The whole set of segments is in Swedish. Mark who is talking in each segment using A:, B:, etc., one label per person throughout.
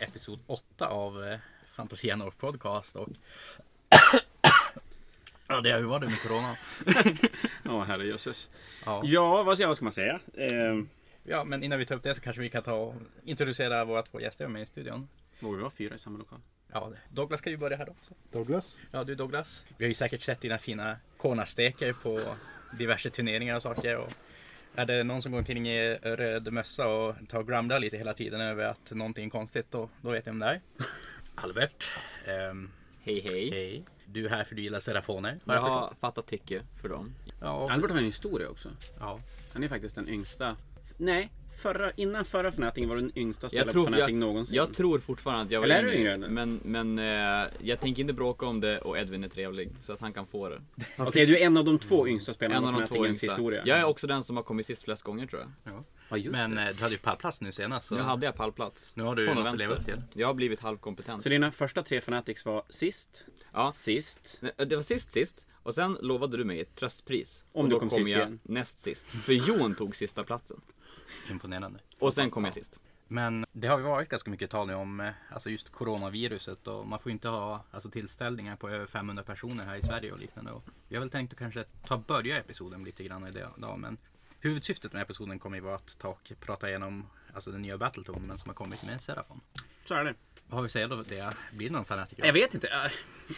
A: episod 8 av eh, Fantasia North Podcast och Ja det är hur var det med Corona?
B: Ja, herrejösses.
A: Ja.
B: Ja, vad ska, vad ska man säga? Eh,
A: ja men innan vi tar upp det så kanske vi kan ta och introducera våra två gäster med i studion.
B: vågar vi vara fyra i samma lokal?
A: Ja, Douglas kan ju börja här också.
C: Douglas?
A: Ja du Douglas, vi har ju säkert sett dina fina cornersteker på diverse turneringar och saker. Och är det någon som går omkring i röd mössa och tar och gramlar lite hela tiden över att någonting är konstigt, då, då vet jag om det är. Albert. ehm,
D: Hej hej.
A: Hej. Du är här för du gillar Serafoner. har
D: Jag
A: jag
D: har
A: förstått.
D: fattat tycke för dem.
A: Ja, och-
B: Albert har ju en historia också.
A: ja.
B: Han är faktiskt den yngsta. Nej, förra, innan förra Fnatic var du den yngsta
D: Jag
B: spelaren på
D: tror,
B: Fnatic
D: jag,
B: någonsin.
D: jag tror fortfarande att jag var
B: Eller är du yngre än det?
D: men, men eh, jag tänker inte bråka om det och Edvin är trevlig så att han kan få det.
B: Okej, du är en av de två yngsta
D: En
B: spelarna
D: av
B: på
D: de två
B: Fnaticens
D: yngsta.
B: historia.
D: Jag är också den som har kommit sist flest gånger tror jag.
B: Ja, just
A: Men
B: det.
A: eh, du hade ju pallplats nu senast. Så.
D: Nu hade jag pallplats.
A: Nu har du
D: Från
A: något att
D: vänster.
A: leva upp till.
D: Jag har blivit halvkompetent.
B: Så dina första tre Fnatics var sist,
D: Ja.
B: sist.
D: Nej, Det var sist sist och sen lovade du mig ett tröstpris.
B: Om
D: och
B: du
D: då
B: kom
D: kom
B: sist
D: jag
B: igen.
D: näst sist. För Jon tog sista platsen.
A: Imponerande.
D: Och sen kom jag sist.
A: Men det har ju varit ganska mycket tal nu om eh, alltså just coronaviruset och man får ju inte ha alltså, tillställningar på över 500 personer här i Sverige och liknande. Och vi har väl tänkt att kanske ta börja episoden lite grann idag men huvudsyftet med episoden kommer ju vara att ta och prata igenom alltså, den nya Battletonen som har kommit med Serafon.
B: Så är det.
A: Vad har vi att säga då? Det blir det någon fanatiker?
B: Jag vet inte. Äh,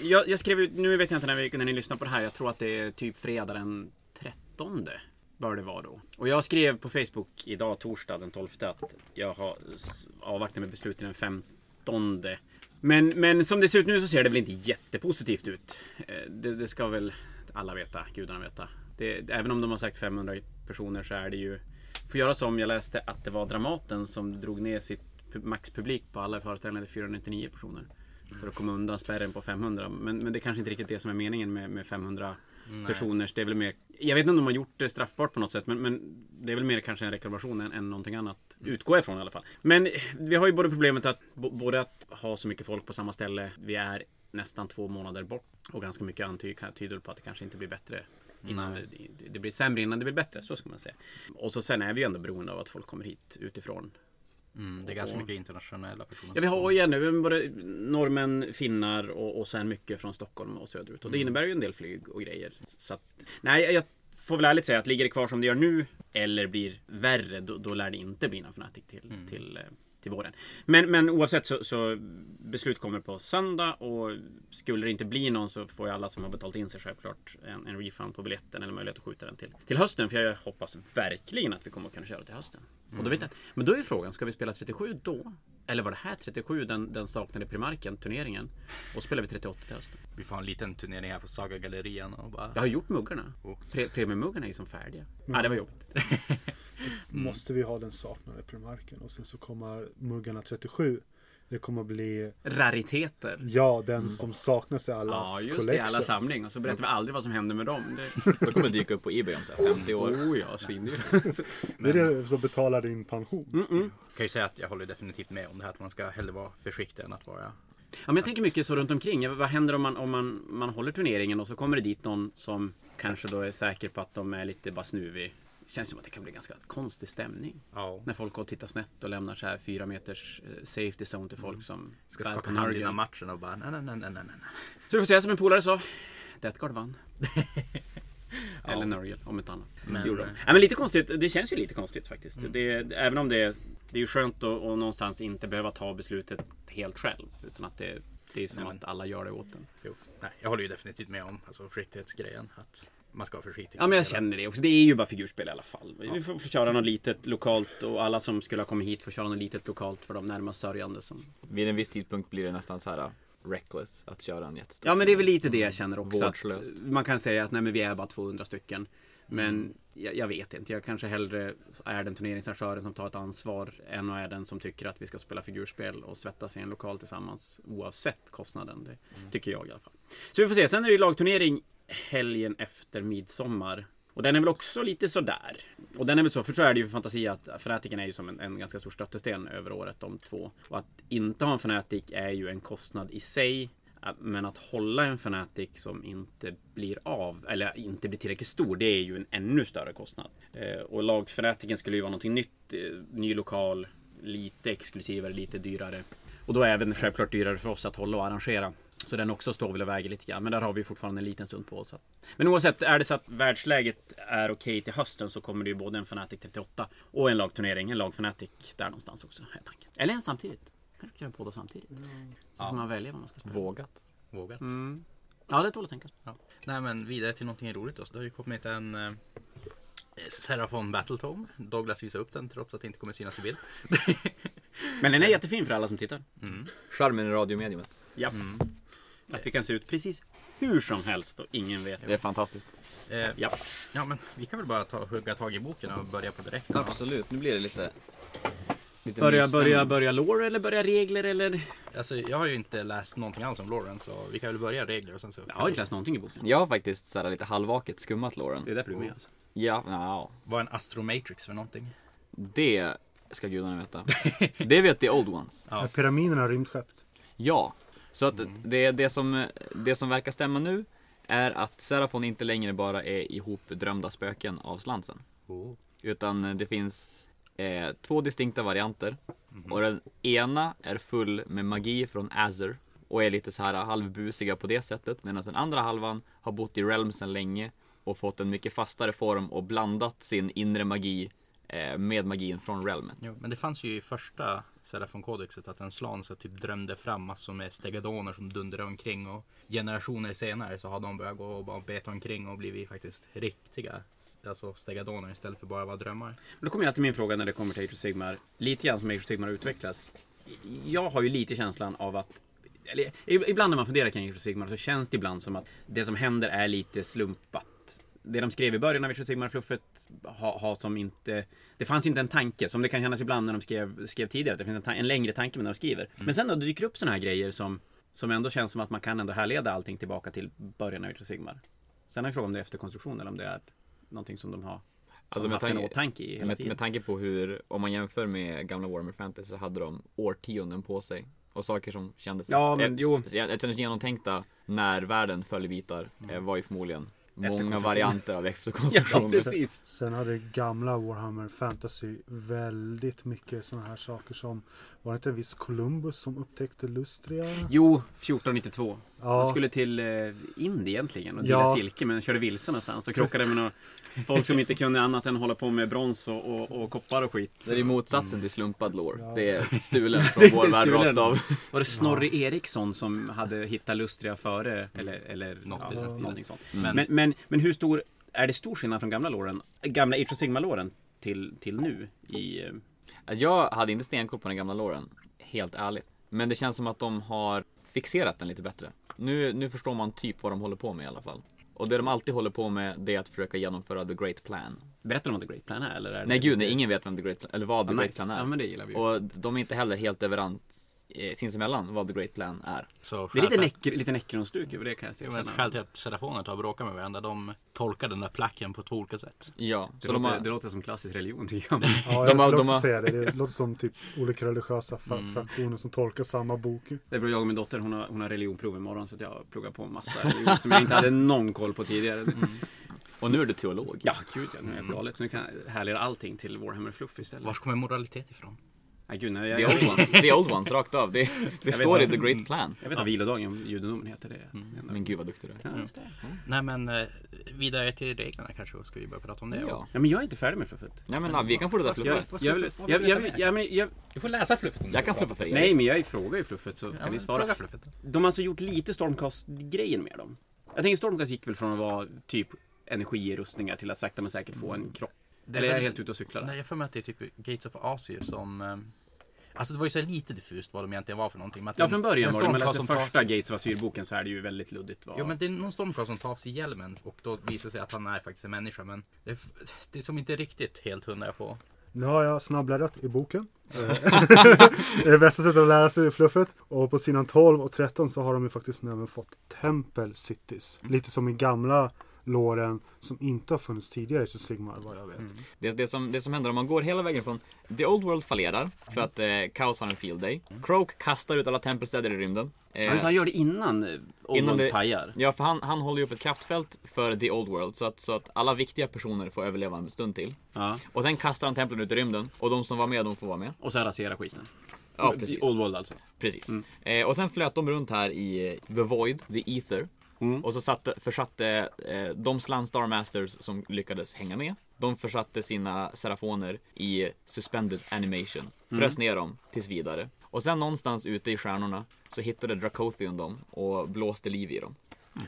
B: Jag, jag skrev ut, nu vet jag inte när, vi, när ni lyssnar på det här. Jag tror att det är typ fredag den 13. Bör det vara då. Och jag skrev på Facebook idag, torsdag den 12, att jag har s- avvaktat med beslut till den 15. Men, men som det ser ut nu så ser det väl inte jättepositivt ut. Eh, Det, det ska väl alla veta, gudarna veta. Det, även om de har sagt 500 personer så är det ju... Får göra som jag läste att det var Dramaten som drog ner sitt pu- maxpublik på alla föreställningar till 499 personer. För att komma undan spärren på 500. Men, men det är kanske inte riktigt det som är meningen med, med 500 personers. Det är väl mer, jag vet inte om de har gjort det straffbart på något sätt. Men, men det är väl mer kanske en reklamation än, än någonting annat. Utgår jag ifrån i alla fall. Men vi har ju både problemet att, bo- både att ha så mycket folk på samma ställe. Vi är nästan två månader bort. Och ganska mycket antyder tyder på att det kanske inte blir bättre. Innan det, det- det blir sämre innan det blir bättre, så ska man säga. Och så sen är vi ju ändå beroende av att folk kommer hit utifrån.
A: Mm, det är ganska mycket internationella personer.
B: Ja, vi har ju nu både norrmän, finnar och, och sen mycket från Stockholm och söderut. Och det innebär ju en del flyg och grejer. Så att, nej, jag får väl ärligt säga att ligger det kvar som det gör nu eller blir värre, då, då lär det inte bli någon Fnatic till, till, eh, till våren. Men, men oavsett så, så beslut kommer på söndag och skulle det inte bli någon så får ju alla som har betalt in sig självklart en, en refund på biljetten eller möjlighet att skjuta den till, till hösten. För jag hoppas verkligen att vi kommer att kunna köra till hösten. Och då vet jag, inte. men då är ju frågan, ska vi spela 37 då? Eller var det här 37, den, den saknade primarken, turneringen? Och spelar vi 38 till hösten?
A: Vi får ha en liten turnering här på Saga Gallerian och bara...
B: Jag har gjort muggarna.
A: Oh.
B: Pre- Premiummuggarna är ju som färdiga. Ja, det var jobbigt.
C: Måste vi ha den saknade primarken? Och sen så kommer muggarna 37. Det kommer bli,
B: Rariteter.
C: ja, den som saknas i allas
B: Ja, just det.
C: collections.
B: Alla samling. Och så berättar vi aldrig vad som hände med dem. Det...
D: Då kommer det dyka upp på Ebay om så här 50 år.
B: Oh ja, svindyrt.
C: Det är det som betalar din pension.
A: Jag kan ju säga att jag håller definitivt med om det här att man ska hellre vara försiktig än att vara...
B: Ja, men jag tänker mycket så runt omkring. Ja, Vad händer om man, om man, man håller turneringen och så kommer det dit någon som kanske då är säker på att de är lite bara snuvig. Känns som att det kan bli ganska konstig stämning.
A: Ja.
B: När folk går och tittar snett och lämnar så här fyra meters eh, safety zone till folk som
A: Ska
B: bär
A: skaka
B: på
A: hand
B: nargen.
A: innan matchen och bara nej, nej, nej, nej, nej, nej.
B: Så du får säga som en polare sa. Deathguard vann. Eller Nurgle om inte annat.
A: Men- eh, Mm.
B: Men, Gjorde de. Ja, men lite konstigt. Det känns ju lite konstigt faktiskt. Det, även om det är, det är ju skönt att och någonstans inte behöva ta beslutet helt själv. Utan att det, det är som
A: Nej, men-
B: att alla gör det åt en.
A: Jo. Nej, jag håller ju definitivt med om alltså, försiktighetsgrejen. Att man ska vara försiktig.
B: Ja men jag känner det också. Det är ju bara figurspel i alla fall. Vi får, får köra något litet lokalt och alla som skulle ha kommit hit får köra något litet lokalt för de närmast sörjande. Som...
D: Vid en viss tidpunkt blir det nästan så här uh, reckless att köra en jättestor.
B: Ja men det är väl lite det jag känner också. Att
D: Vårdslöst.
B: man kan säga att nej men vi är bara 200 stycken. Men jag, jag vet inte. Jag kanske hellre är den turneringsarrangören som tar ett ansvar än att är den som tycker att vi ska spela figurspel och svettas i en lokal tillsammans oavsett kostnaden. Det tycker jag i alla fall. Så vi får se. Sen är det ju lagturnering helgen efter midsommar. Och den är väl också lite sådär. Och den är väl så, för så är det ju för Fantasia att Fanatiken är ju som en, en ganska stor stöttesten över året de två. Och att inte ha en Fanatic är ju en kostnad i sig. Äh, Men att hålla en Fanatic som inte blir av, eller inte blir tillräckligt stor, det är ju en ännu större kostnad. Eh, Och lagfanatiken skulle ju vara någonting nytt. eh, Ny lokal, lite exklusivare, lite dyrare. Och då är även självklart dyrare för oss att hålla och arrangera. Så den också står väl och väger lite grann. Men där har vi fortfarande en liten stund på oss. att- Men oavsett, är det så att världsläget är okej till hösten så kommer det ju både en Fnatic 38 och en lagturnering, en lag Fnatic där någonstans också. är tanken. Eller en samtidigt. Kanske göra båda samtidigt. Så får man välja vad man ska spela.
D: Vågat.
A: Vågat.
B: Mm. Ja, det tål att tänka.
A: Ja. Nej men vidare till någonting roligt då. Så det har ju kommit en eh, Serafon Battletome. Douglas visar upp den trots att det inte kommer synas i bild.
B: Men den är jättefin för alla som tittar.
D: Charmen i radiomediumet.
B: Ja. Att vi kan se ut precis hur som helst och ingen vet.
D: Det är fantastiskt.
A: Eh,
B: Ja.
A: ja men vi kan väl bara ta, hugga tag i boken och börja på direkt.
D: Absolut, nu blir det lite... lite
B: Börja,
D: mysstämning.
B: börja, börja lore eller börja regler eller?
A: Alltså, jag har ju inte läst någonting alls om Lawrence så vi kan väl börja regler och sen så...
B: Jag har inte läst någonting i boken.
D: Jag har faktiskt så här, lite halvvaket skummat
B: Det är
D: låren.
B: därför du är med. Alltså.
D: Ja, nja.
A: Vad är en astromatrix för någonting?
D: Det ska gudarna veta. Det vet the old ones.
A: Ja.
C: Är pyramiderna rymdskepp?
D: Ja. Så att det, det, som, det som verkar stämma nu är att Serafon inte längre bara är ihopdrömda spöken av slansen.
A: Oh.
D: Utan det finns eh, två distinkta varianter. Och den ena är full med magi från Azure. Och är lite så här halvbusiga på det sättet. Medan den andra halvan har bott i Realm sedan länge. Och fått en mycket fastare form och blandat sin inre magi eh, med magin från Realmet.
A: Jo, men det fanns ju i första Serafon-kodexet att en slan så typ drömde fram massor med stegadoner som dundrade omkring och generationer senare så har de börjat gå och bara beta omkring och blivit faktiskt riktiga alltså stegadoner istället för bara vara drömmar.
B: Men då kommer jag till min fråga när det kommer till Age of Sigmar. Lite grann som Age of Sigmar utvecklas. Jag har ju lite känslan av att eller, ibland när man funderar kring Age of Sigmar så känns det ibland som att det som händer är lite slumpat. Det de skrev i början av Age of Sigmar-fluffet har ha som inte... Det fanns inte en tanke, som det kan kännas ibland när de skrev, skrev tidigare. Att det finns en, ta- en längre tanke med när de skriver. Men sen då det dyker upp såna här grejer som, som ändå känns som att man kan ändå härleda allting tillbaka till början av Age of Sigmar. Sen är frågan om det är efterkonstruktion eller om det är någonting som de har
D: Alltså,
B: som
D: med
B: haft en
D: tanke-
B: åtanke i hela
D: Med,
B: tiden.
D: med tanke på hur, om man jämför med gamla Warhammer Fantasy så hade de årtionden på sig. Och saker som kändes
B: Ja, men
D: eh,
B: jo.
D: jag, jag känner genomtänkta när världen föll i bitar eh, var ju förmodligen många
B: Mm. Efterkonstruktion.
D: varianter av
B: Ja,
D: efterkonstruktioner.
B: precis.
C: Sen hade gamla Warhammer Fantasy väldigt mycket sådana här saker som Var det inte en viss Columbus som upptäckte Lustria?
B: Jo, 1492. Han
C: Ja,
B: skulle till eh, Indien egentligen och
C: Ja.
B: dela silke men körde vilse någonstans och krockade med några folk som inte kunde annat än hålla på med brons och, och, och koppar och skit.
D: Så det är motsatsen till slumpad lore.
C: Ja.
D: Det är stulen
B: Det
D: från
B: är
D: vår värld
B: stulen.
D: rakt av.
B: Var det Snorre Eriksson som hade hittat Lustria före eller, eller
A: Något
B: ja,
A: i den stilen.
B: någonting sånt?
A: Men,
B: Men, men, men hur stor, är det stor skillnad från gamla låren, gamla Age of Sigma-låren till, till nu? I, eh,
D: Jag hade inte stenkoll på den gamla låren, helt ärligt. Men det känns som att de har fixerat den lite bättre. Nu, nu förstår man typ vad de håller på med i alla fall. Och det de alltid håller på med det är att försöka genomföra the great plan.
B: berättar de om The Great Plan är? Eller är det
D: Nej gud, nej, ingen vet vem the great plan, eller vad the
B: Ja,
D: great
B: nice.
D: plan är.
B: Ja, men det gillar vi ju.
D: Och de är inte heller helt överens eh, sinsemellan vad the great plan är.
A: så
B: Det är lite,
A: skäl-
B: neck, lite Necron-stuk över det kan jag
A: Jo,
B: säga.
A: men Skälet till att serafoner tar och bråkar med varandra, de tolkar den där placken på två olika sätt.
D: Ja,
B: Det,
D: så de
B: låter,
D: har,
B: det låter som klassisk religion tycker jag.
C: ja jag
D: de
C: skulle
D: har- de
C: också
D: har-
C: säga det. Det låter som typ olika religiösa fa- fraktioner som tolkar samma bok.
B: Det är bra, jag och min dotter hon har, hon har religionprov imorgon så att jag pluggar på en massa religion som jag inte hade någon koll på tidigare.
D: och nu är du teolog.
B: Ja, gud ja, nu är jag galet. Så nu kan jag härleda allting till Warhammer Fluff istället.
A: Var kommer moralitet ifrån?
B: Nej, gud, nej, jag,
D: The
B: jag,
D: old
B: jag,
D: ones, the old ones rakt av. Det, det står i the great plan.
B: vet att vilodagen, judendomen heter det.
D: Men gud vad duktig du är.
B: Ja, just det.
A: Nej men eh, vidare till reglerna kanske, ska vi börja prata om det?
D: Ja.
B: Ja, men jag är inte färdig med fluffet.
D: Nej men ah, vi kan fortsätta
B: Jag,
D: fluffa.
B: jag, vill, jag, jag, jag, jag, men jag,
A: Du får läsa fluffet om
D: Jag kan fluffa för dig.
B: nej, men jag frågar ju fluffet så
A: Ja,
B: kan ni
A: men
B: svara.
A: fråga fluffet.
B: De har alltså gjort lite Stormcast-grejen med dem. Jag tänker Stormcast gick väl från att vara typ energirustningar till att sakta men säkert få en kropp.
A: Mm. Det är
B: Eller är jag
A: väl-
B: helt ute och cyklar? där?
A: Nej, jag har för mig att det är typ Gates of Asio som... eh, Alltså det var ju så här lite diffust vad de egentligen var för någonting. Men att
B: Ja,
A: en-
B: från början
A: en
B: var det. Men
A: stormcast
B: alltså
A: som
B: första Gates of Asylboken så är det ju väldigt luddigt. Vad...
A: Jo men det är någon stormcast som tar av sig hjälmen och då visar det sig att han är faktiskt en människa. Men det är, det är som inte riktigt helt hundra på.
C: Nu har jag snabbläddrat i boken. Eh, det är bästa sättet att lära sig fluffet. Och på sidan 12 och 13 så har de ju faktiskt nu även fått Temple Cities. Lite som i gamla låren som inte har funnits tidigare i Sigmar vad jag vet.
D: Det, det, som, det som händer om man går hela vägen från The Old World fallerar för att eh, Kaos har en field day. Croak kastar ut alla tempelstäder i rymden.
B: Ja, just det,
D: Eh,
B: han gör det innan Ollon
D: det-
B: pajar.
D: ja, för han, han håller ju upp ett kraftfält för The Old World så att, så att alla viktiga personer får överleva en stund till.
B: Ja.
D: Och sen kastar han templen ut i rymden och de som var med de får vara med.
B: Och så rasera skiten.
D: Ja, precis.
B: Old World alltså.
D: Precis. Eh, och sen flöt de runt här i eh, The Void, The Ether.
B: Mm.
D: Och så satte, försatte eh, de Slan Star Masters som lyckades hänga med. De försatte sina serafoner i suspended animation.
B: Mm.
D: Frös ner dem tills vidare. Och sen någonstans ute i stjärnorna så hittade Dracothion dem och blåste liv i dem.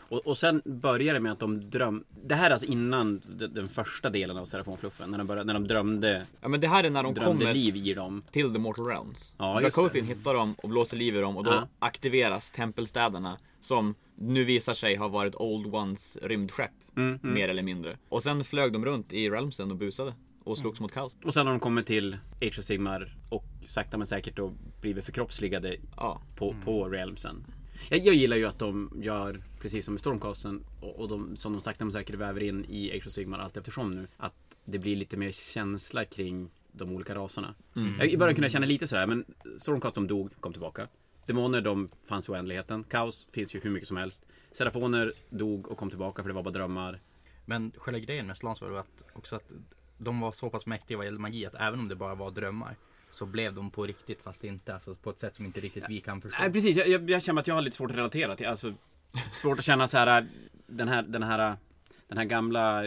B: Och, och sen börjar det med att de dröm... Det här är alltså innan de- den första delen av Serafonfluffen. När de, började, när de drömde,
D: Ja men det här är när de
B: drömde
D: kommer
B: liv i dem.
D: till The Mortal Realms.
B: Ja, just
D: Dracothion hittar dem och blåser liv i dem och då
B: Ja.
D: aktiveras tempelstäderna som nu visar sig ha varit Old Ones rymdskepp.
B: Mm,
D: Mer eller mindre. Och sen flög de runt i Realmsen och busade och slogs mot kaos.
B: Och sen har de kommit till Age of Sigmar och sakta men säkert då blivit förkroppsligade
D: Ja.
B: på, på Realmsen. Jag, jag gillar ju att de gör, precis som i Stormcasten och, och de, som de sakta men säkert väver in i Age of Sigmar allt eftersom nu, att det blir lite mer känsla kring de olika raserna. Jag, I början kunde jag känna lite sådär, men Stormcast de dog, kom tillbaka. Demoner de fanns i oändligheten. Kaos finns ju hur mycket som helst. Serafoner dog och kom tillbaka för det var bara drömmar.
A: Men själva grejen med Slans var att också att de var så pass mäktiga vad gäller magi att även om det bara var drömmar så blev de på riktigt fast inte, alltså på ett sätt som inte riktigt vi kan förstå.
B: Nej precis, jag, jag, jag känner att jag har lite svårt att relatera till. Alltså, svårt att känna så här äh, den här, den här, äh, den här gamla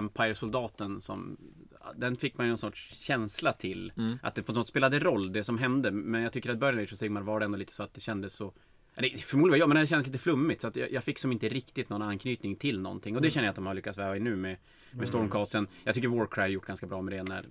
B: Empire-soldaten som äh, den fick man ju någon sorts känsla till.
D: Mm.
B: Att det på något spelade roll, det som hände. Men jag tycker att början av Age of Sigmar var det ändå lite så att det kändes så... Eller, förmodligen var jag, men det kändes lite flummigt. Så att jag, jag fick som inte riktigt någon anknytning till någonting. Och
D: Mm.
B: det känner jag att de har lyckats väva in nu med, med Stormcasten. Jag tycker Warcry har gjort ganska bra med det när,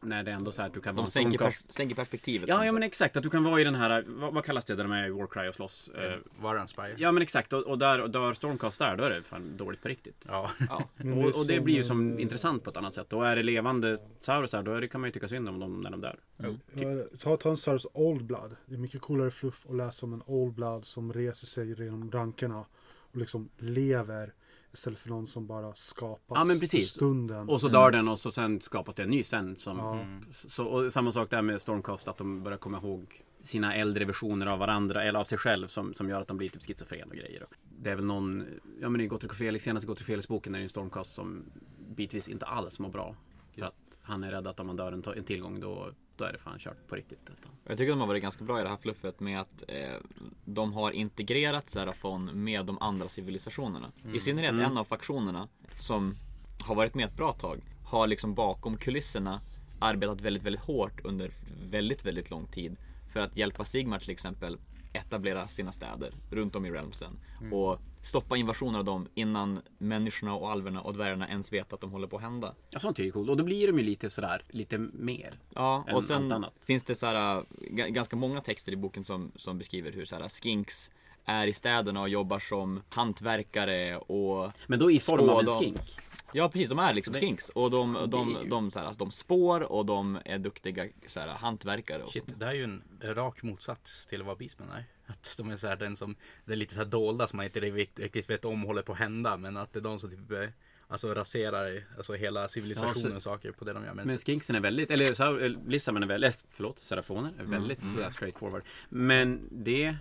B: när det är ändå så här att du kan vara
D: De
B: en
D: sänker,
B: Stormcast.
D: pers- sänker perspektivet. på
B: Ja,
D: något
B: ja men
D: sätt.
B: exakt. Att du kan vara i den här, vad, vad kallas det där de är i Warcry och slåss? Eh,
A: Var Inspire?
B: Ja men exakt, och, och där och dör Stormcast där, då är det fan dåligt på riktigt.
A: Ja.
C: Men
B: Och, och det
C: som
B: blir ju
C: en-
B: som intressant på ett annat sätt. Då är det levande saurusar, då är det, kan man ju tycka synd om dem när de dör.
C: Ja, Ta, ta en Sars Old Blood. Det är mycket coolare fluff att läsa om en Old Blood som reser sig genom rankerna och liksom lever istället för någon som bara skapas
B: Ja, men precis.
C: för
D: Mm.
C: stunden.
B: Och så dör den och så sen skapas det en ny sen. Som,
C: Ja.
B: så, och samma sak där med Stormcast, att de börjar komma ihåg sina äldre versioner av varandra eller av sig själv som, som gör att de blir typ schizofren och grejer. Det är väl någon, ja men i Gottfrid Felix, senaste Gottfrid Felix-boken är det en Stormcast som bitvis inte alls mår bra. För att han är rädd att om man dör en, to- en tillgång då, då är det fan kört på riktigt.
D: Jag tycker de har varit ganska bra i det här fluffet med att eh, de har integrerat Serafon med de andra civilisationerna. I synnerhet en av faktionerna som har varit med ett bra tag har liksom bakom kulisserna arbetat väldigt, väldigt hårt under väldigt, väldigt lång tid för att hjälpa Sigmar till exempel etablera sina städer runt om i Realmsen och stoppa invasioner av dem innan människorna och alverna och dvärgarna ens vet att de håller på att hända.
B: Ja, sånt är ju coolt. Och då blir de ju lite sådär, lite mer.
D: Ja,
B: än
D: och
B: allt
D: sen
B: annat.
D: finns det så här, äh, ga- ganska många texter i boken som, som beskriver hur så här, äh, skinks är i städerna och jobbar som hantverkare och
B: Men då i form av en
D: Spådom.
B: skink.
D: Ja precis, de är liksom skinks och de, de,
B: det är
D: de,
B: ju-
D: så här, alltså, de spår och de är duktiga så här, äh, hantverkare och
A: Shit,
D: sånt.
A: det här är ju en rak motsats till vad Beastman är. Att de är så här, den som, det är lite så här dolda som man inte riktigt riktigt vet om håller på att hända. Men att det är de som typ eh, alltså raserar alltså hela civilisationen
B: Ja,
A: och saker på det de gör. Men,
B: Men skinksen är väldigt, eller så, eller Lissamen är väldigt, förlåt, Serafoner är väldigt sådär straight forward. Men det,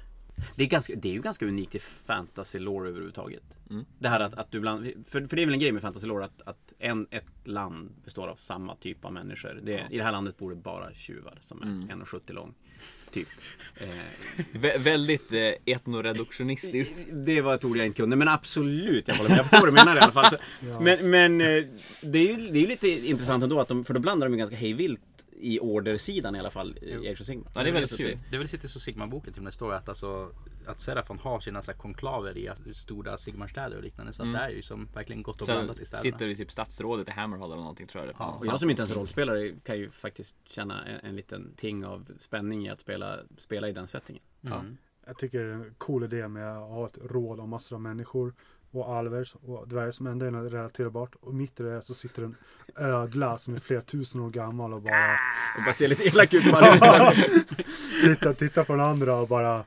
B: det är, ganska, det är ju ganska unikt i fantasy lore överhuvudtaget. Det här att, att du bland, för, för det är väl en grej med fantasy lore att, att en, ett land består av samma typ av människor. Det, I det här landet bor det bara tjuvar som är 1,70 lång. Typ. Eh,
D: Vä- väldigt eh, etnoreduktionistiskt.
B: Det var ett ord jag inte kunde, men absolut. Jag håller med. Jag förstår vad du menar i alla fall. Så- Men, men eh, det är ju det är ju lite intressant ändå, att de, för då blandar de ju ganska hejvilt i ordersidan i alla fall i Age of Sigmar.
D: Ja, det är väldigt kul.
A: Det är väl lite så Sigma-boken till och med står att alltså att Serafon har sina så här konklaver i alltså, stora Sigmarstäder och liknande. Så att det är ju som verkligen gott och
D: Mm. Sen
A: blandat i städerna.
D: sitter i typ statsrådet i Hammerhall eller någonting tror jag det är.
B: Och jag som inte ens är rollspelare kan ju faktiskt känna en, en liten ting av spänning i att spela, spela i den settingen.
A: Mm.
C: Jag tycker det är en cool idé med att ha ett råd av massor av människor och alvers och dvärgar som ändå är relaterbart. Och mitt i det så sitter en ödla som är flera tusen år gammal och bara
B: Och bara ser lite elak ut. Bara.
C: tittar, tittar på den andra och bara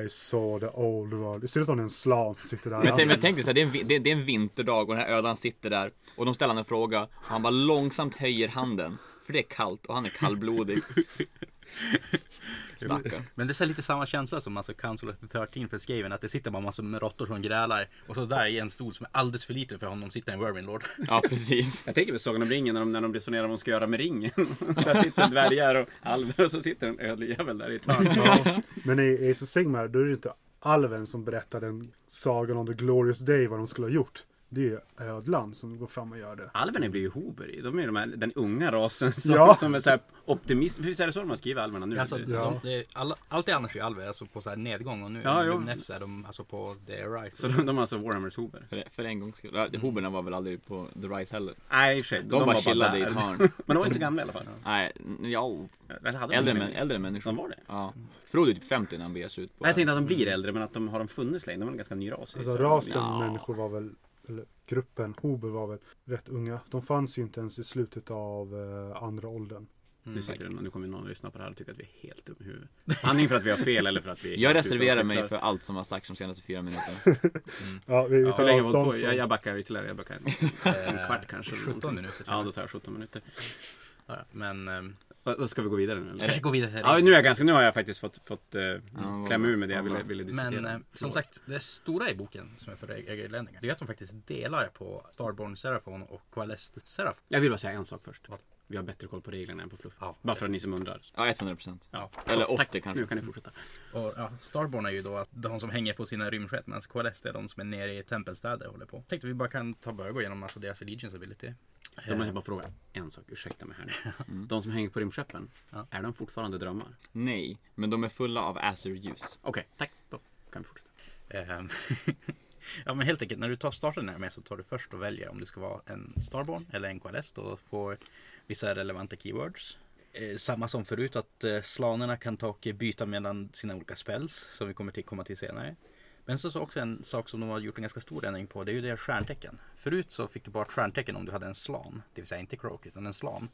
C: I saw the old world. I ser ut som en slav som sitter där.
D: Men, tänk- men tänk dig så här, det, är en, vi- det, det är en vinterdag och den här ödan sitter där och de ställer han en fråga och han bara långsamt höjer handen. För det är kallt och han är kallblodig. Stackarn.
A: Men det är så här lite samma känsla som alltså Council of the 13 för Skaven. Att det sitter bara massor med råttor som grälar. Och så där i en stol som är alldeles för liten för honom sitter en Wermin Lord.
D: Ja, precis.
B: Jag tänker på Sagan om ringen när de, när de resonerar om vad de ska göra med ringen. där sitter dvärgar och alver och så sitter en ödlejävel där i ett hörn.
C: Men i Ace of Sigmar, då är det ju inte alven som berättar den sagan om The Glorious Day, vad de skulle ha gjort. Det är ödlan som går fram och gör det.
B: Alverna blir ju hober. De är ju de här, den unga rasen som,
C: Ja.
B: som är så här optimist. Visst är det så de har skrivit alverna nu?
A: Alltså,
B: Det-
A: de, de, alla, allt det annars är ju Alver alltså på så här nedgång. Och nu
B: Ja,
A: är
B: jo.
A: Lumnefs är de alltså på the rise.
B: så de, de är alltså Warhammers hober?
D: För, för en gångs skull. Ja, Hoberna var väl aldrig på The Rise heller.
B: Nej, i och för sig.
D: De, bara
B: var
D: chillade i
B: där.
D: ett hörn.
B: Men de var inte så gamla i alla fall.
D: Nej, ja,
B: Eller hade de
D: äldre,
B: det?
D: män, äldre människor.
B: De var det?
D: Ja. Frodo är typ 50 när han beger sig ut på
B: Nej, Jag tänkte att de blir äldre, men att de har de funnits länge. De var en ganska ny ras. liksom. i
C: Alltså
B: Sverige.
C: rasen
D: Ja.
C: människor var väl, eller gruppen Hober var väl rätt unga. De fanns ju inte ens i slutet av eh, andra åldern.
B: Nu,
D: Mm.
B: sitter det, nu kommer någon att lyssna på det här och tycka att vi är helt dumma i huvudet. Antingen för att vi har fel eller för att vi är
D: Jag
B: helt ute och
D: reserverar mig
B: cyklar.
D: för allt som har sagts de senaste fyra minuterna.
C: Ja, vi, vi
B: Hur länge
C: tar
B: har vi
C: avstånd
B: hållit på?
C: från-
B: Jag, jag backar ytterligare. Jag backar
A: Eh,
B: en, en kvart kanske. eller
A: 17
B: någonting.
A: minuter, tror
B: Ja,
A: jag.
B: då tar jag 17 minuter.
A: Ja, Men ehm,
B: Och, och ska vi gå vidare nu?
A: kanske
B: Eller?
A: gå vidare till
B: Ja, nu, är jag ganska, nu har jag faktiskt fått, fått eh,
D: vad
B: klämma
D: bra.
B: ur med det jag
D: Ja,
B: ville,
D: bra.
B: ville diskutera.
A: Men eh, som
B: Förlåt.
A: sagt, det stora i boken som är för irlänningar, det är att de faktiskt delar på Starborn Serafon och Coalesced Serafon.
B: Jag vill bara säga en sak först.
A: Vad?
B: Vi har bättre koll på reglerna än på fluff.
A: Ja.
B: Bara för att ni som undrar.
D: Ja, 100 procent.
B: Ja.
D: Eller
B: Så,
D: 80 kanske.
B: Nu kan ni fortsätta.
A: Och ja, Starborn är ju då att de som hänger på sina rymdskepp medan Coalesced är de som är nere i tempelstäder och håller på. Tänkte vi bara kan ta börja gå igenom alltså deras Allegiance Ability.
B: Då måste jag bara fråga en sak. Ursäkta mig här nu. De som hänger på rymdskeppen,
A: Ja.
B: är de fortfarande drömmar?
D: Nej, men de är fulla av Azure-ljus.
B: Okej, tack. Då kan vi fortsätta.
A: Ehm, ja men helt enkelt, när du tar starten här med så tar du först och väljer om det ska vara en Starborn eller en Qualest och får vissa relevanta keywords. Eh, samma som förut att eh, slanerna kan ta och byta mellan sina olika spells som vi kommer till komma till senare. Men så, så också en sak som de har gjort en ganska stor ändring på det är ju deras stjärntecken. Förut så fick du bara ett stjärntecken om du hade en slan, det vill säga inte croak utan en slan.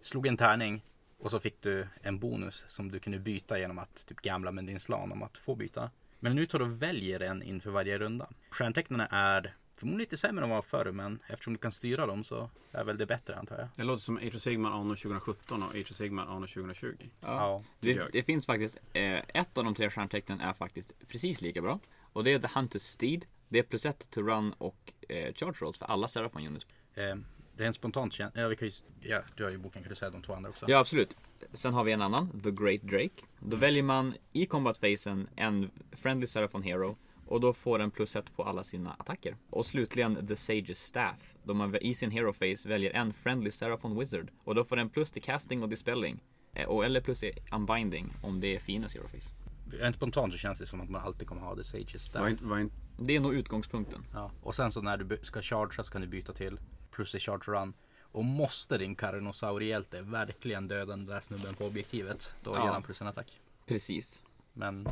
A: Slog en tärning och så fick du en bonus som du kunde byta genom att typ gamla med din slan om att få byta. Men nu tar du och väljer en inför varje runda. Stjärntecknarna är förmodligen lite sämre än vad de var förr men eftersom du kan styra dem så är väl det bättre antar jag.
B: Det låter som Age of Sigmar anno 2017 och Age of Sigmar anno 2020.
A: Ja.
D: Det, det finns faktiskt, eh, ett av de tre stjärntecknen är faktiskt precis lika bra. Och det är The Hunter's Steed. Det är plus ett to run och eh, charge rolls för alla Seraphon units.
A: Eh, det är en spontant känsla. Ja, vi kan ju, ja, du har ju boken kan du säga de två andra också.
D: Ja, absolut. Mm. Sen har vi en annan, The Great Drake. Då väljer man i combat-fasen en Friendly Seraphon Hero och då får den plus ett på alla sina attacker. Och slutligen The Sage's Staff, då man i sin hero face väljer en Friendly Seraphon Wizard och då får den plus till casting och dispelling. Eh, Och eller plus till unbinding om det är fiendens hero face.
A: Rent spontant så känns det som att man alltid kommer ha The Sages
B: Var
A: där.
B: inte, var inte,
D: Det är nog utgångspunkten.
A: Ja. Och sen så när du by- ska chargea så kan du byta till plus i charge run. Och måste din Karinosaurihjälte verkligen döda den där snubben på objektivet. Då
D: Ja.
A: ger han plus en attack.
D: Precis.
A: Men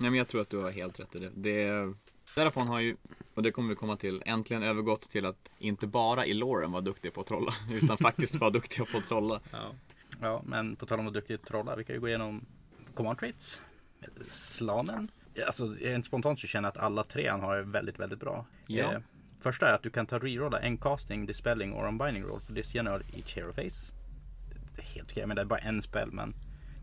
D: Nej men jag tror att du har helt rätt i det. det Serafon har ju, och det kommer vi komma till, äntligen övergått till att inte bara i loren vara duktiga på att trolla, utan faktiskt vara duktiga på att trolla.
B: ja.
A: Ja, men på tal om att duktigt trolla, vi kan ju gå igenom command traits. Slanen. Alltså, rent spontant så känner jag att alla tre han har är väldigt, väldigt bra. Eh,
D: Ja.
A: första är att du kan ta rerolla en casting, dispelling or unbinding roll for this general each hero face. Det är helt okej, men det är bara en spel, men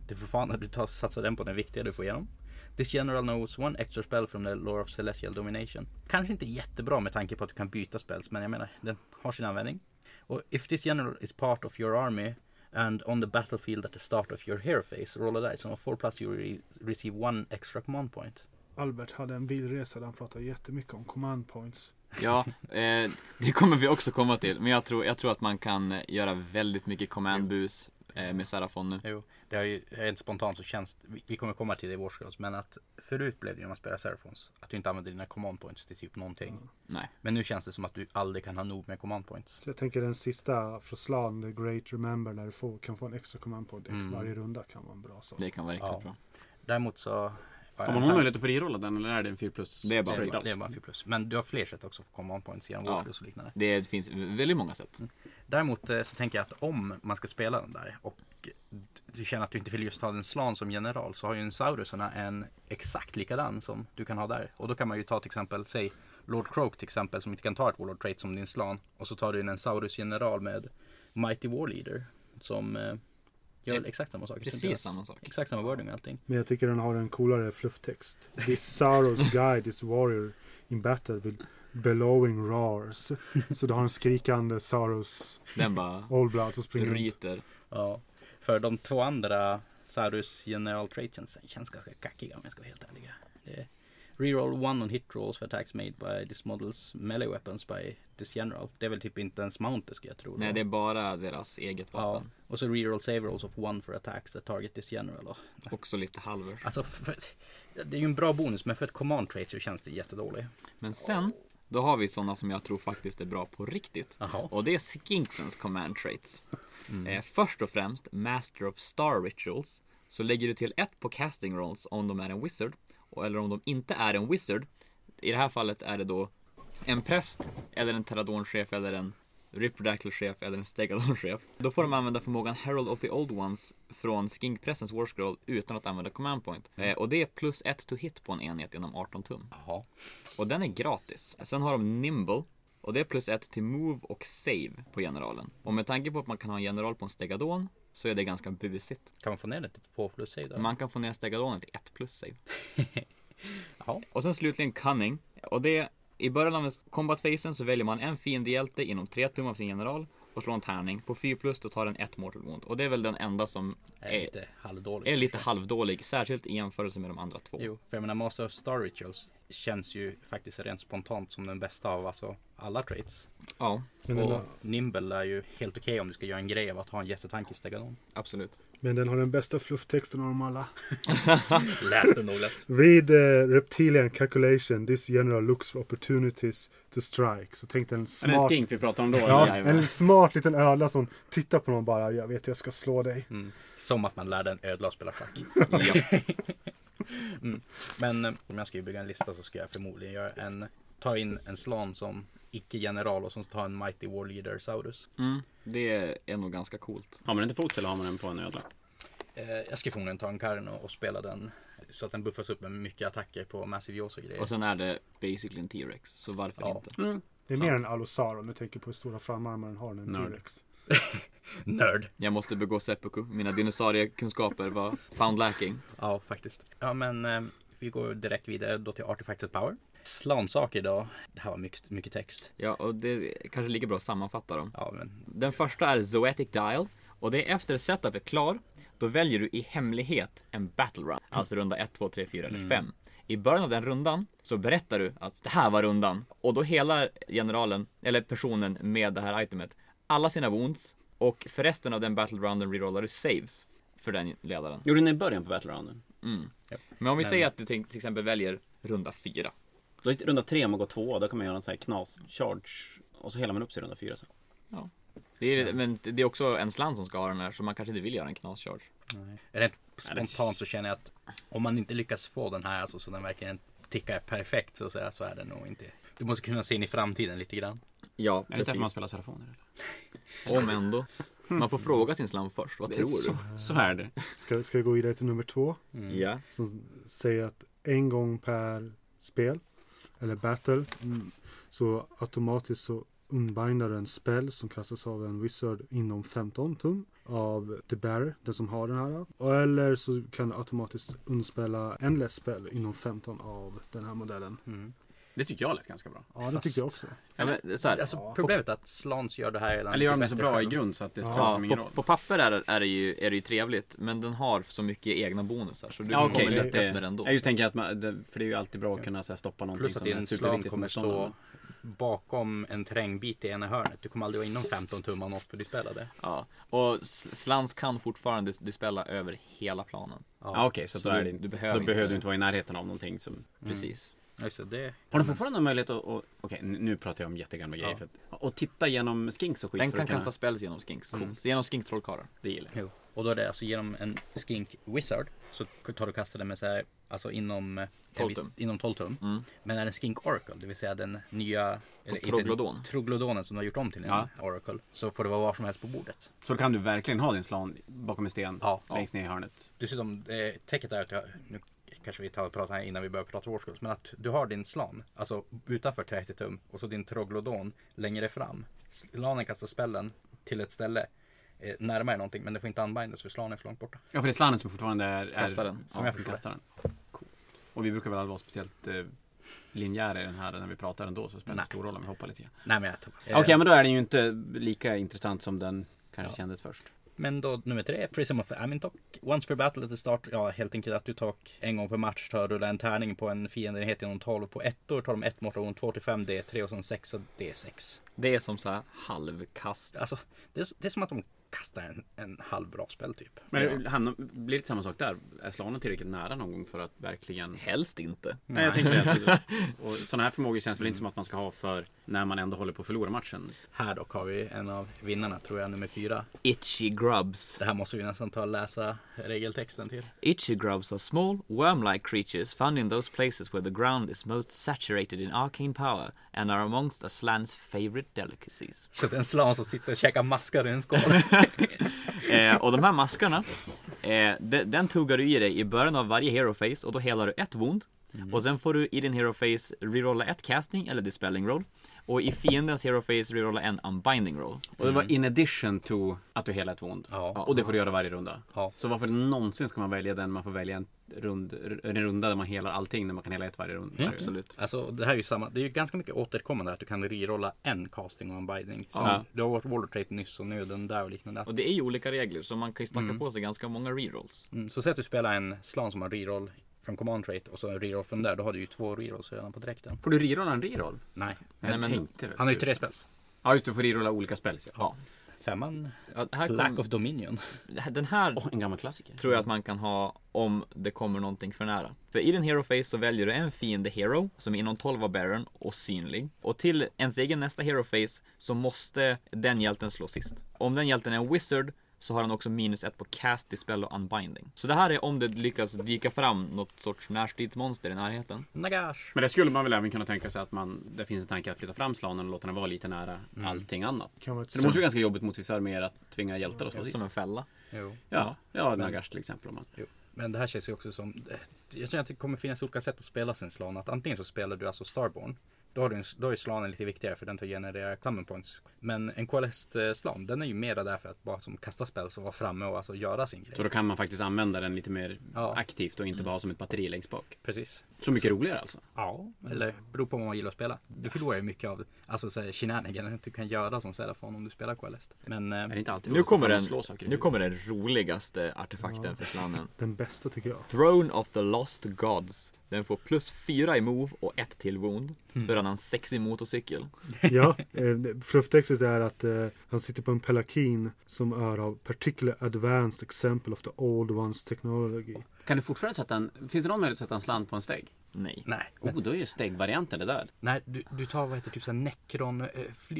A: det är fortfarande att du tar, satsar den på den viktiga du får igenom. This general knows one extra spell from the lore of celestial domination. Kanske inte jättebra med tanke på att du kan byta spells, men jag menar, den har sin användning. Och if this general is part of your army and on the battlefield at the start of your hero phase, roll a dice and on 4 plus you re receive one extra command point.
C: Albert hade en bilresa där han pratade jättemycket om command points.
D: Ja, eh, det kommer vi också komma till, men jag tror, jag tror att man kan göra väldigt mycket command-bus eh, med Serafon nu.
A: Jo, det är ju rent spontant så känns det- vi- vi kommer komma till det i vårskrolls, men att förut blev det ju när man spelade Serafons, att du inte använde dina command points till typ någonting.
D: Nej.
A: Men nu känns det som att du aldrig kan ha nog med command points.
C: Så jag tänker den sista från Slan, The Great Remember, där du får, kan få en extra command point mm. varje runda kan vara en bra sak.
D: Det kan vara riktigt
A: Ja.
D: bra.
A: Däremot så...
B: Har man någon möjlighet att få rerolla den eller är alltså. det en 4 plus?
D: Det är bara-
A: det,
B: straight
A: är-
B: up?
A: det är bara 4 plus. Men du har fler sätt också för command points genom
D: Ja.
A: vårskrolls och liknande.
D: Det finns väldigt många sätt.
A: Däremot eh, så tänker jag att om man ska spela den där och d- du känner att du inte vill just ha den slan som general så har ju en Sauruserna en exakt likadan som du kan ha där. Och då kan man ju ta till exempel, säg Lord Croak till exempel som inte kan ta ett Warlord Trait som din slan. Och så tar du in en Saurus general med Mighty Warleader som eh, Gör exakt samma sak.
D: Precis
A: Det är
D: samma sak.
A: Exakt samma wording och allting.
C: Men jag tycker den har en coolare flufftext. This Saros guide is warrior in battle with bellowing roars. Så du har en skrikande Saros
D: Den bara
C: All Blood som springer runt.
D: ryter.
A: Ja. För de två andra Sarus General Traits känns, känns ganska kackiga om jag ska vara helt ärlig. Det är Reroll one on hit rolls for attacks made by this models melee weapons by this general. Det är väl typ inte ens Mounty ska jag tro. då.
D: Nej, det är bara deras eget
A: ja.
D: vapen.
A: Och så reroll save rolls of one for attacks that target this general. Och,
D: Också lite halvers.
A: alltså, för, det är ju en bra bonus men för ett command trait så känns det jättedåligt.
D: Men sen, då har vi sådana som jag tror faktiskt är bra på riktigt.
A: Jaha.
D: Och det är Skinksens command traits. Eh, först och främst, Master of Star Rituals. Så lägger du till ett på casting rolls om de är en wizard. Och, eller om de inte är en wizard. I det här fallet är det då en präst, eller en teradonchef, eller en Riprodactyl-chef eller en Stegadon-chef. Då får de använda förmågan Herald of the Old Ones från Skinkpressens Warscroll utan att använda command point. Eh, och det är plus ett to hit på en enhet genom 18 tum.
A: Jaha.
D: Och den är gratis. Sen har de Nimble. Och det är plus ett till move och save på generalen. Och med tanke på att man kan ha en general på en stegadon så är det ganska busigt.
A: Kan man få ner det till två plus sig där?
D: Man kan få ner stegadonen till ett plus save.
A: Jaha.
D: Och sen slutligen Cunning. Och det, i början av combat-fasen så väljer man en fiendehjälte inom tre tum av sin general och slår en tärning. På 4 plus då tar den ett mortal wound. Och det är väl den enda som
A: Är
D: är,
A: lite halvdåligt.
D: är lite halvdålig, särskilt i jämförelse med de andra två.
A: Jo, för jag menar Master of Star Rituals känns ju faktiskt rent spontant som den bästa av alltså alla traits.
D: Ja,
C: Men den,
A: Och
C: har-
A: Nimble är ju helt okej om du ska göra en grej av att ha en jättetank i Stegadon.
D: absolut.
C: men den har den bästa flufftexten av dem alla.
A: Läs den Olas.
C: Read uh, Reptilian Calculation. This general looks for opportunities to strike. Så tänk dig en
B: Är det en
C: smart...
B: skink vi pratar om då?
C: Ja,
B: eller?
C: en smart liten ödla som tittar på någon bara. Jag vet jag ska slå dig.
A: Som att man lärde en ödla att spela schack.
D: Ja.
A: Men eh, om jag ska ju bygga en lista så ska jag förmodligen göra en, ta in en slan som icke-general och sen ta en Mighty War Leader Saurus.
D: Mm, det är nog ganska coolt.
B: Har man den till fots eller har man den på en ödla?
A: Eh, jag ska förmodligen ta en Karno och spela den så att den buffas upp med mycket attacker på Massive Jaws och grejer.
D: Och sen är det basically en T-Rex, så varför
A: Ja.
D: inte?
B: Mm.
C: Det är mer än Alosar om du tänker på hur stora framarmar den har. Den
B: Nörd.
C: T-Rex.
A: Nörd!
D: Jag måste begå seppuku. Mina dinosauriekunskaper var found lacking.
A: Ja, faktiskt. Ja, men eh, vi går direkt vidare då till Artifacts of Power. Slansaker då. Det här var mycket, mycket text.
D: Ja, och det är kanske lika bra att sammanfatta dem.
A: Ja, men
D: Den första är Zoetic Dial och det är efter setup är klar. Då väljer du i hemlighet en battle run, alltså runda 1, 2, 3, 4 eller 5. I början av den rundan så berättar du att det här var rundan och då helar generalen, eller personen med det här itemet, alla sina wounds och för resten av den battle rounden rerollar du saves för den ledaren.
B: Gjorde den i början på battle rounden?
D: Men om vi säger att du tänk- till exempel väljer runda 4.
B: Då är runda tre om man går två, då kan man göra en sån här knas charge och så helar man upp sig i runda fyra. Så.
D: Ja. Det är, men det är också en slant som ska ha den här så man kanske inte vill göra en knascharge.
A: rent
B: det-
A: spontant så känner jag att om man inte lyckas få den här alltså, så den verkligen tickar perfekt så, att säga, så är den nog inte. Du måste kunna se in i framtiden lite grann.
D: Ja,
B: Är det därför man spelar telefoner? Eller?
D: Om ändå. Man får fråga sin slam först, vad tror du?
B: Så, så är det.
C: Ska, ska vi gå vidare till nummer två?
B: Mm.
D: Ja.
C: Som säger att en gång per spel, eller battle, så automatiskt så unbindar du en spell som kastas av en wizard inom 15 tum av the bearer, den som har den här. Och Eller så kan du automatiskt unspela endless spell inom 15 av den här modellen.
B: Det tyckte jag lät ganska bra.
C: Ja, det tycker jag också.
D: Ja, men, så här,
A: Alltså problemet är att Slans gör det här redan
B: Eller gör de det
A: lite
B: så
A: bättre
B: bra i
A: själv.
B: grund så att det spelar
D: ja,
B: som ingen
D: på,
B: roll?
D: på papper är, det- är, det ju, är det ju trevligt, men den har så mycket egna bonusar så du
B: Ja okej,
D: kommer
B: så
D: lyckas
B: att det,
D: med den då.
B: jag just tänker att man, det, för det är ju alltid bra att kunna så här, stoppa någonting
A: Plus att
B: som är
A: din slan
B: liksom, superviktigt för
A: kommer
B: motståndaren.
A: stå bakom en terrängbit i ena hörnet. Du kommer aldrig vara inom 15 tum av något för du spelade.
D: Ja. Och s- slans kan fortfarande dis- dispella över hela planen.
B: Ja okej, så,
D: Så
B: då,
D: du-
B: är det,
D: du
B: du
D: behöver
B: behöver,
D: inte-
B: då behöver du inte vara i närheten av någonting som...
D: Precis.
A: Just det, det.
B: Har du fortfarande möjlighet att... att- Okej, nu pratar jag om jättegamla grejer.
A: Ja.
B: För att, och titta genom skinks och skit.
D: Den
B: för att
D: kan
B: kunna- Mm.
D: kasta spells genom skinks. Så genom skinktrollkarlar.
B: Det gillar jag.
A: Jo. Och då är det alltså genom en skink wizard så tar du och kastar den med så här, alltså inom eh, en viss-
D: Tolvtum.
A: inom 12 tum. Men är en skink oracle, det vill säga den nya eller, inte-
D: troglodon.
A: troglodonen som du har gjort om till en
B: Ja.
A: oracle, så får det vara var som helst på bordet.
B: Så då kan du verkligen ha din slan bakom en sten
A: Ja.
B: längst ner i hörnet.
A: Dessutom, eh, täcket är att jag, nu kanske vi tar och pratar här innan vi börjar prata årskulls, men att du har din slan, alltså utanför 30 tum och så din troglodon längre fram. Slanen kastar spällen till ett ställe. eh, närmare någonting men det får inte unbindas för slan är för långt borta.
B: Ja, för det är slangen som fortfarande är... är
D: Kastaren.
B: Som
A: Ja,
B: jag förstår
A: kastar
B: kastaren. Och vi brukar väl aldrig vara speciellt eh, linjära i den här när vi pratar ändå, så det spelar
A: Nej.
B: inte stor roll om vi hoppar lite grann.
A: Nej men jag tar
B: Okej, men då är den ju inte lika intressant som den kanske
A: Ja.
B: kändes först.
A: Men då nummer tre, Prism of Amintok. Once per battle at the start, ja helt enkelt att du tar en gång per match, tar rulla en tärning på en fiendenhet genom 12 på ettor, tar de ett morgon 2 till 5 D3 och sen 6 D6.
D: Det är som så här halvkast.
A: Alltså, det är, det är som att de kastar en, en halv bra spel typ.
B: Men det hamnar, blir det samma sak där? Är slanen tillräckligt nära någon gång för att verkligen... Nej,
D: Helst inte.
B: jag tänker det. Och sådana här förmågor känns väl inte som att man ska ha för när man ändå håller på att förlora matchen.
A: Här dock har vi en av vinnarna, tror jag, nummer fyra.
D: Itchy grubs.
A: Det här måste vi nästan ta och läsa regeltexten till.
D: Itchy grubs are small, worm-like creatures found in those places where the ground is most saturated in arcane power and are amongst a slans favorite delicacies.
A: Så att en slan som sitter och käkar maskar i en skål.
D: Eh, och de här maskarna, eh, de, den tuggar du i dig i början av varje hero face och då helar du ett wound. Och sen får du i din hero face rerolla ett casting eller dispelling roll. Och i fiendens hero face rerolla en unbinding roll.
B: Och det var in addition to att du hela ett vond.
A: Mm. Ja.
B: Och det får du göra varje runda.
A: Ja.
B: Så varför någonsin ska man välja den man får välja en, rund, en runda där man helar allting när man kan hela ett varje runda?
D: Mm, Absolut.
A: Alltså det här är ju samma, det är ju ganska mycket återkommande att du kan rerolla en casting och en binding. Som
B: Ja.
A: Du har varit Waller Trait nyss och nöden där och liknande. Att,
D: Och det är ju olika regler så man kan ju
B: Mm.
D: stacka på sig ganska många rerolls.
A: mm, så säg att du spelar en slan som har reroll från command trait och så en reroll från där. Då har du ju två rerolls redan på direkten.
B: Får du rerolla en reroll?
A: Nej,
B: Jag
D: men-
B: tänkte det.
A: han har ju tre spels.
B: Ja just det, du får rerolla olika spels. Ja.
A: Femman,
D: Ja, här
A: Lack
D: kom,
A: of Dominion.
D: den här
B: Åh, en gammal klassiker.
D: tror jag att man kan ha om det kommer någonting för nära. För i din hero face så väljer du en fiende hero som är inom 12 av Baron och synlig. Och till ens egen nästa hero face så måste den hjälten slå sist. Om den hjälten är en wizard så har han också minus ett på cast, dispel och unbinding. Så det här är om det lyckas dyka fram något sorts närstridsmonster i närheten.
A: Nagash.
B: Men det skulle man väl även kunna tänka sig att man, det finns en tanke att flytta fram slanen och låta den vara lite nära
D: Mm.
B: allting annat.
C: Kan vara ett
B: För det måste ju vara ganska jobbigt mot vissa arméer att tvinga hjältar att slå sist.
D: Som en fälla.
A: Jo.
B: Ja, ja Nagash till exempel. Om man.
A: Jo. Men det här känns ju också som... eh, Jag känner att det kommer finnas olika sätt att spela sin slan. Att antingen så spelar du alltså Starborn. Då, har du en, då är slanen lite viktigare för den tar generera summon points. Men en KLS-slan den är ju mera där för att bara som kasta spel och vara framme och alltså göra sin grej.
B: Så då kan man faktiskt använda den lite mer
A: Ja.
B: aktivt och inte
D: Mm.
B: bara som ett batteri längst bak.
A: Precis.
B: Så mycket roligare alltså.
A: Ja, eller beror på vad man gillar att spela. Du förlorar ju mycket av alltså, så här, shenanigan du kan göra som Serafon om du spelar KLS. Men eh,
B: Är det inte alltid
D: Nu
B: roligt
D: kommer,
B: att man
D: den,
B: slår saker i
D: nu
B: huvudet?
D: kommer den roligaste artefakten för slanen.
C: Den bästa tycker jag.
D: Throne of the Lost Gods. Den får plus 4 i move och 1 till wound.
B: Hmm.
D: För han har en sexig motorcykel.
C: Ja, eh, flufftextet är att eh, han sitter på en pelakin som är av particular advanced example of the old ones technology.
B: Kan du fortfarande sätta en... Finns det någon möjlighet att sätta en slant på en steg?
D: Nej.
A: nej.
B: Oh, då är ju stegvarianten det där.
A: Nej, du, du tar vad heter typ såhär Necron eh,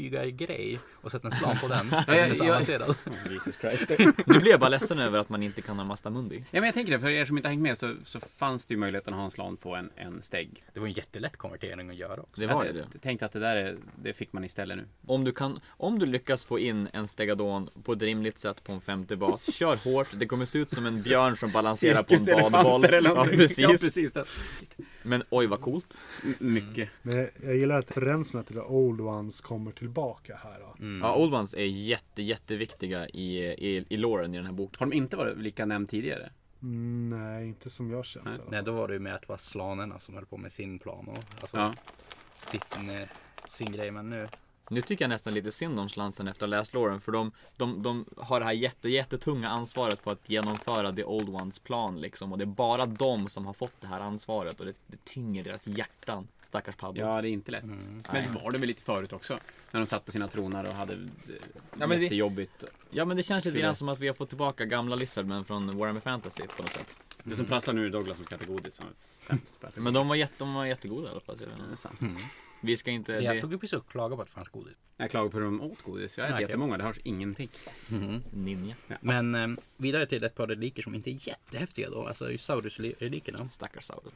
A: flygargrej och sätter en slan på den.
B: jag-
A: Den är så
B: jag-
A: avancerad.
B: Jesus Christ.
D: Nu blir jag bara ledsen över att man inte kan ha Mastamundi.
B: ja, men jag tänker det, för er som inte har hängt med så, så fanns det ju möjligheten att ha en slant på en, en steg.
A: Det var en jättelätt konvertering att göra också.
D: Det var ju
B: jag
D: det.
B: tänkte att det där är, det fick man istället nu.
D: Om du, kan, om du lyckas få in en Stegadon på ett rimligt sätt på en femte bas, kör hårt. Det kommer se ut som en björn som balanserar på en badboll.
B: Cirkuselefanter eller
D: Ja,
B: någonting. Ja,
D: precis. Mm,
B: precis det.
D: Men oj vad coolt.
B: Mycket.
C: Men jag, jag gillar att referenserna till the old ones kommer tillbaka här. Då.
B: Mm.
D: Ja, Old Ones är jätte, jätteviktiga i, i, i loren i den här boken.
B: Har de inte varit lika nämnd tidigare?
C: Mm, nej, inte som jag känt. i alla
A: Nej,
C: fall.
A: då var det ju med att det var slanerna som höll på med sin plan och alltså,
B: Ja.
A: sin, eh, sin grej. Men nu,
D: Nu tycker jag nästan lite synd om slansen efter att ha läst loren för de, de, de har det här jätte, jättetunga ansvaret på att genomföra The Old Ones plan liksom och det är bara de som har fått det här ansvaret och det, det tynger deras hjärtan. Stackars Paddle.
B: Ja, det är inte lätt.
D: Mm.
B: Men det var det väl lite förut också. När de satt på sina tronar och hade ja,
D: men det-
B: jättejobbigt. Det...
D: Ja men det känns lite
B: Skulle-
D: grann som att vi har fått tillbaka gamla Lizardmen från Warhammer Fantasy på något sätt.
B: som prasslar nu är Douglas som ska äta godis. Som är sämst på att äta
D: Mm. Men de var, Mm. jätte, de var jättegoda i alla fall. jag vet
B: godis. Det är
D: inte.
B: sant.
D: Vi ska inte...
A: jag
D: Det,
A: tog ju precis upp klaga på att det fanns godis.
B: Jag klagar på hur de åt godis. Jag äter
A: Okej.
B: jättemånga, det hörs ingenting.
D: ninja.
A: Men eh, vidare till ett par reliker som inte är jättehäftiga då. Alltså just Saurus-relikerna.
D: Stackars Sauron.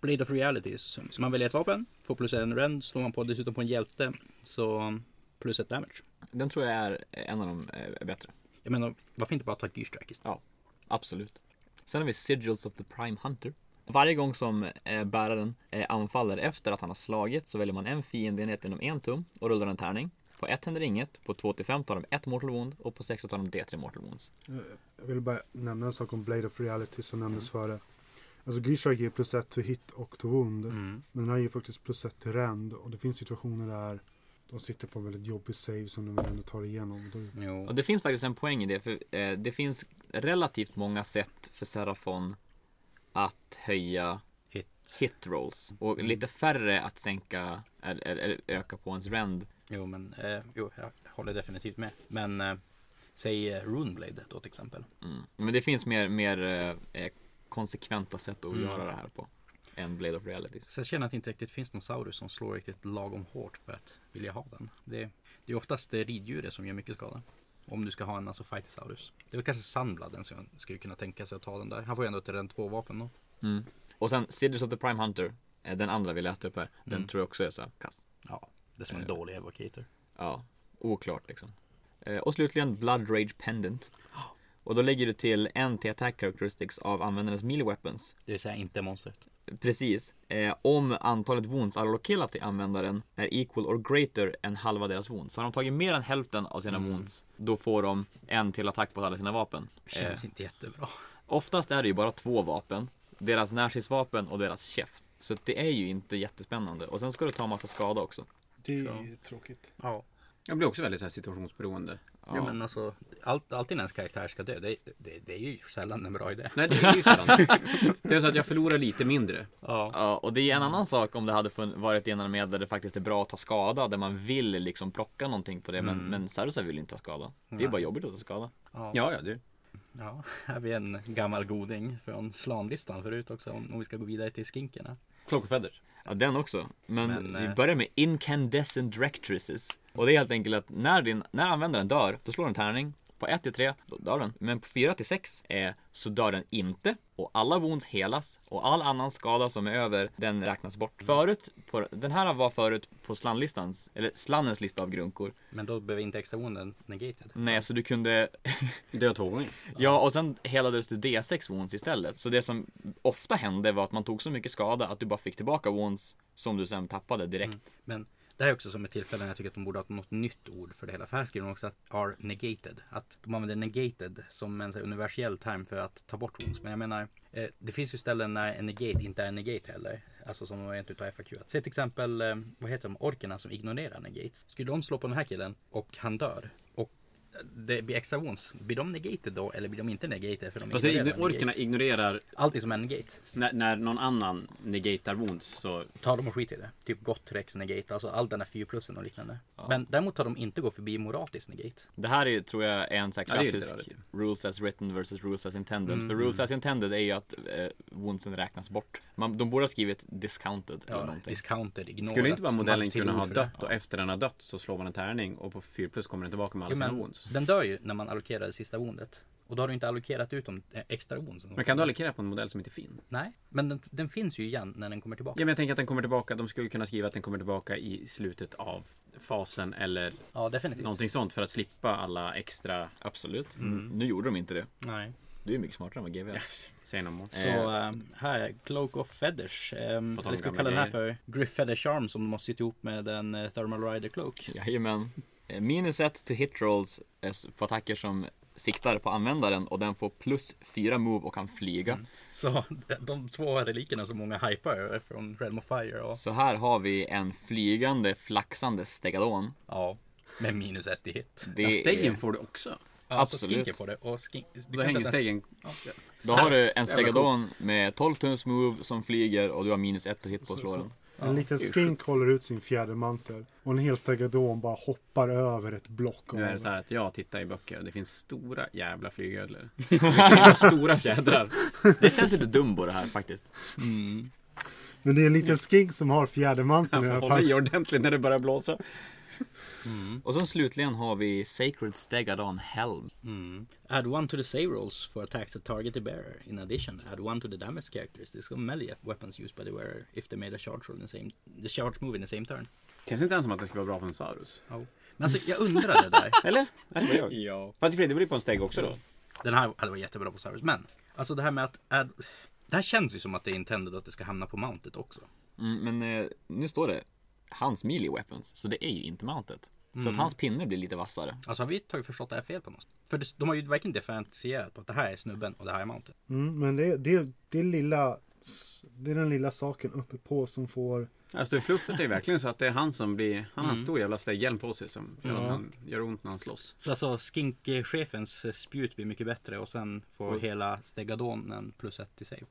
A: Blade of Realities. Så man väljer ett vapen, får plus en rend, slår man på dessutom på en hjälte så plus ett damage.
D: Den tror jag är en av de eh, bättre.
A: Jag menar, varför inte bara ta Gearstrike istället?
D: Ja, absolut. Sen har vi Sigils of the Prime Hunter. Varje gång som eh, bäraren eh, anfaller efter att han har slagit så väljer man en fiendeenhet inom en tum och rullar en tärning. På ett händer inget, på två till fem tar de ett mortal wound och på sex så tar de D3 mortal wounds.
C: Jag vill bara nämna en sak om Blade of Reality som nämndes
B: Mm.
C: före. Alltså Grishark ger plus ett till hit och till wound.
A: Mm.
C: Men den här ger faktiskt plus ett till rend. Och det finns situationer där de sitter på en väldigt jobbig save som de vill ändå tar igenom. Då,
D: Och
A: Jo.
D: det finns faktiskt en poäng i det, för eh, det finns relativt många sätt för Serafon att höja
A: Hit.
D: hit rolls och lite färre att sänka eller, eller, eller öka på ens rend.
A: Jo, men eh, jo, jag håller definitivt med. Men eh, säg eh, Runeblade då till exempel.
D: Mm. Men det finns mer, mer eh, konsekventa sätt att
A: Mm.
D: göra det här på än Blade of Realities.
A: Så jag känner att det inte riktigt finns någon Saurus som slår riktigt lagom hårt för att vilja ha den. Det, det är oftast det riddjuret som gör mycket skada. Om du ska ha en alltså Fightisaurus. Det är väl kanske Sandbladen som skulle kunna tänka sig att ta den där. Han får ju ändå till den två vapen då.
D: Mm. Och sen Cities of the Prime Hunter, eh, den andra vi läste upp här, den
A: Mm.
D: tror jag också är så här kass.
A: Ja, det är som en
D: Eh.
A: dålig evocator.
D: Ja, oklart liksom. Eh, och slutligen Blood Rage Pendant. Och då lägger du till en till attack characteristics av användarens melee weapons.
A: Det vill säga inte monstret.
D: Precis. Eh, om antalet wounds allokerat till användaren är equal or greater än halva deras wounds. Så har de tagit mer än hälften av
A: Mm.
D: sina wounds, då får de en till attack på alla sina vapen. Eh,
A: Känns inte jättebra.
D: oftast är det ju bara två vapen. Deras närstridsvapen och deras käft. Så det är ju inte jättespännande. Och sen ska du ta massa skada också.
C: det är tråkigt.
A: Ja.
B: Jag blir också väldigt så här situationsberoende.
A: Ja. men alltså, allt, alltid när ens karaktär ska dö, det, det, det är ju sällan en bra idé.
B: Nej, det är ju sällan. Det är så att jag förlorar lite mindre.
A: Ja.
D: Ja, och det är en annan sak om det hade fun- varit i en armé där det faktiskt är bra att ta skada, där man vill liksom plocka någonting på det. Men, men Sarusar vill ju inte ta skada. Det är
A: Nej.
D: bara jobbigt att ta skada.
A: Ja.
B: Ja, ja, du.
A: Ja, här har vi en gammal goding från slanlistan förut också om om vi ska gå vidare till skinkerna.
B: Klokofäders.
D: Ja, den också. Men,
A: Men,
D: vi
A: eh,
D: börjar med incandescent rectrices. Och det är helt enkelt att när, din, när användaren dör, då slår den tärning. På 1 till 3, då dör den. Men på 4 till 6, eh, så dör den inte. Och alla wounds helas. Och all annan skada som är över, den räknas
A: Mm.
D: bort. Förut, på, den här var förut på slanlistans, eller slannens lista av grunkor.
A: Men då behöver inte extra wounden negated.
D: Nej, så du kunde
B: Död två gånger.
D: Ja, och sen helades du D6 wounds istället. Så det som ofta hände var att man tog så mycket skada att du bara fick tillbaka wounds som du sen tappade direkt.
A: Mm. Men det här är också som ett tillfälle när jag tycker att de borde ha något nytt ord för det hela. För här skriver de också att are negated. Att de använder negated som en så här universell term för att ta bort wounds. Men jag menar, eh, det finns ju ställen när en negate inte är en negate heller. Alltså som de rent utav FAQ. Att Se till exempel, eh, vad heter de, orkerna som ignorerar negates. Skulle de slå på den här killen och han dör. och Det blir extra wounds. Blir de negated då eller blir de inte negated? För de
B: Alltså,
A: ignorerar
B: orkerna
A: negate?
B: ignorerar
A: Alltid som en negate.
B: när, när någon annan negatar wounds så...
A: tar de och skiter i det. Typ Gottrex negate, alltså all den här 4 plussen och liknande. Men däremot tar de inte gå förbi Moratis negate.
D: Det här är, ju, tror jag är en sån här
B: Ja, det är lite
D: klassisk
B: rörigt. Mm.
D: rules as written versus rules as intended. För rules as intended är ju att eh, woundsen räknas bort. Man, de borde ha skrivit discounted eller
A: Ja,
D: någonting.
A: discounted, ignorat.
B: Skulle inte bara modellen
A: match till
B: kunna ha
A: ord för det.
B: dött och efter den har dött så slår man en tärning och på 4 plus kommer den tillbaka med alla
A: Jo,
B: sina
A: men
B: wounds.
A: den dör ju när man allokerar det sista woundet. Och då har du inte allokerat ut de eh, extra woundsen.
B: Men kan du allokera på en modell som inte är fin?
A: Nej, men den, den finns ju igen när den kommer
B: Ja,
A: tillbaka.
B: men jag tänker att den kommer tillbaka. De skulle kunna skriva att den kommer tillbaka i slutet av fasen eller
A: Ja, definitivt.
B: någonting sånt för att slippa alla extra...
D: Absolut.
B: Mm.
D: Nu gjorde de inte det.
A: Nej.
D: Du är mycket smartare än vad GW är.
B: Säg någon mått.
A: Så eh, här, Cloak of Feathers. Um,
B: På tal om
A: eller ska vi kalla
B: gamla
A: den här för Griff Feather Charm som de har sytt ihop med en eh, Thermal Rider Cloak.
D: Jajamän. Eh, Minus 1 till hit rolls eh, s- på attacker som siktar på användaren och den får plus 4 move och kan flyga.
B: Mm.
A: Så de två relikerna som många hypar över från Realm of Fire och
D: Så här har vi en flygande, flaxande stegadon.
A: Ja, med minus ett i hit.
D: Det
B: Ja, stegen
D: är-
B: får du också.
A: Alltså
D: Absolut.
A: skinker på det. Och skink, du
B: Då hänger
A: sätta en-
B: stegen...
D: Då har du en stegadon med 12 tums move som flyger och du har minus 1 hit på att slå
C: så.
D: den.
C: En liten skink håller ut sin fjädermantel. Och en hel stegadon bara hoppar över ett block.
B: Nu är det
C: av-
B: så här att jag tittar i böcker och det finns stora jävla flygödlor. Så det kan ju stora fjädrar.
D: Det känns lite dumbo det här faktiskt.
C: Men det är en liten skink som har
B: Man
C: fjädermanteln. i
B: får
C: alla
B: hålla
C: fall.
B: i ordentligt när det börjar blåsa.
D: Mm. Och sen slutligen har vi Sacred Stegadon Helm.
A: Add one to the save rolls for attacks that target the bearer. In addition, add one to the damage characteristics of melee weapons used by the wearer if they made a charge roll in the same, the charge move in the same turn.
B: Känns inte ens som att det skulle vara bra på en Sarus.
A: Men alltså jag undrar det där.
B: Eller? Eller vad jag?
D: Ja.
B: Fast i och för sig, det blir på en steg också då.
A: Den här hade varit jättebra på service. Men alltså det här med att add, det här känns ju som att det är intended att det ska hamna på mountet också.
D: Mm, men eh, nu står det hans melee weapons, så det är ju inte mountet. Så att hans pinne blir lite vassare.
A: Alltså har vi tagit förstått det här fel på något sätt? För det, de har ju verkligen differentierat på att det här är snubben och det här är mountain.
C: Mm, men det, det, det, lilla, s- det är den lilla saken uppe på som får...
B: Alltså fluffet är ju verkligen så att det är han som blir, han har en stor jävla sån där hjälm på sig som gör att han gör ont när han slåss.
A: Så alltså skink-chefens spjut blir mycket bättre och sen får hela stegadonen plus ett till save.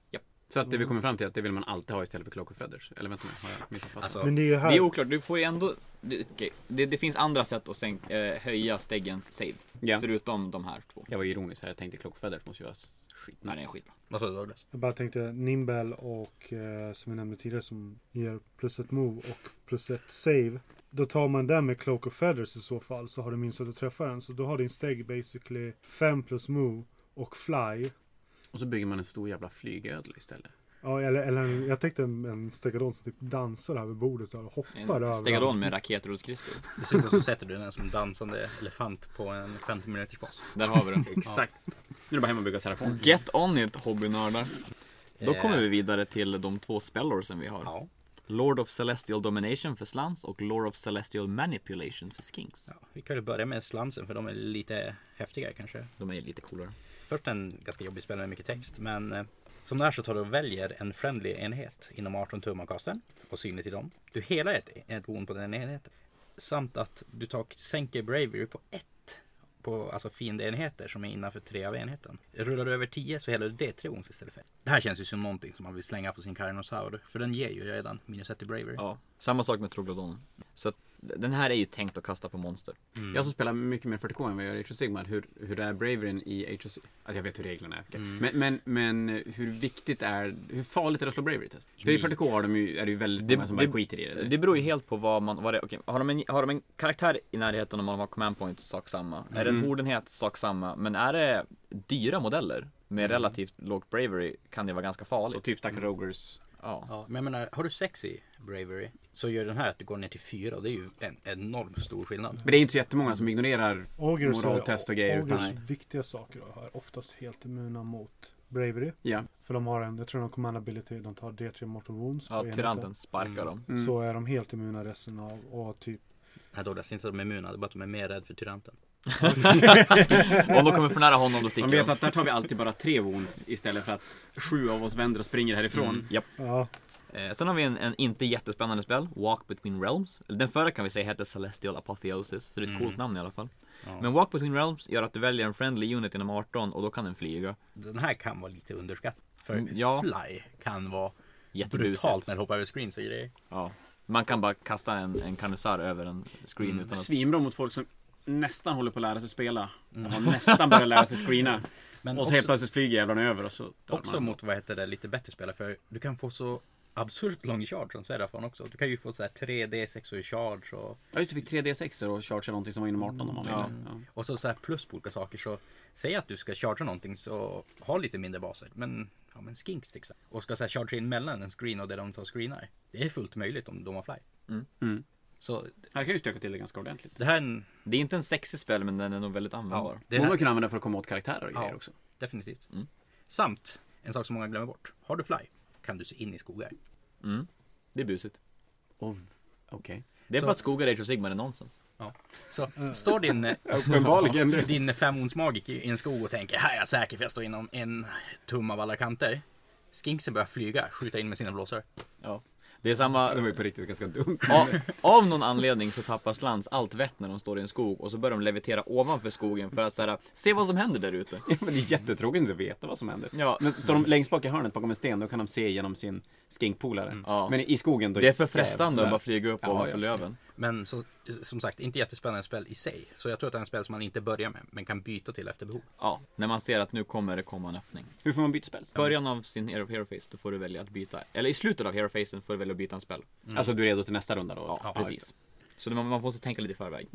B: Så att det vi kommer fram till är att det vill man alltid ha istället för Cloak of Feathers. Eller vänta nu, har jag missuppfattat?
A: Alltså,
C: Men det är ju
D: Det är
C: här.
D: oklart, du får ju ändå... Det, okej, det, det finns andra sätt att sänk, eh, höja steggens save.
B: Ja.
D: Förutom de här två.
B: jag var ironisk här, jag tänkte Cloak of Feathers måste ju vara skit.
D: Nej, det är skitbra.
A: vad sa du Douglas?
C: Jag bara tänkte Nimbel och eh, som vi nämnde tidigare som ger plus ett move och plus ett save. Då tar man den med Cloak of Feathers i så fall så har du minst att träffa den. Så då har din steg basically 5 plus move och fly.
B: Och så bygger man en stor jävla flygödel istället.
C: Ja, eller, eller en- jag tänkte en, en stegadon som typ dansar över bordet så här och hoppar över.
D: En stegadon med raketrullskridskor.
A: Dessutom så sätter du den som dansande elefant på en 50 minuters bas.
D: Där har vi den.
B: Exakt. Nu är det bara hem och bygga Serafon.
D: Get on it hobbynördar. Då
A: Eh.
D: kommer vi vidare till de två spellorsen vi har.
A: Ja.
D: Lord of Celestial Domination för Slans och Lord of Celestial Manipulation för Skinks.
A: ja. Vi kan ju börja med slansen för de är lite häftigare kanske.
D: De är lite coolare.
A: Först en ganska jobbig spelare med mycket text men eh, som det är så tar du och väljer en friendly enhet inom 18 tum av kasten och synlig till dem. Du helar ett, ett wound på den enheten. Samt att du tar, sänker bravery på ett på alltså fiendeenheter som är innanför tre av enheten. Rullar du över 10 så helar du D3 wounds istället för ett. Det här känns ju som någonting som man vill slänga på sin Carnosaur för den ger ju redan minus 1 i bravery.
D: Ja, samma sak med Troglodonen. Så att den här är ju tänkt att kasta på monster.
A: Mm.
B: Jag som spelar mycket mer 40K än vad jag gör i Age of Sigmar, hur, hur det är braveryn i Age of Sigmar. Alltså jag vet hur reglerna är. okej. Men, men, men hur viktigt är, hur farligt är det att slå bravery test? För i 40K har de ju, är det ju väldigt många som bara skiter i det.
D: Det beror ju helt på vad man, vad det, okej, har, de en, har de en karaktär i närheten och man har command point, sak samma. Är det en hordenhet, sak samma. Men är det dyra modeller med relativt lågt bravery kan det vara ganska
B: Så
D: farligt.
B: typ stackar Rogers.
D: Ja.
A: Ja, men jag menar, har du sex i bravery så gör den här att du går ner till 4 och det är ju en enormt stor skillnad.
B: Men det är inte så jättemånga som ignorerar
C: Augers,
B: moraltest och grejer. Utan,
C: Augers viktiga saker då, är oftast helt immuna mot Bravery.
B: ja.
C: För de har en, jag tror de har command ability, de tar D3 Mortal Wounds. på
D: Ja,
C: enheten.
D: tyranten sparkar dem.
C: Så är de helt immuna resten av och typ
A: Nej Douglas, inte att de är immuna, det är bara att de är mer rädda för tyranten.
D: Mm. Om de kommer för nära honom då sticker
B: De
D: de.
B: vet att där tar vi alltid bara tre wounds istället för att sju av oss vänder och springer härifrån.
D: Japp.
C: Ja,
D: Eh, sen har vi en, en inte jättespännande spel, Walk Between Realms. Eller Den förra kan vi säga hette Celestial Apotheosis, så det är ett coolt namn i alla fall. Men Walk Between Realms gör att du väljer en friendly unit inom 18 och då kan den flyga.
A: Den här kan vara lite underskattad. För
D: Mm, ja.
A: Fly kan vara
D: Jättebusigt.
A: brutalt när det hoppar över screens och grejer.
D: Ja. Man kan bara kasta en, en karnisar över en screen
B: Mm.
D: utan att...
B: Svinbra mot folk som nästan håller på att lära sig spela. Och har nästan börjat lära sig screena.
A: Men
B: och så
A: också,
B: helt plötsligt flyger jävlarna över och så dör
A: också
B: man.
A: mot vad heter det, lite bättre spelare. För du kan få så absurt lång charge som Serafon också. Du kan ju få så här 3D, 6 i charge och,
B: Ja just det, du fick 3D6 och charge eller någonting som var inom 18 om man ville. Mm, Ja.
A: och så, så här plus på olika saker. Så säg att du ska chargea någonting så ha lite mindre baser. Men Ja men skinks till exempel. Och ska så här charge in mellan en screen och där de tar screenar. Det är fullt möjligt om de har fly.
B: Mm.
A: Så
B: Här kan ju stöka till det ganska ordentligt.
A: det här är en...
D: Det är inte en sexig spel men den är nog väldigt användbar.
A: Ja, det
B: Det
A: här,
B: man kan använda för att komma åt karaktärer och grejer
A: Ja.
B: också.
A: Definitivt. Samt en sak som många glömmer bort. Har du fly kan du se in i skogar.
D: Det är busigt.
B: Och v- Okej.
D: Det är
A: Så-
D: för att skogar i Age of Sigmar är nonsens.
A: Så står din, eh,
B: Uppenbarligen.
A: din femonsmagik i en skog och tänker här är jag säker för jag står inom en tum av alla kanter. Skinksen börjar flyga, skjuta in med sina blåsor.
D: Ja. Det är samma...
B: var ju på riktigt ganska dumt.
D: Av, av någon anledning så tappar Slans allt vett när de står i en skog och så börjar de levitera ovanför skogen för att så här, se vad som händer där ute.
B: Ja, men det är jättetråkigt att veta vad som händer.
D: Ja.
B: Men står de längst bak i hörnet bakom en sten, då kan de se genom sin skinkpolare.
D: Ja.
B: Men i skogen då...
D: Det är för frestande att bara flyga upp
B: Ja,
D: ovanför
B: ja.
D: löven.
A: Men så, som sagt, inte jättespännande spel i sig. Så jag tror att det är en spel som man inte börjar med, men kan byta till efter behov.
D: Ja, när man ser att nu kommer det komma en öppning.
B: Hur får man byta spel?
D: I början av sin Hero, Hero Face, då får du välja att byta. Eller i slutet av Hero Facen får du välja att byta en spel.
B: Alltså du är redo till nästa runda då?
D: Mm. Ja, precis. Så det- man, man måste tänka lite i förväg.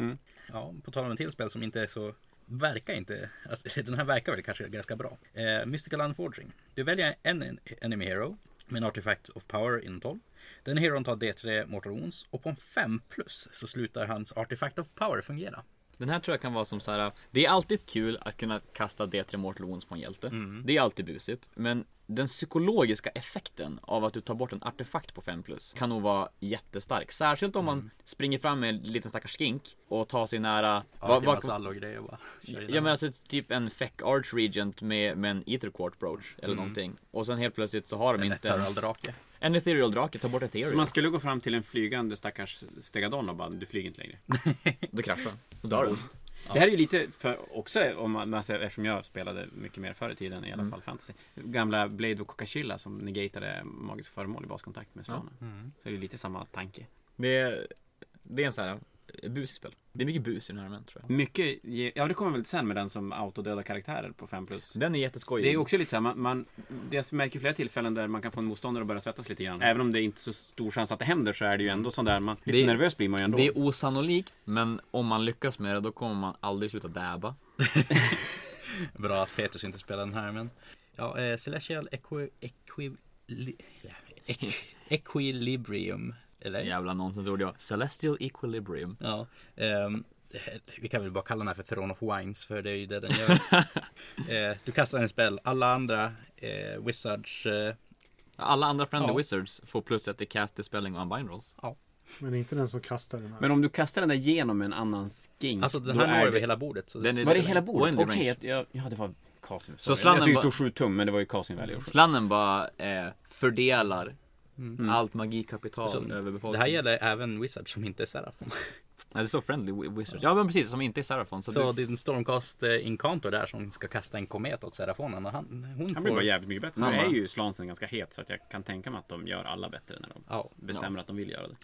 A: Ja, på tal om ett till spel som inte är så Verkar inte, alltså, den här verkar väl kanske ganska bra. Eh, Mystical Unforging. Du väljer en en- enemy hero med en artifact of power inom 12. Den heron tar D3 Mortal Wounds och på en 5 plus så slutar hans artifact of power fungera.
D: Den här tror jag kan vara som så här. Det är alltid kul att kunna kasta D3 Mortal Wounds på en hjälte. Det är alltid busigt. Men den psykologiska effekten av att du tar bort en artefakt på 5 plus kan nog vara jättestark. Särskilt om man springer fram med en liten stackars skink och tar sig nära...
A: Ja,
D: vad-
A: det var
D: vad-
A: sall och grejer bara. Kör in
D: Ja
A: den.
D: men alltså typ en feck arch regent med, med en ether quart brooch eller någonting. Och sen helt plötsligt så har de
A: En
D: inte en,
A: ethereal drake.
D: en ethereal drake, ta bort ethereal.
B: Så man skulle gå fram till en flygande stackars stegadon och bara, du flyger inte längre.
D: Då kraschar den. Då dör den.
B: Det här är ju lite för, också om man, alltså, eftersom jag spelade mycket mer förr i tiden i alla fall fantasy. Gamla Blade och Kokachilla som negatade magiska föremål i baskontakt med slanen. Så är det lite samma tanke.
D: Det är, det är en sån här busig spel. Det är mycket bus i den här armén tror jag.
B: Mycket, ge- ja det kommer väl sen med den som autodöda karaktärer på 5 plus.
D: Den är jätteskojig.
B: Det är också lite så här, man, man, det jag märker flera tillfällen där man kan få en motståndare att börja svettas lite grann. Även om det är inte är så stor chans att det händer så är det ju ändå sån där, man, lite
D: Det är-
B: nervös blir man ju ändå.
D: det är osannolikt, men om man lyckas med det då kommer man aldrig sluta dabba.
A: Bra att Petrus inte spelar den här men. Ja, eh, Celestial Equi... Equi... Li, ja, equ, equilibrium. Eller?
D: Jävla nonsensord jag. Celestial equilibrium.
A: Ja. ehm, vi kan väl bara kalla den här för Throne of Wines för det är ju det den gör. eh, du kastar en spel. Alla andra eh, Wizards... Eh,
D: Alla andra friendly
A: Ja.
D: wizards får plus ett i cast, dispelling och unbind rolls.
C: Men inte den som kastar den här.
B: Men om du kastar den där genom en annan skink.
A: alltså den
B: då
A: här når
B: är det-
A: över hela bordet. Så
D: Den är-
B: Var det hela
D: Och
B: bordet?
D: en
B: Okej,
D: range.
B: att jag- ja det var Casim.
D: Så Mm.
B: Så
D: slangen
B: slangen jag tyckte
D: bara-
B: det stod 7 tum, men det var ju Casim Valley.
D: Slannen bara eh, fördelar allt magikapital
A: Mm. Så-
D: över befolkningen.
A: det här gäller även Wizards som inte är Serafon.
D: Nej, det står friendly wi- wizards. Ja men precis, som inte är Serafon. Så,
A: Så
D: du,
A: din Stormcast eh, Incanto där som ska kasta en komet åt Serafonen. och Han, hon
B: Han
A: får...
B: blir bara jävligt mycket bättre. Nu
D: Mamma.
B: är ju slansen ganska het så att jag kan tänka mig att de gör alla bättre när de
A: Ja.
B: bestämmer att de vill göra det.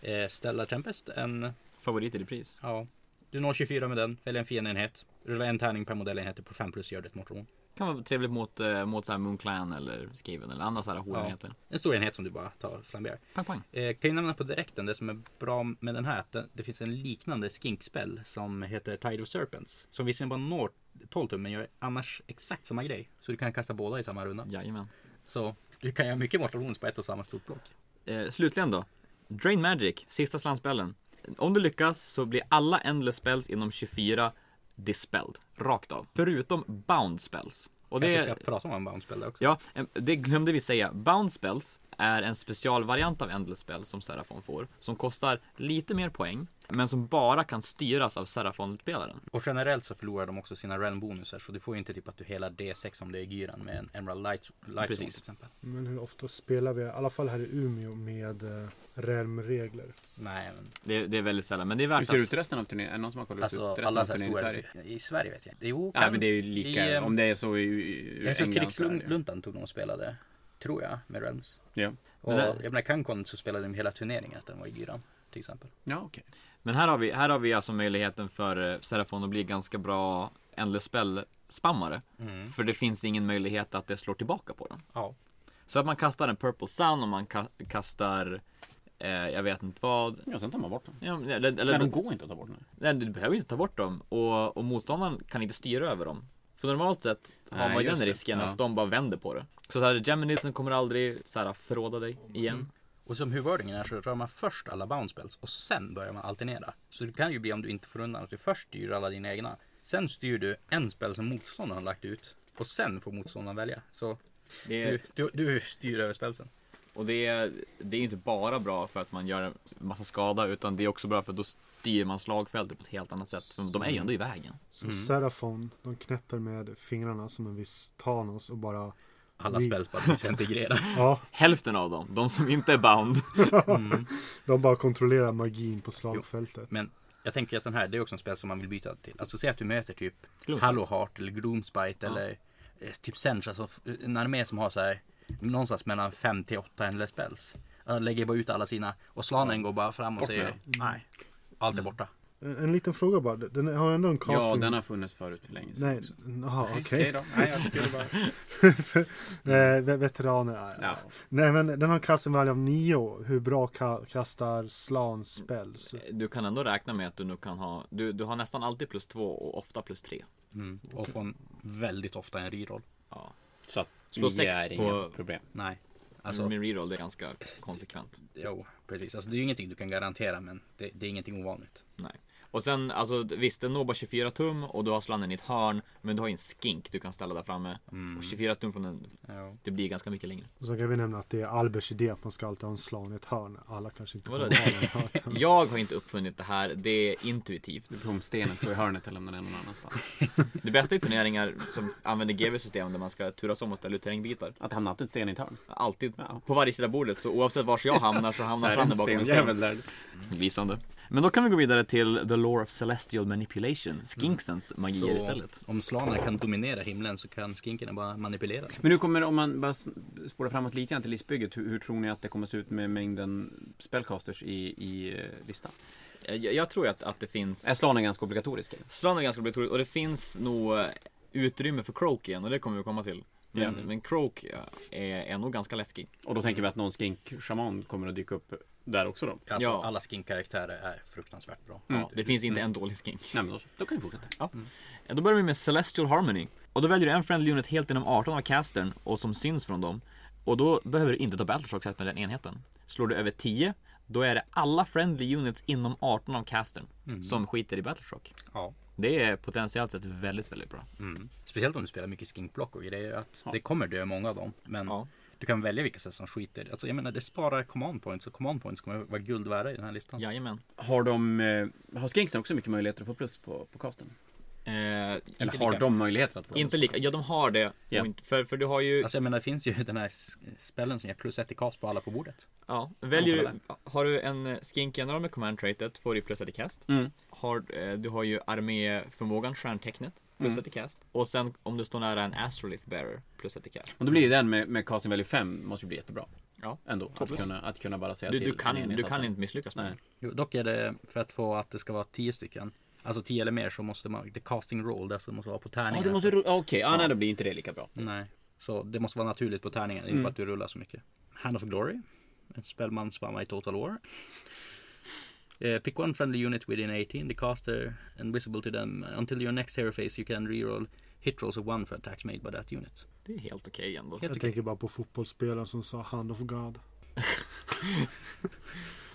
A: Eh, Stellar Tempest, en
D: favorit i repris.
A: Ja. Du når 24 med den, väljer en fiendenhet. Rulla en tärning per modellenhet på 5 plus gör det ett mortron.
D: Kan vara trevligt mot, eh, mot så här Moonclan eller Skaven eller andra så här horenheter.
A: En stor enhet som du bara tar och flamberar.
D: Pang pang.
A: Eh, kan ju nämna på direkten, det som är bra med den här, är att det, det finns en liknande skinkspel som heter Tide of Serpents. Som visserligen bara når 12 tum, men gör annars exakt samma grej. Så du kan kasta båda i samma runda.
D: Jajamän.
A: Så du kan göra mycket mortrons på ett och samma stort block.
D: Eh, slutligen då. Drain Magic, sista slantspellen. Om du lyckas så blir alla Endless spells inom 24 dispelled. Rakt av. Förutom Bound spells. Och
A: Kanske ska
D: det,
A: prata om en bounce spell där också.
D: Ja, em, det glömde vi säga. Bound spells är en specialvariant av Endless spells som Serafon får. Som kostar lite mer poäng. Men som bara kan styras av Serafon-spelaren.
A: Och generellt så förlorar de också sina realm bonusar så du får ju inte typ att du hela D6 om det är gyran med en Emerald Light, Light Zone till
D: Precis.
A: exempel.
C: Men hur ofta spelar vi, i alla fall här i Umeå, med eh, REM-regler?
A: Nej, men
D: Det, det är väldigt sällan, men det är
B: Hur
D: värt
B: ser det
D: att...
B: ut i resten av turneringen? Är det någon som har kollat
A: Alltså
B: ut resten
A: alla
B: av
A: så här
B: turneringen i
A: stora
B: Sverige?
A: i, Sverige vet jag inte. Jo,
B: Ja, men det är ju lika.
A: i, eh,
B: om det är så i, i
A: Jag tror
B: England så är det ju-
A: Krigsluntan tog de och spelade, tror jag, med Realms.
B: Ja,
A: Och
D: Men det-
A: jag menar Cancon så spelade de hela turneringen att den var i Gyran till exempel.
B: ja okej.
D: Men här har vi, här har vi alltså möjligheten för eh, Serafon att bli ganska bra Endless spell-spammare.
B: Mm.
D: För det finns ingen möjlighet att det slår tillbaka på den.
A: Ja.
D: Så att man kastar en Purple Sun och man ka- kastar... Eh, jag vet inte vad.
B: Ja, sen tar man bort dem.
D: Ja, men- eller, eller,
B: Men de går inte att ta bort nu.
D: Nej, du behöver inte ta bort dem och, och motståndaren kan inte styra över dem. För normalt sett har
B: Nej,
D: man ju den
B: just det.
D: risken
B: Ja.
D: att de bara vänder på det. Så såhär, Geminidsen kommer aldrig såhär förråda dig igen.
A: Och som huvudordningen är så rör man först alla bounce spells och sen börjar man alternera. Så det kan ju bli om du inte får undan att du först styr alla dina egna. Sen styr du en spel som motståndaren har lagt ut och sen får motståndaren välja. Så
D: Det är,
A: du, du, du styr över spelsen.
D: och det är, det är inte bara bra för att man gör en massa skada utan det är också bra för att då styr man slagfältet på ett helt annat sätt. För de är ju ändå i vägen.
C: Så
B: Mm.
C: Serafon, de knäpper med fingrarna som en viss Thanos och bara...
A: Alla
C: Vi-
A: spells bara disintegrerar.
C: Ja,
D: Hälften av dem, de som inte är bound.
C: de bara kontrollerar magin på slagfältet.
A: Men jag tänker att den här, det är också en spel som man vill byta till. Alltså säg att du möter typ
D: Gloomspite.
A: Hallowheart eller Gloomspite eller eh, typ Sench. Alltså f- en armé som har så här någonstans mellan 5 till 8 endless spells. Alltså, lägger bara ut alla sina och slanen går bara fram och
B: Bort med
A: säger nej, allt är borta.
C: En, en liten fråga bara, den har ändå en casting...
B: Ja, den har funnits förut för länge sedan.
C: Nej,
B: också.
C: jaha
B: Hej
C: okej.
B: då. Nej, jag skulle bara...
C: Eh, ve- veteraner. ja, ja.
B: Ja.
C: Nej men den har en casting value av 9. Hur bra ka- kastar Slan spells?
D: Du kan ändå räkna med att du nu kan ha, du, du har nästan alltid plus två och ofta plus tre.
A: Mm. Och får en, väldigt ofta en reroll.
D: Ja.
B: Så att
D: Slå
B: Slå
D: sex
B: är
D: på-
B: inget problem.
A: Nej, alltså
D: Alltså, Min reroll det är ganska konsekvent.
A: jo, precis. Alltså det är ju ingenting du kan garantera men det, det är ingenting ovanligt.
D: Nej. Och sen, alltså visst den når bara 24 tum och du har slangen i ett hörn. Men du har ju en skink du kan ställa där framme. Och 24 tum från den,
A: Ja.
D: det blir ganska mycket längre.
C: Och så kan vi nämna att det är Alberts idé att man ska alltid ha en slan i ett hörn. Alla kanske inte
D: Vadå?
C: kommer ihåg den.
D: Jag har inte uppfunnit det här, det är intuitivt.
B: Blomstenen står i hörnet eller om den är någon annanstans.
D: Det bästa är turneringar som använder GV-system där man ska turas om och ställa ut terrängbitar.
B: Att det hamnar alltid en sten i ett hörn.
D: Alltid. På varje sida av bordet, så oavsett var jag hamnar så hamnar han bakom en sten.
B: där.
D: Lysande. Men då kan vi gå vidare till The Lore of Celestial Manipulation, Skinksens magier istället.
A: om slanen kan dominera himlen så kan skinkerna bara manipulera den.
B: Men nu kommer, om man bara spårar framåt lite grann till listbygget, hur, hur tror ni att det kommer se ut med mängden spellcasters i, i eh, listan?
D: Jag, jag tror ju att, att det finns...
B: Är slanen ganska obligatorisk? eller?
D: Slan är ganska obligatoriskt och det finns nog eh, utrymme för Croak igen och det kommer vi komma till. Men,
B: Ja.
D: men Croak eh, är, är nog ganska läskig.
B: Och då tänker vi att någon skink-shaman kommer att dyka upp där också då?
A: Alltså,
D: Ja. Mm.
A: Alla skinkaraktärer är fruktansvärt bra.
D: Ja, det finns inte en dålig skink.
B: Nej men då, då kan vi fortsätta.
D: Ja. Eh, Då börjar vi med Celestial Harmony. Och då väljer du en friendly unit helt inom 18 av castern och som syns från dem. Och då behöver du inte ta Battleshock set med den enheten. Slår du över 10, då är det alla friendly units inom 18 av castern som skiter i Battleshock.
A: Ja.
D: Det är potentiellt sett väldigt, väldigt bra.
A: Mm. Speciellt om du spelar mycket skinkblock och grejer. Att Det kommer dö många av dem. Men
D: Ja.
A: du kan välja vilka sätt som skiter. Alltså, jag menar, det sparar command points och command points kommer vara guld värda i den här listan.
D: Jajamän.
B: Har de, eh, har skinksen också mycket möjligheter att få plus på, på casten?
D: Eh,
B: Eller
D: inte
B: har
D: lika-
B: de möjligheter att få
D: Inte lika, ja de har det.
B: Ja.
D: Och inte- För, för du har ju
A: Alltså jag menar det finns ju den här s- spellen som ger plus ett i cast på alla på bordet.
D: Ja, väljer
B: Ja,
D: du, har du en eh, skink general med command traitet får du ju plus ett i cast.
B: Mm.
D: Har, eh, du har ju arméförmågan, stjärntecknet, plus ett i
B: Mm.
D: cast. Och sen om du står nära en astrolith bearer, plus ett i cast.
B: Och då blir ju den med, med casting value 5 måste ju bli jättebra.
D: Ja.
B: Ändå. Att
D: Toppen.
B: kunna, att kunna bara säga
D: Du,
B: till
D: du, kan,
B: en enhet
D: du
B: att
D: kan
B: den-
D: inte misslyckas med
B: Nej.
D: det.
A: Jo, dock är det för att få att det ska vara tio stycken. Alltså tio eller mer så måste man, det är casting roll, det alltså måste vara på
B: Ja,
A: tärningar.
B: du måste ro- ja, Okej, ja, nej då blir inte det lika
D: Mm.
B: bra.
A: Nej, så det måste vara naturligt på tärningen, inte bara att du rullar så mycket. Hand of Glory, en spellman som spammar i Total War. Eh, pick one friendly unit within 18, the caster and visible to them. Until your next hero phase you can reroll hit rolls of one for attacks made by that unit.
D: Det är helt okej ändå.
A: Helt
C: Jag tänker bara på fotbollsspelaren som sa Hand of God.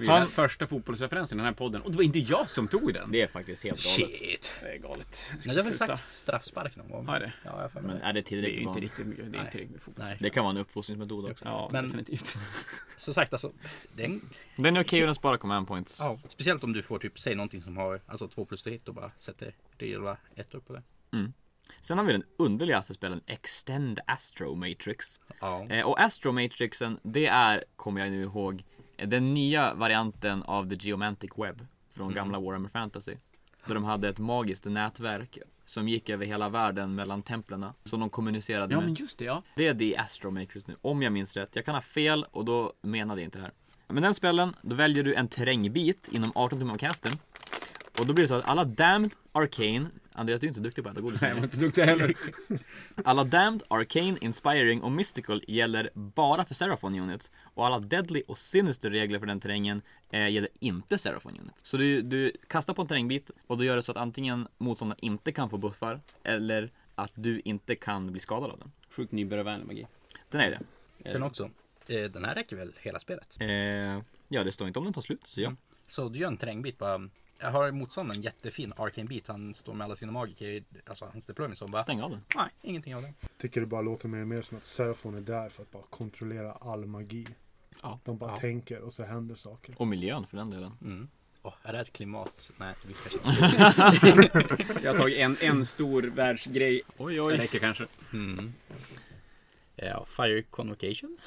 B: Han... Första fotbollsreferensen i den här podden. Och det var inte jag som tog den.
D: Det är faktiskt helt galet.
A: Shit!
B: Det är galet. Ska
A: Nej, det har väl
B: sluta?
A: sagt straffspark någon gång?
B: Har det?
A: Ja, jag har för mig
D: Men
A: det.
D: är det
B: Det är
D: tillräckligt
B: inte
D: bra?
B: riktigt mycket. Det är
A: Nej.
B: inte riktigt mycket fotboll.
A: Nej.
D: Det kan vara en uppfostringsmetod också.
B: Ja,
A: Men-
B: definitivt.
A: Som sagt, alltså, det är en,
D: Den är okej och den sparar command points.
A: ja. speciellt om du får typ, säg någonting som har alltså 2 plus till hit och bara sätter rejäla ettor på det.
D: Sen har vi den underligaste spelen Extend Astro Matrix.
A: Ja.
D: Eh, och Astro Matrixen, det är, kommer jag nu ihåg, eh, den nya varianten av The Geomantic Web från
B: Mm.
D: gamla Warhammer Fantasy. Där de hade ett magiskt nätverk som gick över hela världen mellan templerna som de kommunicerade
B: Ja,
D: med.
B: men just det. Ja.
D: Det är The Astro Matrix nu, om jag minns rätt. Jag kan ha fel och då menade jag inte det här. Men den spelen, då väljer du en terrängbit inom 18 timmar av casten. Och då blir det så att alla Damned Arcane, Andreas du är inte så duktig på att äta godis.
B: Nej, jag var inte duktig heller.
D: Alla Damned, Arcane, Inspiring och Mystical gäller bara för Seraphon Units. Och alla Deadly och Sinister regler för den terrängen eh, gäller inte Seraphon Units. Så du, du kastar på en terrängbit och då gör det så att antingen motståndaren inte kan få buffar eller att du inte kan bli skadad av den.
B: Sjukt nybörjarvänlig magi.
D: Den är det.
A: Sen också, eh, den här räcker väl hela spelet?
D: Eh, ja, det står inte om den tar slut, så ja.
B: Mm.
A: Så du gör en terrängbit bara. Jag har motståndaren en jättefin arcane bit. Han står med alla sina magiker, alltså hans deployment. Så hon bara,
D: Stäng av den.
A: nej, ingenting av det.
C: Tycker det bara låter mer och mer som att Seraphon är där för att bara kontrollera all magi.
D: Ja.
C: De bara
A: Ja.
C: tänker och så händer saker.
D: Och miljön för den delen.
B: Mm.
A: Åh, är det ett klimat? Nej, vi kanske inte ska-
B: Jag har tagit en, en stor världsgrej. Oj, oj. Det räcker kanske.
A: ja, Fire Convocation.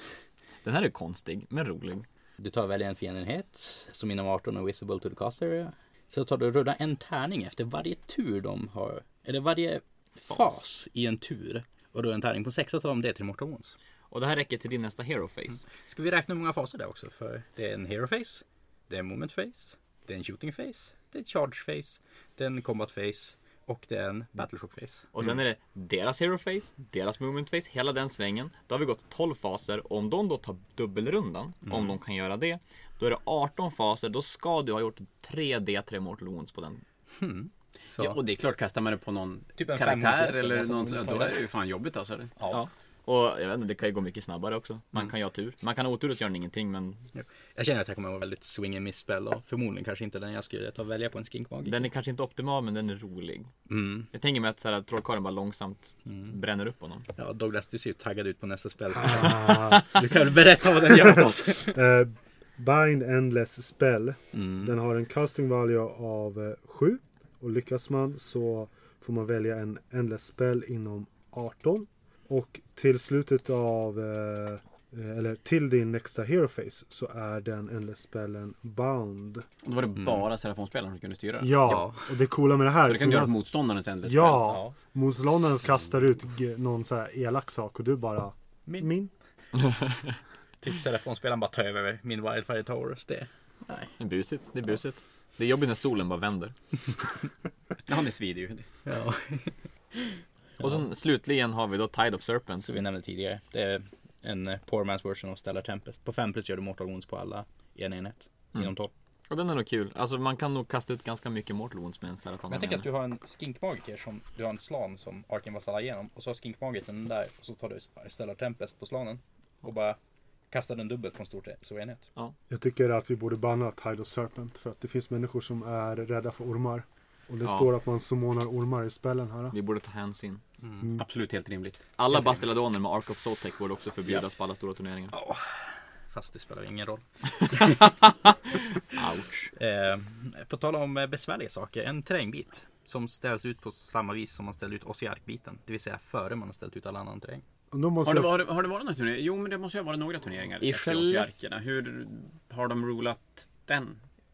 D: Den här är konstig, men rolig.
A: Du tar väl en fiendenhet som inom 18 är visible to the caster. Så tar du rulla en tärning efter varje tur de har, eller varje fas, i en tur. Och då är en tärning på 6 tar de det till Mortal Wounds.
D: Och det här räcker till din nästa Hero Face.
B: Mm.
A: Ska vi räkna hur många faser det är också? För det är en hero face, det är en moment face, det är en shooting face, det är en charge face, det är en combat face och det är en battleshock face.
D: Och sen är det deras hero face, deras movement face, hela den svängen. Då har vi gått 12 faser och om de då tar dubbelrundan, om de kan göra det, då är det 18 faser. Då ska du ha gjort 3D3 mortal wounds på den.
A: Så
B: Ja, och det är klart, kastar man det på någon
A: Typ en
B: karaktär
A: femhundrasläpp eller
B: eller
A: något
B: något
A: sånt,
B: sånt, då är det ju fan jobbigt alltså.
A: Ja.
D: Och jag vet inte, det kan ju gå mycket snabbare också. Man kan ju ha tur. Man kan ha otur och så gör den ingenting men
A: Jag känner att jag kommer att vara väldigt swing and miss spel och förmodligen kanske inte den jag skulle ta och välja på en skinkmagi.
D: den är kanske inte optimal men den är rolig.
A: Mm.
D: Jag tänker mig att så här, trollkarlen bara långsamt bränner upp honom.
A: Ja, Douglas, du ser ju taggad ut på nästa spel. Så
C: Ah.
A: du kan väl berätta vad den gör åt oss?
C: Eh, Bind Endless Spell.
A: Mm.
C: Den har en casting value av 7. Och lyckas man så får man välja en Endless Spell inom 18. Och till slutet av eh, eh, eller till din nästa hero phase så är den Endless Spellen Bound.
B: Och då var det bara Serafonspelaren som kunde styra
C: Ja,
B: den.
C: och det coola med det här
B: Så det kan du göra på
C: att
B: motståndarens Endless Spells.
C: Ja, motståndaren kastar ut g- någon så här elak sak och du bara
A: Min.
C: min.
A: Typ Serafonspelaren bara tar över min Wildfire Towers. Det.
D: Det är busigt. Det är busigt. Det är jobbigt när solen bara vänder.
B: Ja, det svider ju.
A: Ja.
D: Och sen slutligen har vi då Tide of Serpents.
A: Som vi nämnde tidigare. Det är en eh, poor man's version av Stellar Tempest. På 5 plus gör du Mortal Wounds på alla i en enhet. Inom 12.
D: Och den är nog kul. Alltså man kan nog kasta ut ganska mycket Mortal Wounds med en Serafan.
A: Men jag tänker att du har en skinkmagiker som du har en slan som Arken Vassalla igenom och så har skinkmagikern den där och så tar du Stellar Tempest på slanen och bara kastar den dubbelt på en stor te- stor enhet.
C: Jag tycker att vi borde banna Tide of Serpent för att det finns människor som är rädda för ormar. Och det
D: Ja.
C: står att man summonar ormar i spelen här.
D: Vi borde ta hänsyn.
B: Absolut helt rimligt.
D: Alla Bastiladoner med Ark of Zotek borde också förbjudas på alla stora turneringar.
A: Fast det spelar ingen roll.
D: Ouch.
A: Eh, på tal om eh, besvärliga saker, en terrängbit som ställs ut på samma vis som man ställde ut ossiarkbiten, det vill säga före man har ställt ut all annan terräng.
C: Och då måste
B: Har det,
C: jag-
B: har, det, har det varit några turneringar? Jo, men det måste ju ha varit några turneringar.
D: I
B: efter
D: Skellefteå.
B: Ossiarkerna. Hur har de rulat den?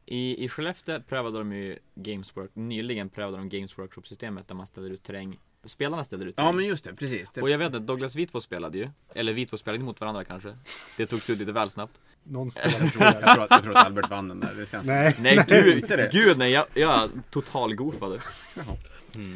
D: I, I Skellefteå prövade de ju Games Work, nyligen prövade de Games Workshop-systemet där man ställer ut terräng. Spelarna ställer ut terräng.
B: Ja, men just det. Precis. Det,
D: Och jag vet att Douglas vi två spelade ju. Eller vi två spelade inte mot varandra kanske. Det tog slut lite väl snabbt.
C: Någon spelar
B: jag, tror att, jag, tror att, jag tror att Albert vann den där. Det känns som-
C: Nej.
D: Nej gud,
B: inte det.
D: gud nej jag, jag totalgoofade.
B: Jaha.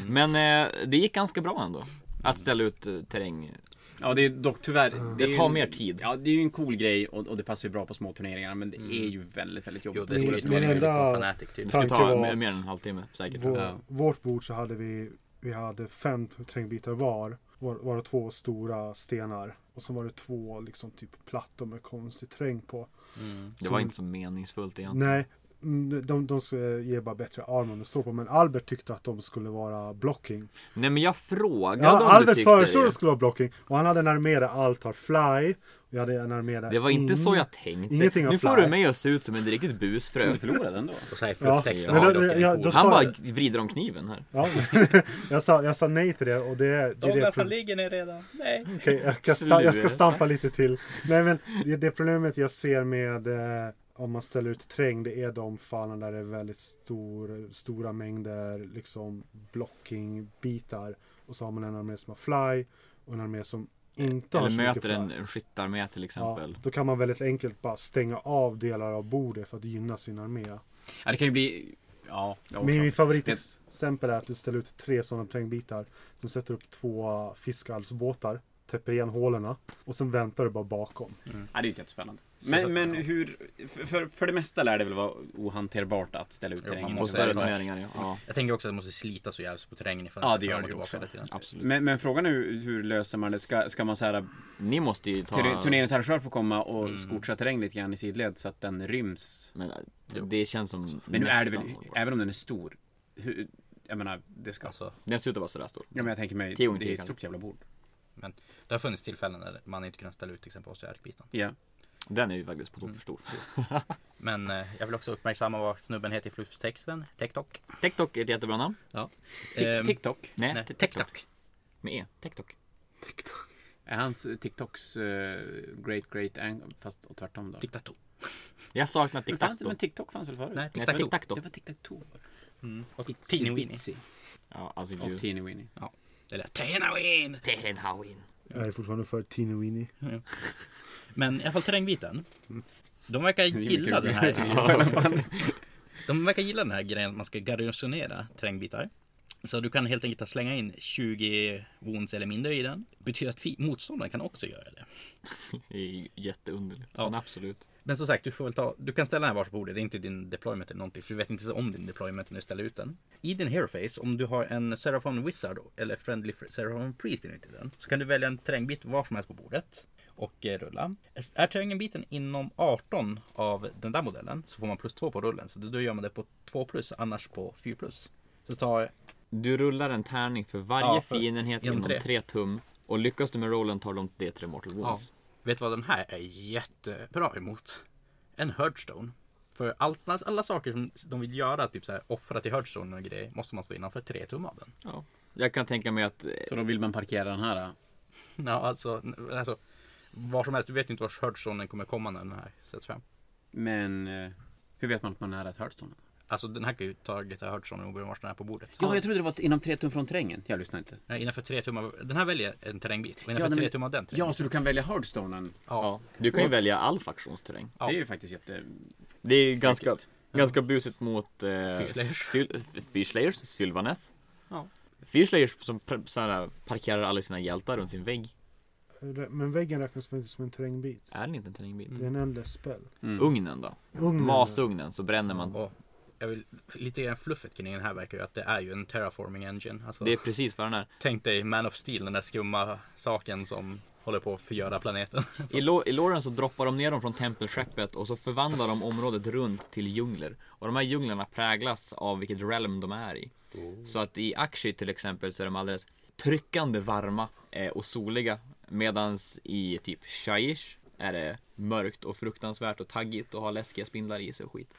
D: Men eh, det gick ganska bra ändå. Att ställa ut eh, terräng.
B: Ja, det är dock tyvärr. Det, är
D: Det tar
B: ju-
D: mer tid.
B: Ja, det är ju en cool grej och, och det passar ju bra på små turneringar. Men det är ju väldigt, väldigt jobbigt.
A: Jo,
C: Min-
A: det skulle ju ta
C: min
A: en
C: enda-
A: på Fanatic typ.
D: Det skulle
C: Tanken
D: ta
C: var
D: mer,
C: att-
D: mer än en halvtimme säkert.
C: Vår,
B: Ja.
C: Vårt bord så hade vi, vi hade fem trängbitar var. var varav två stora stenar. Och så var det två liksom typ plattor med konstig träng på.
D: Det var inte så meningsfullt egentligen.
C: Nej, mm, de, de skulle ge bara bättre armar att stå på. Men Albert tyckte att de skulle vara blocking.
D: Nej men jag frågade
C: Ja,
D: om du
C: Albert
D: tyckte
C: föreslog att
D: det.
C: det skulle vara blocking. Och han hade en armé där allt har fly. Och jag hade en armé där
D: Det var inte
C: ingen-
D: så jag tänkte.
C: Ingenting av
D: nu får
C: fly.
D: du mig att se ut som en riktigt
B: Men
D: busfrö.
B: Du förlorade ändå.
A: Och så här
C: Ja,
A: frukttexten
C: men
A: har
C: då-
A: dock en
C: ja,
A: cool-
C: då sa
D: Han bara
C: jag-
D: vrider om kniven här.
C: Ja, jag, sa, jag sa nej till det och det, det är det
A: Douglas han
C: problem-
A: ligger ner redan. Nej.
C: Okej, jag, ska sta- jag ska stampa lite till. Nej men det, det problemet jag ser med eh, om man ställer ut träng det är de fallen där det är väldigt stor, stora mängder liksom blocking-bitar. Och så har man en armé som har fly och en armé som inte har
D: Eller
C: så mycket
D: möter
C: fly.
D: en, en skyttarmé till
C: ja,
D: exempel.
C: Då kan man väldigt enkelt bara stänga av delar av bordet för att gynna sin armé.
B: Ja, det kan ju bli... Ja, jag
C: Min, min
B: också.
C: favoritexempel är att du ställer ut tre sådana trängbitar. Sen sätter du upp två fiskalsbåtar. Täpper igen hålorna. Och sen väntar du bara bakom.
B: Ja, det är ju jättespännande. Men, men hur... För, för, för det mesta lär det väl vara ohanterbart att ställa ut
A: Jo, man
B: terrängen.
D: På
A: måste
B: på
D: större
A: det-
D: turneringar ja. ja.
A: Jag tänker också att det måste slita så jävligt på terrängen ifall
B: Ja,
A: den ska
B: det gör
A: fram och tillbaka
B: det ju också.
A: hela tiden.
D: Absolut.
B: Men, men frågan är hur, hur löser man det? Ska, ska man så här,
D: Ni måste ju ta...
B: tur, turneringens arrangör får komma och skocha terräng lite grann i sidled så att den ryms.
D: Men det- det känns som
B: Men nu är det
D: nästan
B: väl,
D: hållbart.
B: även om den är stor. Hur, jag menar, det ska...
A: Alltså,
D: Den ser ut att vara sådär stor.
B: Ja, men jag tänker mig, det
D: Tio gånger
B: är
D: tio
B: ett
D: kan
B: stort jävla bord.
A: men det har funnits tillfällen när man inte kunnat ställa ut till exempel ossiarkbiten.
B: Ja.
D: Den är ju faktiskt på tok för stor.
A: Men eh, jag vill också uppmärksamma vad snubben heter i flufftexten. TikTok.
D: TikTok är ett jättebra namn.
A: Ehm,
B: Tik- TikTok.
D: Nej,
A: nej,
D: t-
A: TikTok.
D: Med E. TikTok.
B: Är hans eh, TikToks eh, great great ang fast och tvärtom då?
A: TikTok.
D: Jag saknar
B: Men,
D: TikTok.
B: fanns, men TikTok fanns väl förut?
A: Nej,
D: Nej,
A: TikTok.
D: TikTok.
B: Det var TikTok.
A: Och Teeny Weeny.
D: Ja, alltså
B: Och
D: gud.
B: Teeny Weeny.
A: Eller Teena Ween.
D: Tehenhawin.
C: Jag är fortfarande för Teeny Weeny.
A: Men i alla fall terrängbiten. De verkar gilla den
B: Det är kul.
A: här. De verkar gilla den här grejen att man ska garnisonera terrängbitar. Så du kan helt enkelt slänga in 20 wounds eller mindre i den. Betyder att fi- motståndaren kan också göra det.
D: Det är ju jätteunderligt.
A: Ja.
D: Men absolut.
A: Men som sagt, du får väl ta, du kan ställa den här vars på bordet. Det är inte din deployment eller någonting. För du vet inte om din deployment när du ställer ut den. I din hero face, om du har en Seraphon Wizard eller Friendly Fr- Seraphon Priest inuti den. Så kan du välja en terrängbit var som helst på bordet. Och eh, rulla. Är terrängbiten inom 18 av den där modellen så får man plus 2 på rullen. Så då gör man det på 2 plus, annars på 4 plus. Så ta
D: Du rullar en tärning för varje
A: Ja, för-
D: fiendenhet
A: genom
D: inom
A: tre.
D: 3 tum. Och lyckas du med rollen tar de D3 mortal wounds.
A: Vet du vad den här är jättebra emot? En Herdstone. För allt, alla saker som de vill göra, typ så här, offra till Herdstone och grejer, måste man stå innanför tre tum av den.
D: Ja. Jag kan tänka mig att eh,
B: Så då vill man parkera den här. eh.
A: Ja, alltså, alltså var som helst, du vet ju inte vars Herdstone kommer komma när den här sätts fram.
B: Men eh, hur vet man att man är nära ett
A: Alltså den här kan ju targeta Herdstone oberoende vars den är på bordet.
B: Ja, jag trodde det var inom tre tum från terrängen. Jag lyssnar inte.
A: Nej, innanför tre tum av, den här väljer en terrängbit och innanför
B: den-
A: tre tum av den
B: Ja,
A: terrängbiten.
B: så du kan välja hardstonen.
D: ja. du kan ju välja all fraktionsterräng.
A: Ja.
B: Det är ju faktiskt jätte...
D: Det är ju ganska, ganska busigt mot eh,
A: Fishlayers.
D: Syl- Fishlayers, Sylvaneth.
A: Ja.
D: Fishlayers som pr- så här, parkerar alla sina hjältar runt sin vägg.
C: Men väggen räknas väl inte som en terrängbit?
D: Är den inte en terrängbit?
C: Det är en endless spell.
A: Mm.
D: Ugnen då?
C: Ugnen.
D: Masugnen så bränner man.
A: Och jag vill, lite grann fluffet kring den här verkar ju att det är ju en terraforming engine. Alltså,
D: Det är precis vad den är.
A: Tänk dig Man of Steel, den där skumma saken som håller på att förgöra planeten.
D: I, lo- I loren så droppar de ner dem från tempelskeppet och så förvandlar de området runt till djungler. Och de här djunglerna präglas av vilket realm de är i. Så att i Akshi till exempel så är de alldeles tryckande varma eh, och soliga. Medans i typ Shaiish är det mörkt och fruktansvärt och taggigt och har läskiga spindlar i sig och skit.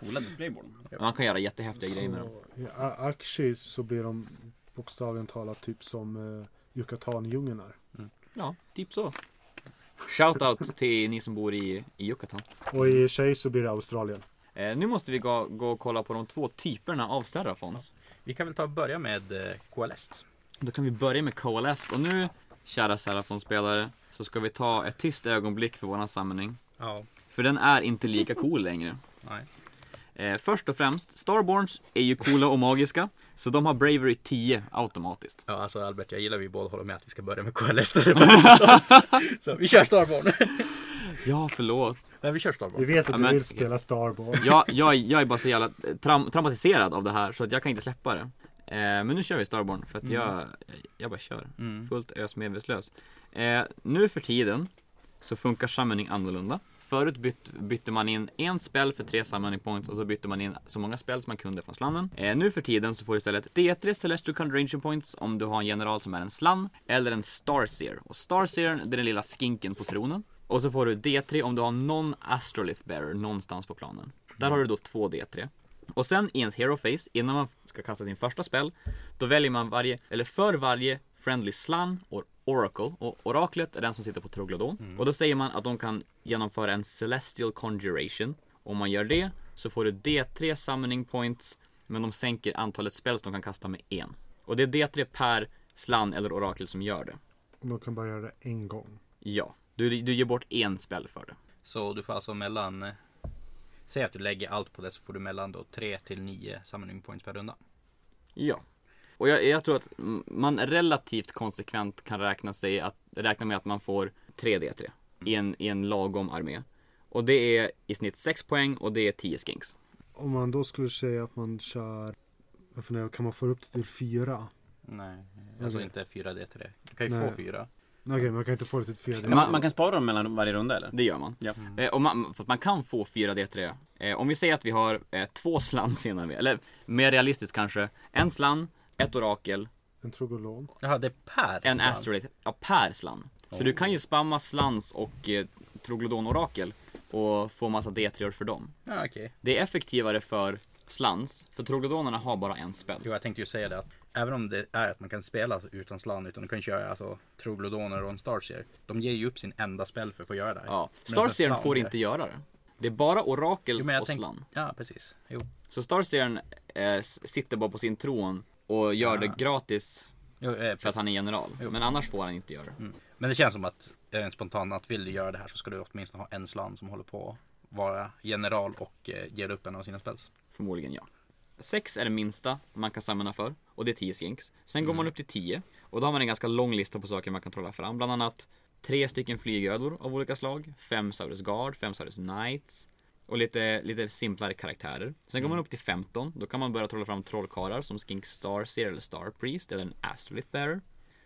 B: Coola displayboard.
D: Man kan göra jättehäftiga grejer med dem.
C: Så, I A- Akshi så blir de bokstavligen talat typ som uh, Yucatan-djungeln är.
D: Ja, typ så. Shoutout till ni som bor i, i Yucatan.
C: Och i tjej så blir det Australien.
D: Eh, nu måste vi gå, gå och kolla på de två typerna av Serafons.
A: Vi kan väl ta och börja med eh, Coalesced.
D: Då kan vi börja med Coalesced. Och nu, kära Serafon-spelare, så ska vi ta ett tyst ögonblick för våran samling.
A: Ja.
D: För den är inte lika cool längre.
A: Nej.
D: Eh, först och främst, Starborns är ju coola och magiska, så de har Bravery 10 automatiskt.
A: Ja, alltså Albert, jag gillar vi båda håller med att vi ska börja med Coalesced. Så vi kör Starborn.
D: Ja, förlåt.
A: Nej, vi kör
C: Vi
A: Starborn.
C: vet att
D: Ja,
C: du
D: men-
C: vill spela Starborn.
D: Jag, jag, jag är bara så jävla traum- traumatiserad av det här, så att jag kan inte släppa det. Eh, men nu kör vi Starborn, för att jag, jag bara kör.
A: Mm.
D: Fullt ös medvetslös. Eh, nu för tiden så funkar summoning annorlunda. Förut byt, bytte man in en spel för tre summoning points och så bytte man in så många spel som man kunde från slannen. Eh, nu för tiden så får du istället D3 Celestial Conjuration points om du har en general som är en slann eller en Starseer. Och Starseer det är den lilla skinken på tronen. Och så får du D3 om du har någon Astrolith Bearer någonstans på planen. Där har du då två D3. Och sen i ens Hero Face, innan man ska kasta sin första spel, då väljer man varje, eller för varje Friendly Slan och Oracle. Och oraklet är den som sitter på Troglodon. Och då säger man att de kan genomföra en Celestial Conjuration. Om man gör det så får du D3 Summoning Points, men de sänker antalet spells de kan kasta med en. Och det är D3 per Slan eller Orakel som gör det.
C: De kan bara göra det en gång.
D: Ja, du, du ger bort en spel för det.
A: Så du får alltså mellan... eh, Säg att du lägger allt på det så får du mellan då 3 till 9 summoning points per runda.
D: Ja. Och jag, jag tror att mm, man relativt konsekvent kan räkna, sig att, räkna med att man får 3D3 i, en, i en lagom armé. Och det är i snitt 6 poäng och det är 10 skinks.
C: Om man då skulle säga att man kör... Jag funderar, kan man få upp det till fyra?
A: Nej, alltså
C: Okej.
A: inte 4D3. Du kan ju
C: Nej.
A: få 4.
C: Nej, Okej, man kan inte få det till fyra.
B: Man, man kan spara dem mellan varje runda eller?
D: Det gör man.
B: Ja.
D: Eh, och man för att man kan få 4D3. Eh, om vi säger att vi har eh, två slann senare med, eller mer realistiskt kanske, en slann, ett orakel,
C: En trogolon.
A: Jaha, det är per
D: en
A: slann.
D: astrolith, ja per slann. Så du kan ju spamma slans och eh, troglodonorakel och få massa D3 för dem.
A: Ja, okej.
D: Det är effektivare för slans, för troglodonerna har bara en spel.
A: Jo, jag tänkte ju säga det att även om det är att man kan spela alltså, utan slan, utan du kan köra alltså, troglodoner och en starseer. De ger ju upp sin enda spel för att få göra det. här.
D: Ja.
A: Men
D: Starseern
A: sen
D: får
A: slan-
D: inte göra det. Det är bara
A: Jo,
D: orakels
A: men jag
D: och
A: tänk-
D: slan.
A: Ja, precis. Jo.
D: Så Starseern eh, s- sitter bara på sin tron och gör det gratis
A: Jo, eh,
D: för
A: för...
D: att han är general. Men annars får han inte göra det.
A: Men det känns som att eh, rent spontant att vill du göra det här så ska du åtminstone ha en slan som håller på att vara general och eh, ger upp en av sina spels.
D: Förmodligen ja. 6 är det minsta man kan samla för och det är 10 skinks. Sen går man upp till 10 och då har man en ganska lång lista på saker man kan trolla fram. Bland annat Tre stycken flygödlor av olika slag. Fem Saurus Guard, fem Saurus Knights. Och lite, lite simplare karaktärer. Sen går man upp till 15. Då kan man börja trolla fram trollkarlar som Skink Starseer eller Star Priest eller en Astrolith Bearer.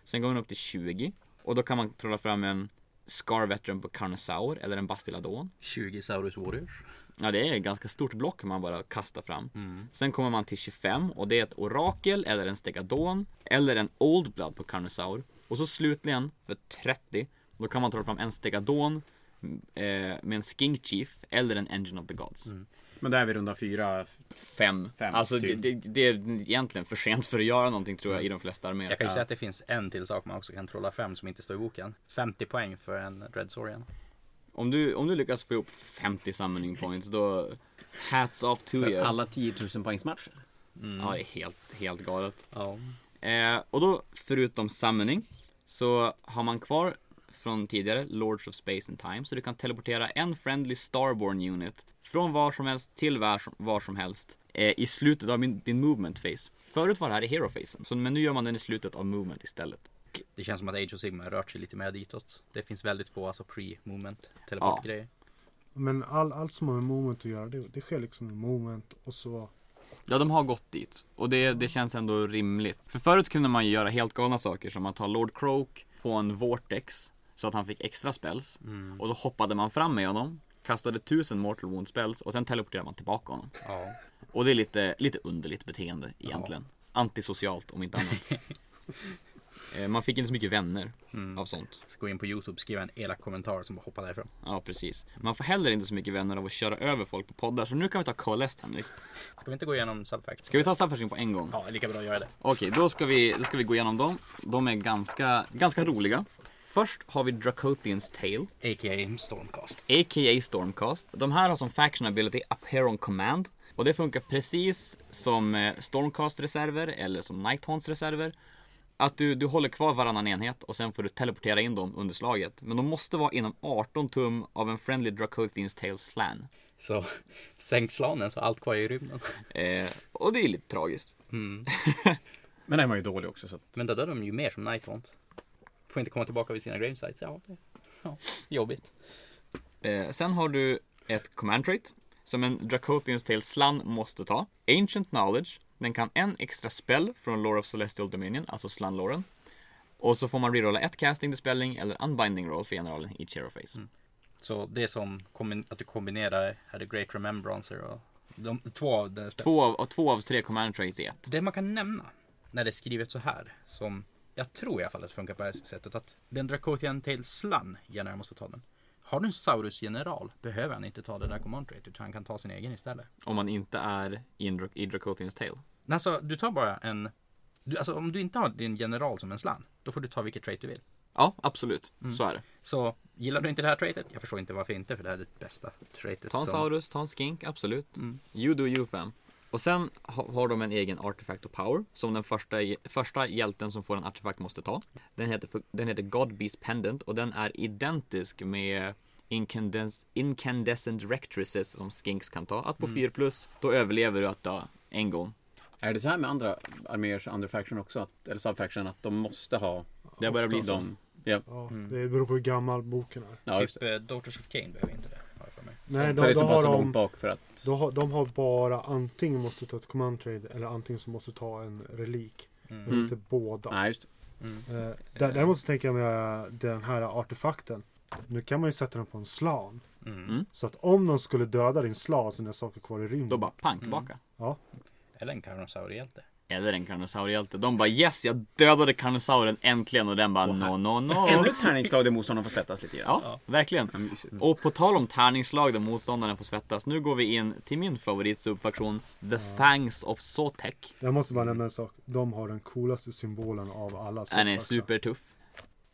D: Sen går man upp till 20. Och då kan man trolla fram en Scar Veteran på Carnosaur eller en Bastiladon.
A: 20 Saurus Warriors.
D: Ja, det är ett ganska stort block man bara kastar fram.
A: Mm.
D: Sen kommer man till 25 och det är ett orakel eller en stegadon eller en old blood på Carnosaur. Och så slutligen för 30, då kan man ta fram en stegadon mm, eh, med en skink chief eller en engine of the gods.
A: Mm.
B: Men där är vi runda fyra.
D: Fem.
B: Fem,
D: Alltså
B: typ.
D: det, det, det är egentligen för sent för att göra någonting tror jag i de flesta arméer.
A: Jag kan ju säga att det finns en till sak man också kan trolla fram som inte står i boken. 50 poäng för en Red Saurian.
D: Om du, om du lyckas få ihop 50 summoning points då hats off to
B: För
D: you.
B: alla 10 000 poängsmatcher.
D: Ja, det är helt, helt galet.
A: Ja.
D: Eh, och då, förutom summoning, så har man kvar från tidigare Lords of Space and Time, så du kan teleportera en friendly Starborn unit från var som helst till var som, var som helst eh, i slutet av min, din movement phase. Förut var det här i hero phasen, så, men nu gör man den i slutet av movement istället.
A: Det känns som att Age of Sigma har rört sig lite mer ditåt. Det finns väldigt få alltså pre-movement teleportgrejer.
C: Men all, allt som har med moment att göra, det, det sker liksom i moment och så.
D: Ja, de har gått dit och det, det känns ändå rimligt. För förut kunde man ju göra helt galna saker som att ta Lord Croak på en Vortex så att han fick extra spells och så hoppade man fram med honom, kastade tusen Mortal Wound spells och sen teleporterade man tillbaka honom.
A: Ja.
D: Och det är lite, lite underligt beteende egentligen. Antisocialt om inte annat. Eh, man fick inte så mycket vänner av sånt.
A: Så gå in på Youtube, skriva en elak kommentar som bara hoppar därifrån.
D: Ja, precis. Man får heller inte så mycket vänner av att köra över folk på poddar. Så nu kan vi ta KLS Henrik.
A: Ska vi inte gå igenom subfacts?
D: Ska vi ta Staffaskin på en gång?
A: Ja, lika bra att göra det.
D: Okej, då, ska vi, då ska vi gå igenom dem. De är ganska, ganska roliga. Först har vi Dracothians Tale,
A: A.k.a. Stormcast.
D: a.k.a. Stormcast. De här har som faction ability Appear on Command. Och det funkar precis som eh, Stormcast-reserver eller som Nighthaunt-reserver. Att du, du håller kvar varannan enhet och sen får du teleportera in dem under slaget. Men de måste vara inom 18 tum av en friendly Dracothians Tale slan.
A: Så sänk slanen så allt kvar är i rymden.
D: Eh, och det är lite tragiskt.
B: Men den var ju dålig också. Så att...
A: Men då dör de ju mer som Nighthaunt. Får inte komma tillbaka vid sina gravesites. Ja, det ja, jobbigt.
D: Eh, sen har du ett command trait som en Dracothians Tale slan måste ta. Ancient knowledge. Den kan en extra spell från Lore of Celestial Dominion, alltså slanloren. Och så får man rerolla ett casting, dispelling eller unbinding roll för generalen i Hero Phase.
A: Så det är som kombi- att du kombinerar här, The Great Remembrancer och de, två av deras
D: Två, av, och två av tre command traits i ett.
A: Det man kan nämna när det är skrivet så här som jag tror i alla fall att det funkar på det här sättet att den Dracothian Tail Slan gärna måste ta den. Har du en Saurus general behöver han inte ta det där command trait utan han kan ta sin egen istället.
D: Om man inte är i en Dra- i Dracothians Tale.
A: Men Alltså du tar bara en du, alltså, om du inte har din general som en slan, då får du ta vilket trait du vill.
D: Ja, absolut. Så är det.
A: Så gillar du inte det här traitet? Jag förstår inte varför inte, för det här är det bästa traitet.
D: Ta en
A: som- typ,
D: Saurus, ta en Skink, absolut. You do you fam. Och sen ha- har de en egen artefakt och power som den första, första hjälten som får en artefakt måste ta. Den heter, för- den heter God Beast Pendant och den är identisk med incandes, incandescent rectrices som skinks kan ta. Att på 4 plus, då överlever du att ta en gång.
B: Är det så här med andra arméers underfaction också? Att, eller subfaction? Att de måste ha
D: Det börjar bli så.
B: de... Ja,
C: Ja, Det beror på hur gammal boken är.
B: ja just
A: Typ
B: det.
A: eh, Daughters of Cain behöver inte det, har jag för mig.
C: Nej,
B: Så det
C: de,
B: är typ
C: de,
B: så
C: har
B: pass långt
C: de,
B: bak för att...
C: de, har, de har bara antingen måste ta ett command trade eller antingen så måste ta en relik. Men inte båda.
B: Mm. Nej, just det.
C: Eh, där, däremot så tänker jag med den här artefakten. Nu kan man ju sätta den på en slan.
A: Mm.
C: Så att om någon skulle döda din slan så är dina saker kvar i rymden.
D: Då bara pang tillbaka.
C: Ja.
A: Eller en Karnosaurhjälte.
D: Eller en karnosaurhjälte. De bara yes, jag dödade karnosauren äntligen och den bara no, no, no.
B: Ännu ett tärningsslag där motståndaren får svettas lite grann.
D: Ja, verkligen. Och på tal om tärningsslag där motståndaren får svettas. Nu går vi in till min favoritsubfaktion, The Fangs of Sotek.
C: Jag måste bara nämna en sak. De har den coolaste symbolen av alla.
D: Den är
C: subfactions.
D: supertuff.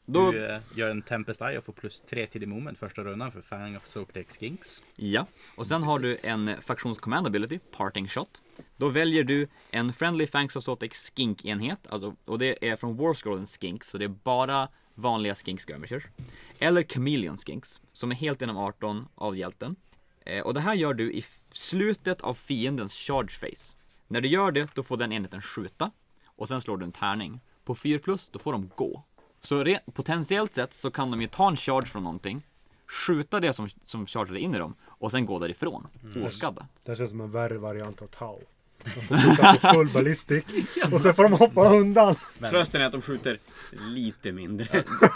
D: Då,
A: Du eh, gör en Tempest Eye och får plus 3 till det moment första rundan för Fang of Soapdex Kings.
D: ja. Och sen har du en eh, faktions command ability, Parting Shot. Då väljer du en Friendly Fangs of Sotek Skink-enhet. Alltså, och det är från Warscrollen Skink, så det är bara vanliga Skink Skirmishers. Eller Chameleon Skinks, som är helt inom 18 av hjälten. Eh, och det här gör du i f- slutet av fiendens charge phase. När du gör det, då får den enheten skjuta. Och sen slår du en tärning. På 4 plus, då får de gå. Så re- potentiellt sett så kan de ju ta en charge från någonting, skjuta det som, som chargade in i dem och sen gå därifrån
B: Mm.
D: oskadda.
C: Det här känns som en värre variant av Tau. De får skjuta på full ballistik och sen får de hoppa undan.
B: Trösten är att de skjuter lite mindre.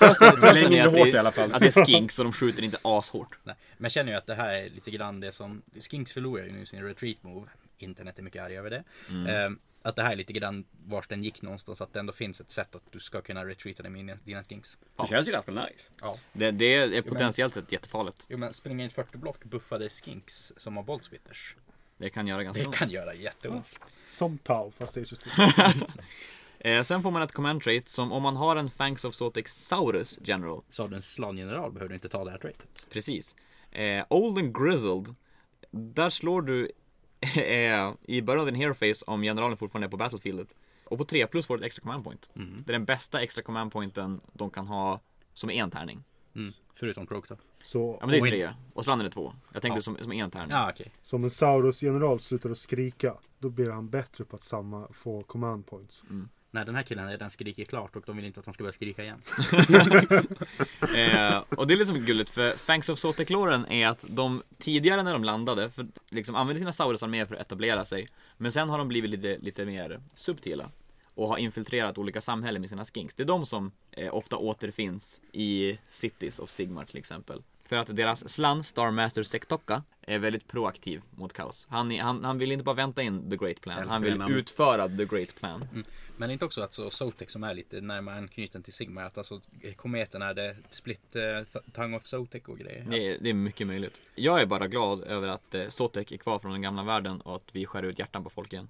D: Trösten
B: mindre
D: är att
B: hårt
D: det-
B: i alla fall.
D: Att det är skink så de skjuter inte ashårt.
A: Nej. Men jag känner ju att det här är lite grann det som Skinks förlorar ju nu sin retreat move. Internet är mycket arg över det. Ehm, att det här är lite grann vars den gick någonstans. Att det ändå finns ett sätt att du ska kunna retreata med dina- dina Skinks.
B: Det känns ju ganska nice.
A: Ja.
D: Det, det är potentiellt sett jättefarligt.
A: Jo men springa in 40 block buffade Skinks som har boltsplitters.
D: Det kan göra ganska
A: Det
D: ont.
A: kan göra jätteont.
C: Som Tau fast det är just
D: Eh, sen får man ett command trait som om man har en Fangs of Saurus General
A: Så har du en slangeneral behöver du inte ta det här traitet.
D: Precis. Eh, old and grizzled. Där slår du eh, i början av din hairface om generalen fortfarande är på battlefieldet. Och på 3 plus får du ett extra command point.
B: Mm.
D: Det är den bästa extra command pointen de kan ha som en tärning.
A: Mm. Förutom Croak då.
C: Så
D: Ja men det
A: Och
D: är tre. Och slanden är två. Jag tänkte som, som en tärning.
A: Ja okej.
C: som en Saurus-general slutar att skrika, då blir han bättre på att samma få command points.
D: Mm.
A: Nej den här killen har redan skrikit klart och de vill inte att han ska börja skrika igen.
D: Eh, och det är liksom gulligt för Fangs of Sotekloren är att de tidigare när de landade, för liksom använde sina Saurus-arméer för att etablera sig. Men sen har de blivit lite, lite mer subtila. Och har infiltrerat olika samhällen med sina skinks. Det är de som eh, ofta återfinns i Cities of Sigmar till exempel. För att deras slan, Starmaster Sektoka, är väldigt proaktiv mot kaos. Han, är- han, han vill inte bara vänta in the great plan,
B: älskar
D: han
B: det
D: vill
B: namnet.
D: utföra the great plan.
A: Men det är inte också att så Zotex som är lite närmare anknuten till Sigma, att alltså kometen är det split eh, th- tongue of Zotex och grejer.
D: Det är, det är mycket möjligt. Jag är bara glad över att eh, Sotek är kvar från den gamla världen och att vi skär ut hjärtan på folk igen.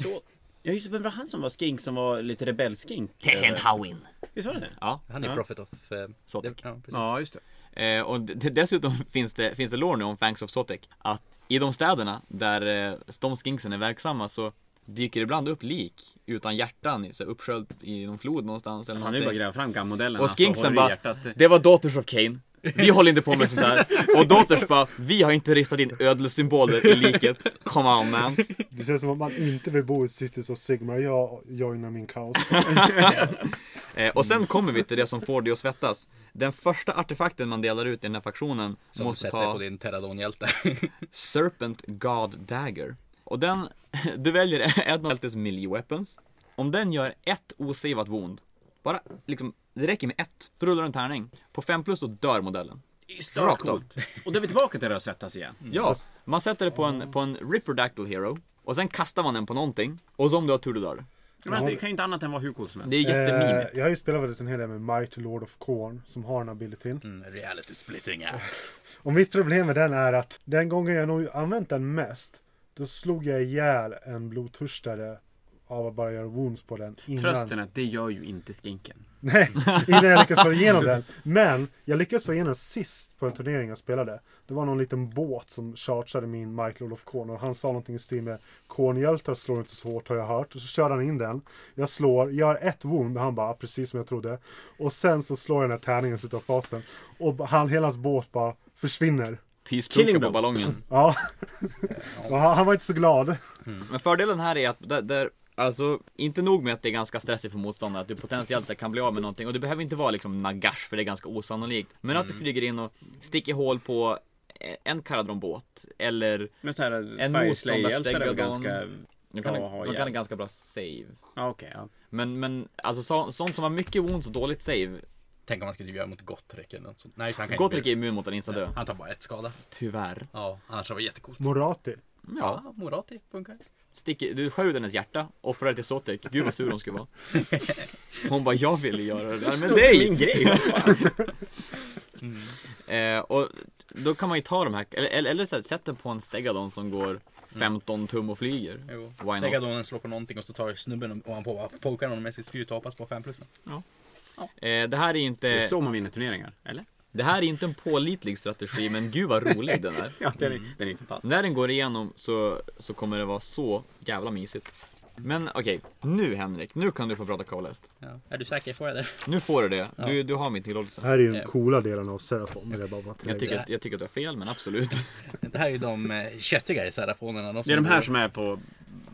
B: Så... Ja just det, vem var han som var skink som var lite rebellskink? Eh,
D: Hawin.
B: Visst var det det?
D: Eh, Ja.
A: Han är
B: Ja.
A: Prophet of eh,
D: Zoteck.
A: Ja, precis.
B: Ja, just det.
D: Eh, och d- d- dessutom finns det, finns det lore nu om Fangs of Sotek att i de städerna där eh, de skinksen är verksamma så dyker det ibland upp lik utan hjärtan i- så här uppsköljt i någon flod någonstans eller
B: Han är ju bara
D: någonting.
B: gräva fram gammodellen.
D: Och
B: alltså, håller
D: skinksen
B: i
D: bara,
B: hjärtat.
D: det var Daughters of Cain. Vi håller inte på med sånt där. Och Daughters bara, vi har inte ristat in ödelsymboler i liket. Come on man.
C: Det känns som att man inte vill bo i Cities och Sigmar. Jag joinar min kaos.
D: Eh, och sen kommer vi till det som får dig att svettas. Den första artefakten man delar ut i den här faktionen
A: Som du
D: måste
A: sätter på
D: ta
A: din Terradon-hjälte.
D: Serpent God Dagger. Och den, du väljer en av Altes melee weapons. Om den gör ett osavat wound, bara liksom, det räcker med ett, då rullar du en tärning. På 5 plus då dör modellen.
B: Stört coolt. Och då är vi tillbaka till det här att svettas igen.
D: Ja, man sätter det på en, på en Ripperdactyl Hero och sen kastar man den på någonting och så om du har tur då dör du.
B: Men det kan ju inte annat än vara hur coolt som helst.
D: Det är
C: Eh,
D: jättemimigt.
C: jag har ju spelat väldigt en hel del med Might Lord of Corn som har den abilityn.
A: Mm, reality splitting axe.
C: Och mitt problem med den är att den gången jag nog använt den mest, då slog jag ihjäl en blodtörstare av att bara göra wounds på den innan.
B: Trösten är att det gör ju inte skinken.
C: Nej, innan jag lyckades få igenom den. Men jag lyckades få igenom sist på en turnering jag spelade. Det var någon liten båt som chargeade min Michael Olof Korn och han sa någonting i stil med Kornhjältar slår inte så hårt har jag hört. Och så körde han in den. Jag slår, gör ett wound och han bara precis som jag trodde. Och sen så slår jag den här tärningen i slutet av fasen. Och han, hela hans båt bara försvinner.
D: Pyspunka
B: Killing
D: på
B: Blow.
D: ballongen.
C: Ja. Och han, han var inte så glad.
D: Men fördelen här är att där, där, alltså, inte nog med att det är ganska stressigt för motståndaren att du potentiellt sett kan bli av med någonting och det behöver inte vara liksom nagash för det är ganska osannolikt. Men att du
B: Mm.
D: flyger in och sticker hål på eh, en Caradron-båt eller
B: Men sån här
D: En
B: Fireslay-hjältar är väl
D: motståndarstegadon.
B: ganska...
D: de kan,
B: Ja, ha
D: de kan
B: ihjäl.
D: en ganska bra save.
B: Ja, okej. ja.
D: Men, men alltså så, sånt som har mycket wounds och dåligt save.
A: Tänk om man skulle göra mot Gottrek eller något sånt. Nej, så han kan
D: Gottrick
A: inte
D: är immun mot en instadö.
A: bli- Han tar bara ett skada.
D: Tyvärr.
A: Ja, annars var det jättecoolt.
C: Morati.
D: Ja,
A: Ja, Morati funkar.
D: sticker, du skär ut hennes hjärta, offrar det till Sotek. Gud vad sur hon skulle vara. Hon bara, jag ville göra det där med dig!
B: Min grej! vad fan.
D: Eh, och då kan man ju ta de här, eller, eller, eller så här, sätt den på en Stegadon som går 15 tum och flyger.
A: Jo.
D: Why not?
A: Stegadonen slår på någonting och så tar snubben ovanpå och bara pokar honom med sitt spjut och hoppas på 5 plus.
D: Eh, det här är inte,
B: Det är så man vinner turneringar, eller?
D: det här är inte en pålitlig strategi men gud vad rolig den är.
B: Ja, den är, den är fantastisk.
D: När den går igenom så, så kommer det vara så jävla mysigt. Men okej, nu Henrik, nu kan du få prata Colest.
A: Ja. Är du säker? Får jag det?
D: Nu får du det, du,
A: Ja.
D: du har min tillåtelse.
C: Här är ju den
A: Eh.
C: coola delen av Serafon. vill Jag, bara tillägga.
D: Jag tycker, att, jag tycker att du har fel men absolut.
A: Det här är ju de eh, köttigare serafonerna.
B: Det är de här som är på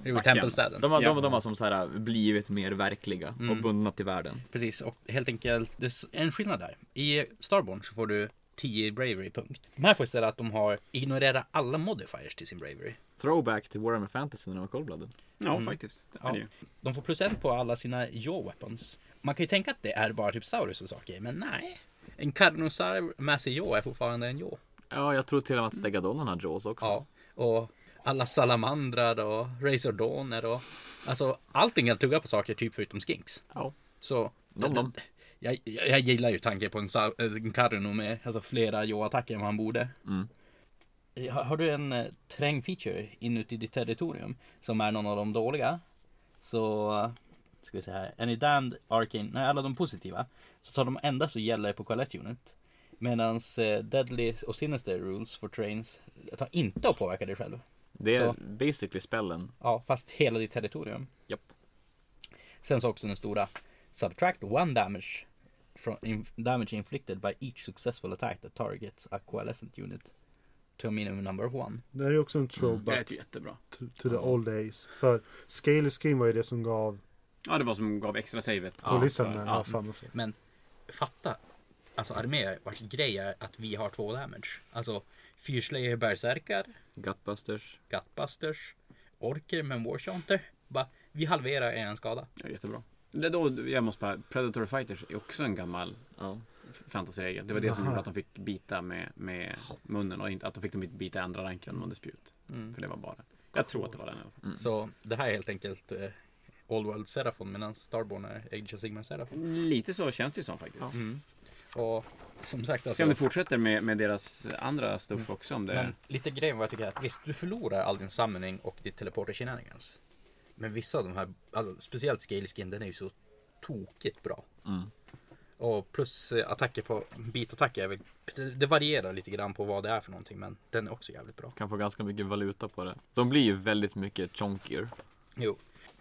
A: Jo,
B: backen.
A: tempelstäden.
D: De har,
B: Ja.
D: de, de har som så här blivit mer verkliga och bundna till världen.
A: Precis, och helt enkelt, det är en skillnad där. I Starborn så får du 10 i bravery punkt. De här får istället att de har ignorera alla modifiers till sin bravery.
D: Throwback till Warhammer Fantasy när de var Coldblooded.
B: Ja, faktiskt. Det är
A: Ja.
B: det ju.
A: De får plus en på alla sina jaw weapons. Man kan ju tänka att det är bara typ Saurus och saker, men nej. En Carnosaur med sig jaw är fortfarande en jaw.
D: Ja, jag tror till och med att Stegadonnen har Jaws också.
A: Ja, och alla salamandrar och Razordoner och alltså allting jag tuggar på saker typ förutom skinks.
D: Ja.
A: Så
D: Nom, nom.
A: Jag, jag, jag gillar ju tanken på en, sa- en Karno med alltså, flera Joe-attacker än vad han borde.
D: Mm.
A: Eh, Har, har du en eh, terrängfeature inuti ditt territorium som är någon av de dåliga så eh, ska vi se här. Any damned arcane, nej alla de positiva så tar de endast och gäller på collect unit. Medan eh, deadly och sinister rules for trains tar inte att påverka dig själv.
D: Det är
A: Så.
D: basically spellen.
A: Ja, fast hela ditt territorium.
D: Japp.
A: Sen så också den stora Subtract one damage from in, damage inflicted by each successful attack that targets a coalescent unit to a minimum number of one.
C: Det här är ju också en
B: Mm. Det
C: throwback
B: lät ju jättebra.
C: to, to the old days. För Scale Scheme var ju det som gav
B: Ja, det var som gav extra savet.
D: Ja,
C: polisen
D: för-
C: den
A: ja.
C: här framme. för.
A: Men fatta, alltså armé vars grej är att vi har två damage. Alltså fyrslöjor berserkar,
D: Gutbusters.
A: gutbusters, orker med warshunter. Bara, vi halverar er skada.
B: Ja, jättebra. Det är då jag måste bara, Predator Fighters är också en gammal
D: Ja.
B: fantasyregel. Det var det som gjorde att de fick bita med, med munnen och inte, att de fick de inte bita andra ranken med disput. För det var bara den. Jag tror att det var den i alla fall.
A: Så det här är helt enkelt eh, Old World Seraphon medan Starborn är Age of Sigmar Seraphon.
B: Lite så känns det ju som faktiskt.
D: Mm.
A: Och som sagt
B: Se om
A: alltså.
B: det fortsätter med, med deras andra stuff också. Om det...
A: Men lite grejen vad jag tycker är att visst, du förlorar all din samling och ditt teleporter shenanigans. Men vissa av de här, alltså speciellt Scaleskin, den är ju så tokigt bra. Och plus eh, attacker på, bitattacker är väl, det, det varierar lite grann på vad det är för någonting men den är också jävligt bra.
D: Kan få ganska mycket valuta på det. De blir ju väldigt mycket chonkier.
A: Jo.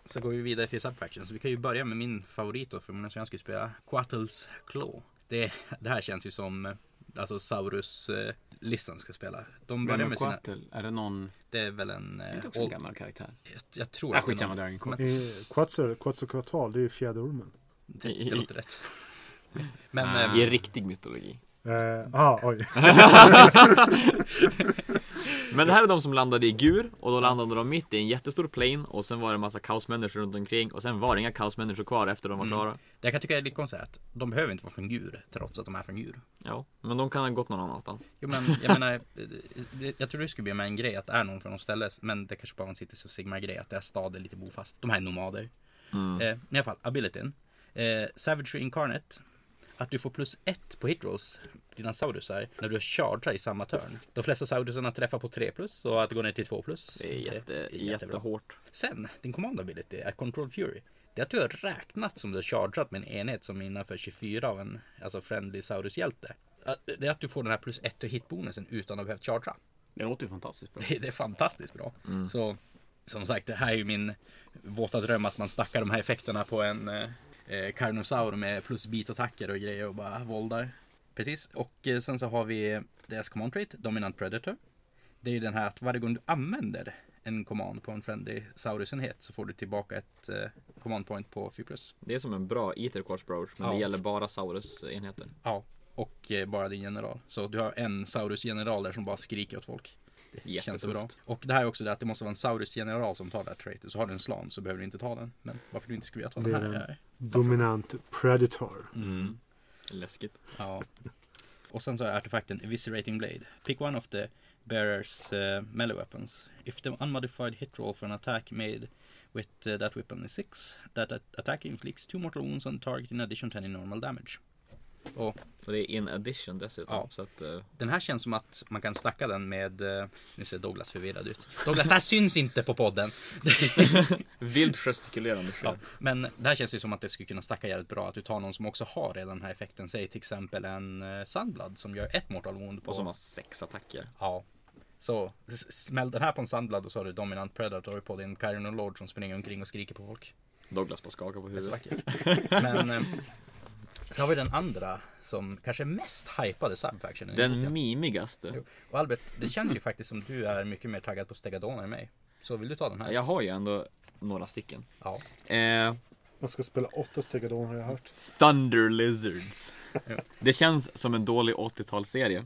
A: Så går vi vidare till subfactions. Vi kan ju börja med min favorit då för jag skulle spela Quattles Claw. Det, det här känns ju som eh, alltså Saurus-listan ska spela. De börjar med sina,
B: Quattle, är det någon...
A: det är väl en...
B: Är
A: eh,
B: det också en
A: old-
B: gammal karaktär?
A: Jag, jag tror
B: Ah,
A: att det är
B: skitsamma,
A: någon-
B: det är ingen koll.
A: Men
C: I Quetzal, Quetzal Kvartal, det är ju fjäderormen.
A: det, det låter rätt. Men
B: Ah.
A: eh,
D: I riktig mytologi.
C: Eh, aha, oj.
D: Men det här är de som landade i Gur och då landade de mitt i en jättestor plane och sen var det en massa kaosmänniskor runt omkring och sen var det inga kaosmänniskor kvar efter de var
A: Mm.
D: klara.
A: det jag kan tycka är lite konstigt är att de behöver inte vara från djur trots att de är från djur.
D: Ja, men de kan ha gått någon annanstans.
A: Jo, men, jag menar, eh, det, jag tror det skulle bli med en grej att det är någon från något ställe men det kanske bara var en City of Sigma grej att det är staden lite bofast. De här är nomader.
D: Mm.
A: Eh, men I alla fall, abilityn. Eh, Savagery Incarnate. Att du får plus ett på hitrolls, dina saurusar, när du chargear i samma turn. De flesta saurusarna träffar på 3 plus och att det går ner till 2 plus.
D: Det är jätte, jättehårt.
A: Sen, din command ability är Control Fury. Det är att du har räknat som du har chargeat med en enhet som är innanför 24 av en alltså friendly Saurus-hjälte. Att- Det är att du får den här plus 1 och hitbonusen utan att behöva chargea.
B: Det låter ju fantastiskt bra.
A: Det, det är fantastiskt bra. Så som sagt, det här är ju min våta dröm att man stackar de här effekterna på en eh, eh, Carnosaur med plus bitattacker och grejer och bara våldar. Precis, och eh, sen så har vi deras command trait, Dominant Predator. Det är ju den här att varje gång du använder en command på en friendly Saurusenhet så får du tillbaka ett eh, command point på 4 plus.
D: Det är som en bra Etherquartz broach, men
A: Ja.
D: det gäller bara Saurus enheter.
A: Ja. Och eh, bara din general. Så du har en Saurus-general där som bara skriker åt folk. Det känns
D: Jättetufft.
A: bra. Och det här är också det att det måste vara en Saurus-general som tar det här traitet. Så har du en slan så behöver du inte ta den. Men varför du inte skulle vilja ta
C: Det är
A: den
C: den.
A: här?
C: Dominant Predator.
D: Mm.
A: Mm.
D: Läskigt.
A: Ja. Och sen så är artefakten Eviscerating Blade. Pick one of the bearer's uh, melee weapons. If the unmodified hit roll for an attack made with eh, that weapon is 6, that, that attack inflicts two mortal wounds on target in addition to any normal damage. Och
D: Och det är in addition dessutom.
A: Ja.
D: Så att, eh,
A: Den här känns som att man kan stacka den med... eh, Nu ser Douglas förvirrad ut. Douglas, det här syns inte på podden.
D: vild gestikulerande
A: Ja, men det här känns ju som att det skulle kunna stacka jävligt bra. Att du tar någon som också har redan den här effekten. Säg till exempel en eh, Sandblad som gör ett mortal wound på...
D: Och som har sex attacker.
A: Ja. Så s- smäll den här på en Sandblad och så har du Dominant Predator på din Kyron Lord som springer omkring och skriker på folk.
D: Douglas bara skakar på
A: Det är så
D: huvudet.
A: vackert. Men... Eh, sen har vi den andra som kanske är mest hypade subfactionen.
D: Den mimigaste.
A: Jo. Och Albert, det känns ju faktiskt som du är mycket mer taggad på Stegadon än mig. Så vill du ta den här?
D: Jag har ju ändå några stycken.
A: Ja.
D: Eh,
C: Man ska spela åtta stegadon har jag hört.
D: Thunder Lizards. Det känns som en dålig 80-talsserie.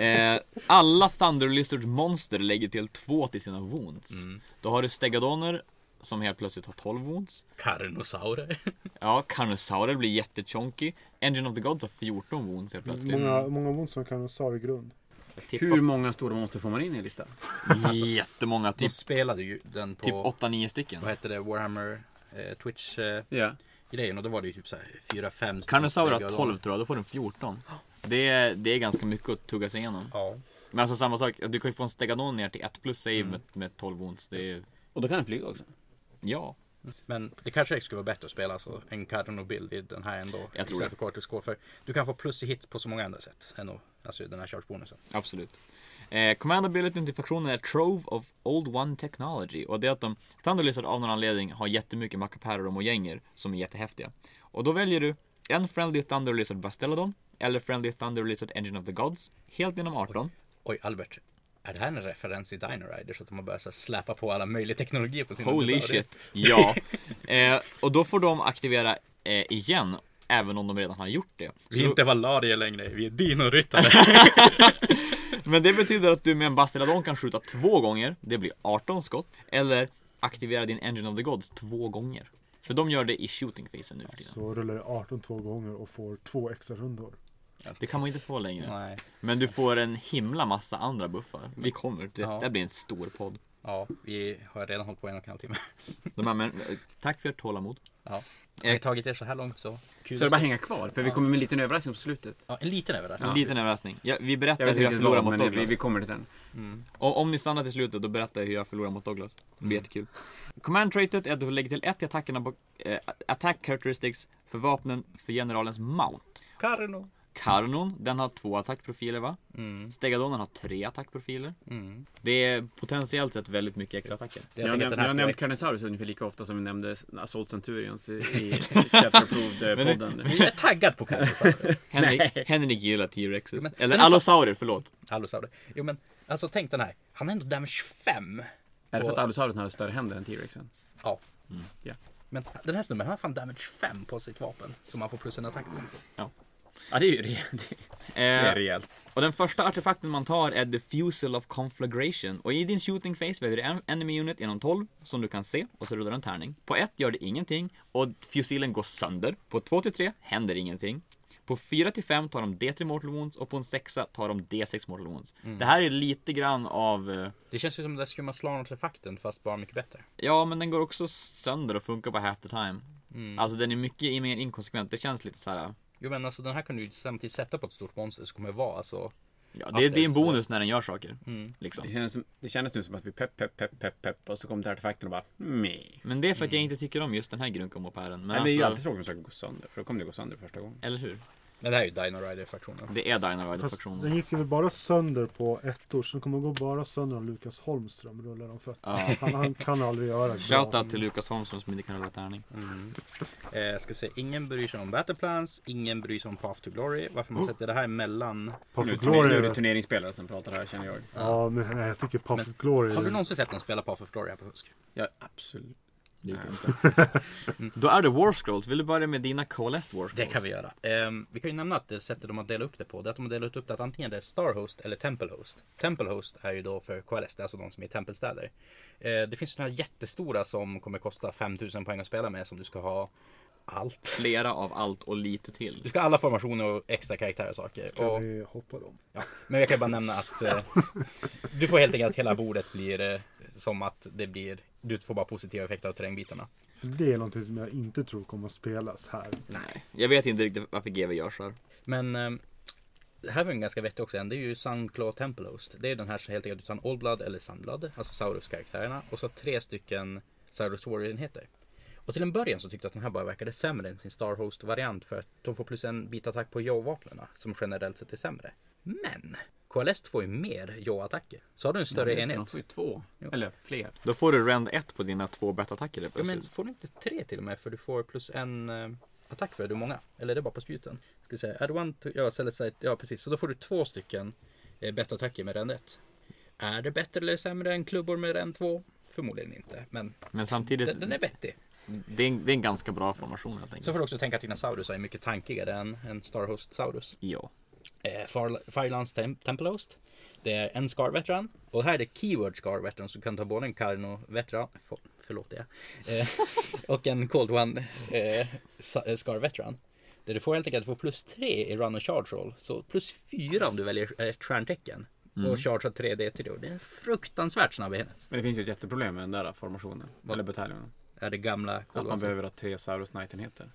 D: eh, alla Thunder Lizards monster lägger till två till sina wounds.
A: Mm.
D: Då har du Stegadoner som helt plötsligt har 12 wounds.
A: Karnosaurer.
D: Ja, Carnosaurer blir jättechonky. Engine of the Gods har 14 wounds helt plötsligt.
C: Många, många ont som kan ha i grund.
D: Jag tippar
B: Hur många stora monster får man in i listan?
D: Jättemånga,
A: De
D: typ,
A: spelade ju den Alltså, på,
D: typ 8-9 stycken.
A: vad hette det, Warhammer eh, Twitch-grejen.
B: Ja.
A: och då var det ju typ såhär 4-5
D: Carnosaur har 12 tror jag, då får den 14. Det är, det är ganska mycket att tugga sig igenom.
A: Ja.
D: Men alltså samma sak, du kan ju få en Stegadon ner till 1 plus save med, med 12 wounds. Det är,
B: Och då kan den flyga också.
D: ja.
A: Men det kanske skulle vara bättre att spela alltså, en Cardinal Bild i den här ändå.
D: tror
A: istället
D: det.
A: för Cortex Core. För du kan få plus i hit på så många andra sätt. Än att, alltså den här charge-bonusen.
D: Absolut. Eh, command abilityn till fraktionen är Trove of Old One Technology och det är att de Thunder Lizard av någon anledning har jättemycket mackapärer och mojänger som är jättehäftiga. Och då väljer du en Friendly Thunder Lizard Bastellodon eller Friendly Thunder Lizard Engine of the Gods helt inom 18.
A: Oj Albert, är det här en referens till Dino Riders? Att de har börjat så här, släpa på alla möjliga teknologier på sina
D: Holy
A: dinosaurier?
D: shit! Ja. Eh, och då får de aktivera eh, igen även om de redan har gjort det. Så
A: Vi är
D: då-
A: inte Valaria längre, vi är dinoryttare.
D: Men det betyder att du med en Bastelladon kan skjuta två gånger, det blir 18 skott. Eller aktivera din Engine of the Gods två gånger. För de gör det i shooting phasen nu för tiden.
C: Så rullar det 18 två gånger och får två extra rundor.
D: Det kan man inte få längre.
A: Nej,
D: Men du får en himla massa andra buffar. Vi kommer, det,
A: Ja.
D: det blir en stor podd.
A: ja, vi har redan hållit på en och en halv timme.
D: De här, men, eh, tack för ert tålamod.
A: Ja. Har vi tagit er så här långt så kul.
B: Så det är bara att hänga kvar, för vi kommer med en liten överraskning på slutet.
A: ja, en liten överraskning.
D: En liten överraskning. Ja, vi
B: Jag
D: berättar
B: vet
D: hur jag
B: inte vad,
D: förlorar
B: men
D: mot
B: det, vi,
D: Douglas.
B: vi kommer till den.
D: Och om ni stannar till slutet, då berättar jag hur jag förlorar mot Douglas. Det
A: Mm.
D: blir jättekul. Command traitet är att du får lägga till ett i attackerna på eh, attack characteristics för vapnen för generalens mount.
A: Karno.
D: Karnon, den har två attackprofiler va?
A: Mm.
D: Stegadonen har tre attackprofiler.
A: Mm.
D: Det är potentiellt sett väldigt mycket extra attacker.
A: Det, tänker
B: Jag, jag,
A: att
B: jag
A: den här
B: har
A: skulle
B: nämnt Carnosaurus ungefär lika ofta som vi nämnde Assault Centurions i, i Chapter Approved-podden.
A: vara- Jag är taggad på Karnosaurer.
D: Henrik, Henrik gillar T-Rexes.
A: Men-
D: Eller
A: men det är
D: allosaurer, förlåt.
A: Allosaurer. Jo men, alltså tänk den här. Han har ändå damage 5.
B: Är det för att
A: Och-
B: Alosaurusen hade större händer än T-Rexen?
A: Ja.
B: ja.
A: Men den här snubben han har fan damage 5 på sitt vapen. Som han får plus en attack på.
B: Ja, det är ju rejält.
D: Eh,
B: rejält.
D: och den första artefakten man tar är Diffusal of Conflagration. Och i din shooting phase väljer du en enemy unit genom 12 som du kan se och så rullar du en tärning. På 1 gör det ingenting och fusilen går sönder. På 2-3 händer ingenting. På 4-5 tar de D3 mortal wounds och på en 6 tar de D6 mortal wounds. Det här är lite grann av eh,
A: Det känns ju som den där skumma slan-artefakten fast bara mycket bättre.
D: Ja, men den går också sönder och funkar bara half the time. Alltså den är mycket mer inkonsekvent. Det känns lite så här.
A: Jo men alltså den här kan du ju samtidigt sätta på ett stort monster som kommer det vara alltså.
D: Ja,
A: Att
D: det,
A: det
D: det
A: är
D: är en
A: så-
D: bonus när den gör saker.
B: Det
D: Liksom.
B: kändes, som- det kändes nu som att vi pepp, pepp, pepp, pepp, pepp och så kom till artefakten och bara meh.
D: Men det är för att jag inte tycker om just den här grunkomopären. Men
B: Men det är ju alltid
D: alltså,
B: tråkigt om saker går sönder, för då kommer det gå sönder första gången.
D: eller hur?
A: Men det här är ju Dino Rider-fraktionen.
D: Det är Dino rider
C: Fast
D: fraktionen
C: den gick ju väl bara sönder på ett år. Så den kommer gå bara sönder om Lukas Holmström rullar om fötterna.
D: Ja.
C: Han, han kan aldrig göra det.
D: Shoutout till Lukas Holmström som inte kan rulla tärning.
A: Eh, ska se, ingen bryr sig om Battleplans, ingen bryr sig om Path to Glory. Varför man sätter det här emellan.
C: Puff
B: Nu,
C: of
B: turner- nu är
C: Glory.
B: det turneringsspelare som pratar här känner jag.
C: Ja, men nej, jag tycker Puff of Glory.
A: Har du någonsin sett någon spela Path of Glory här på Husk?
B: Ja, absolut.
D: Det är ju dumt. Då är det War Scrolls. Vill du börja med dina KLS War Scrolls?
A: Det kan vi göra. Ehm, vi kan ju nämna att det sättet de har delat upp det på, det är att de har delat upp det att antingen det är Starhost eller Templehost. Templehost är ju då för QLS, det är alltså de som är i tempelstäder. Eh, det finns några jättestora som kommer kosta 5000 poäng att spela med som du ska ha allt.
D: Flera av allt och lite till.
A: Du ska ha alla formationer och extra karaktärer och saker.
C: Kan
A: Och,
C: vi hoppa dem?
A: ja. Men jag kan bara nämna att eh, du får helt enkelt att hela bordet blir eh, som att det blir, du får bara positiva effekter av terrängbitarna.
C: För det är någonting som jag inte tror kommer att spelas här.
D: Nej, jag vet inte riktigt varför GW gör så här.
A: Men eh, det här var en ganska vettig också en. Det är ju Sunclaw Templehost. Det är den här som helt enkelt utan Oldblood eller Sunblood. Alltså Saurus-karaktärerna. Och så tre stycken Saurus Warrior-enheter. Och till en början så tyckte jag att den här bara verkade sämre än sin Starhost-variant. För att de får plus en bit attack på Jaw-vapnen. Som generellt sett är sämre. Men! KLS får ju mer Jaw-attacker. Så har du en större
B: De
A: enhet.
B: får ju två, eller fler.
D: Då får du rend 1 på dina två bettattacker helt
A: Ja, men
D: plötsligt.
A: får du inte tre till och med för du får plus en eh, attack för det. Hur många? Eller är det bara på spjuten? Ska vi säga, add one to, ja, Celestite, ja precis. Så då får du två stycken eh, bettattacker med rend 1. Är det bättre eller sämre än klubbor med ränn 2? Förmodligen inte, men
D: Men samtidigt,
A: den, den är vettig.
D: det, är en, det är en ganska bra formation helt
A: Så
D: enkelt.
A: får du också tänka att dina saurusar är mycket tankigare än, än Starhost Saurus.
D: Ja.
A: Eh, Far- Firelands Tem- Temple Host. Det är en Scar Veteran. Och här är det Keyword Scar Veteran så du kan ta både en Karno Veteran, för, förlåt det, eh, och en Cold One eh, Sa- eh, Scar Veteran. Där du får helt enkelt du får plus 3 i Run och Charge Roll. Så plus 4 om du väljer ett stjärntecken. Och Charge har 3D3 och det är en fruktansvärt snabb enhet.
B: Men det finns ju ett jätteproblem med den där formationen.
A: Vad?
B: Eller bataljonen.
A: Är det gamla
B: Att
A: Cold
B: man
A: Ones.
B: behöver ha tre Saurus Knight-enheter.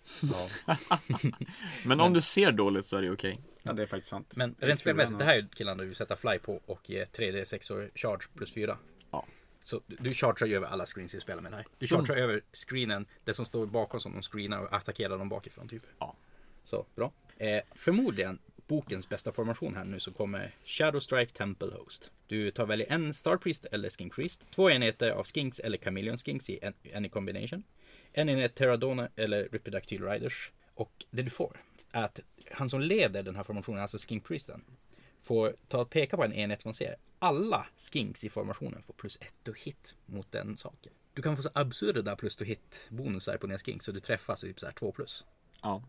D: Men om du ser dåligt så är det okej.
B: Ja, det är faktiskt sant.
A: Men
B: tror
A: rent spelmässigt,
B: jag
A: det här är killarna du vill sätta fly på och ge 3D 6 och charge plus 4.
D: Ja.
A: Så du- du chargear ju över alla screens i spelet med den här. Du chargear över screenen, det som står bakom som de screenar och attackerar dem bakifrån typ.
D: Ja.
A: Så bra. Eh, förmodligen bokens bästa formation här nu så kommer Shadow Strike Temple Host. Du tar välja en Star Priest eller Skink Priest, två enheter av Skinks eller Chameleon Skinks i en, any combination, en enhet Terradona eller Ripidactyl Riders och det du får är att han som leder den här formationen, alltså Skink Priesten, får ta och peka på en enhet som man ser. Alla skinks i formationen får plus ett to hit mot den saken. Du kan få så absurda plus to hit bonusar på dina skinks så du träffas typ så här 2 plus.
D: Ja.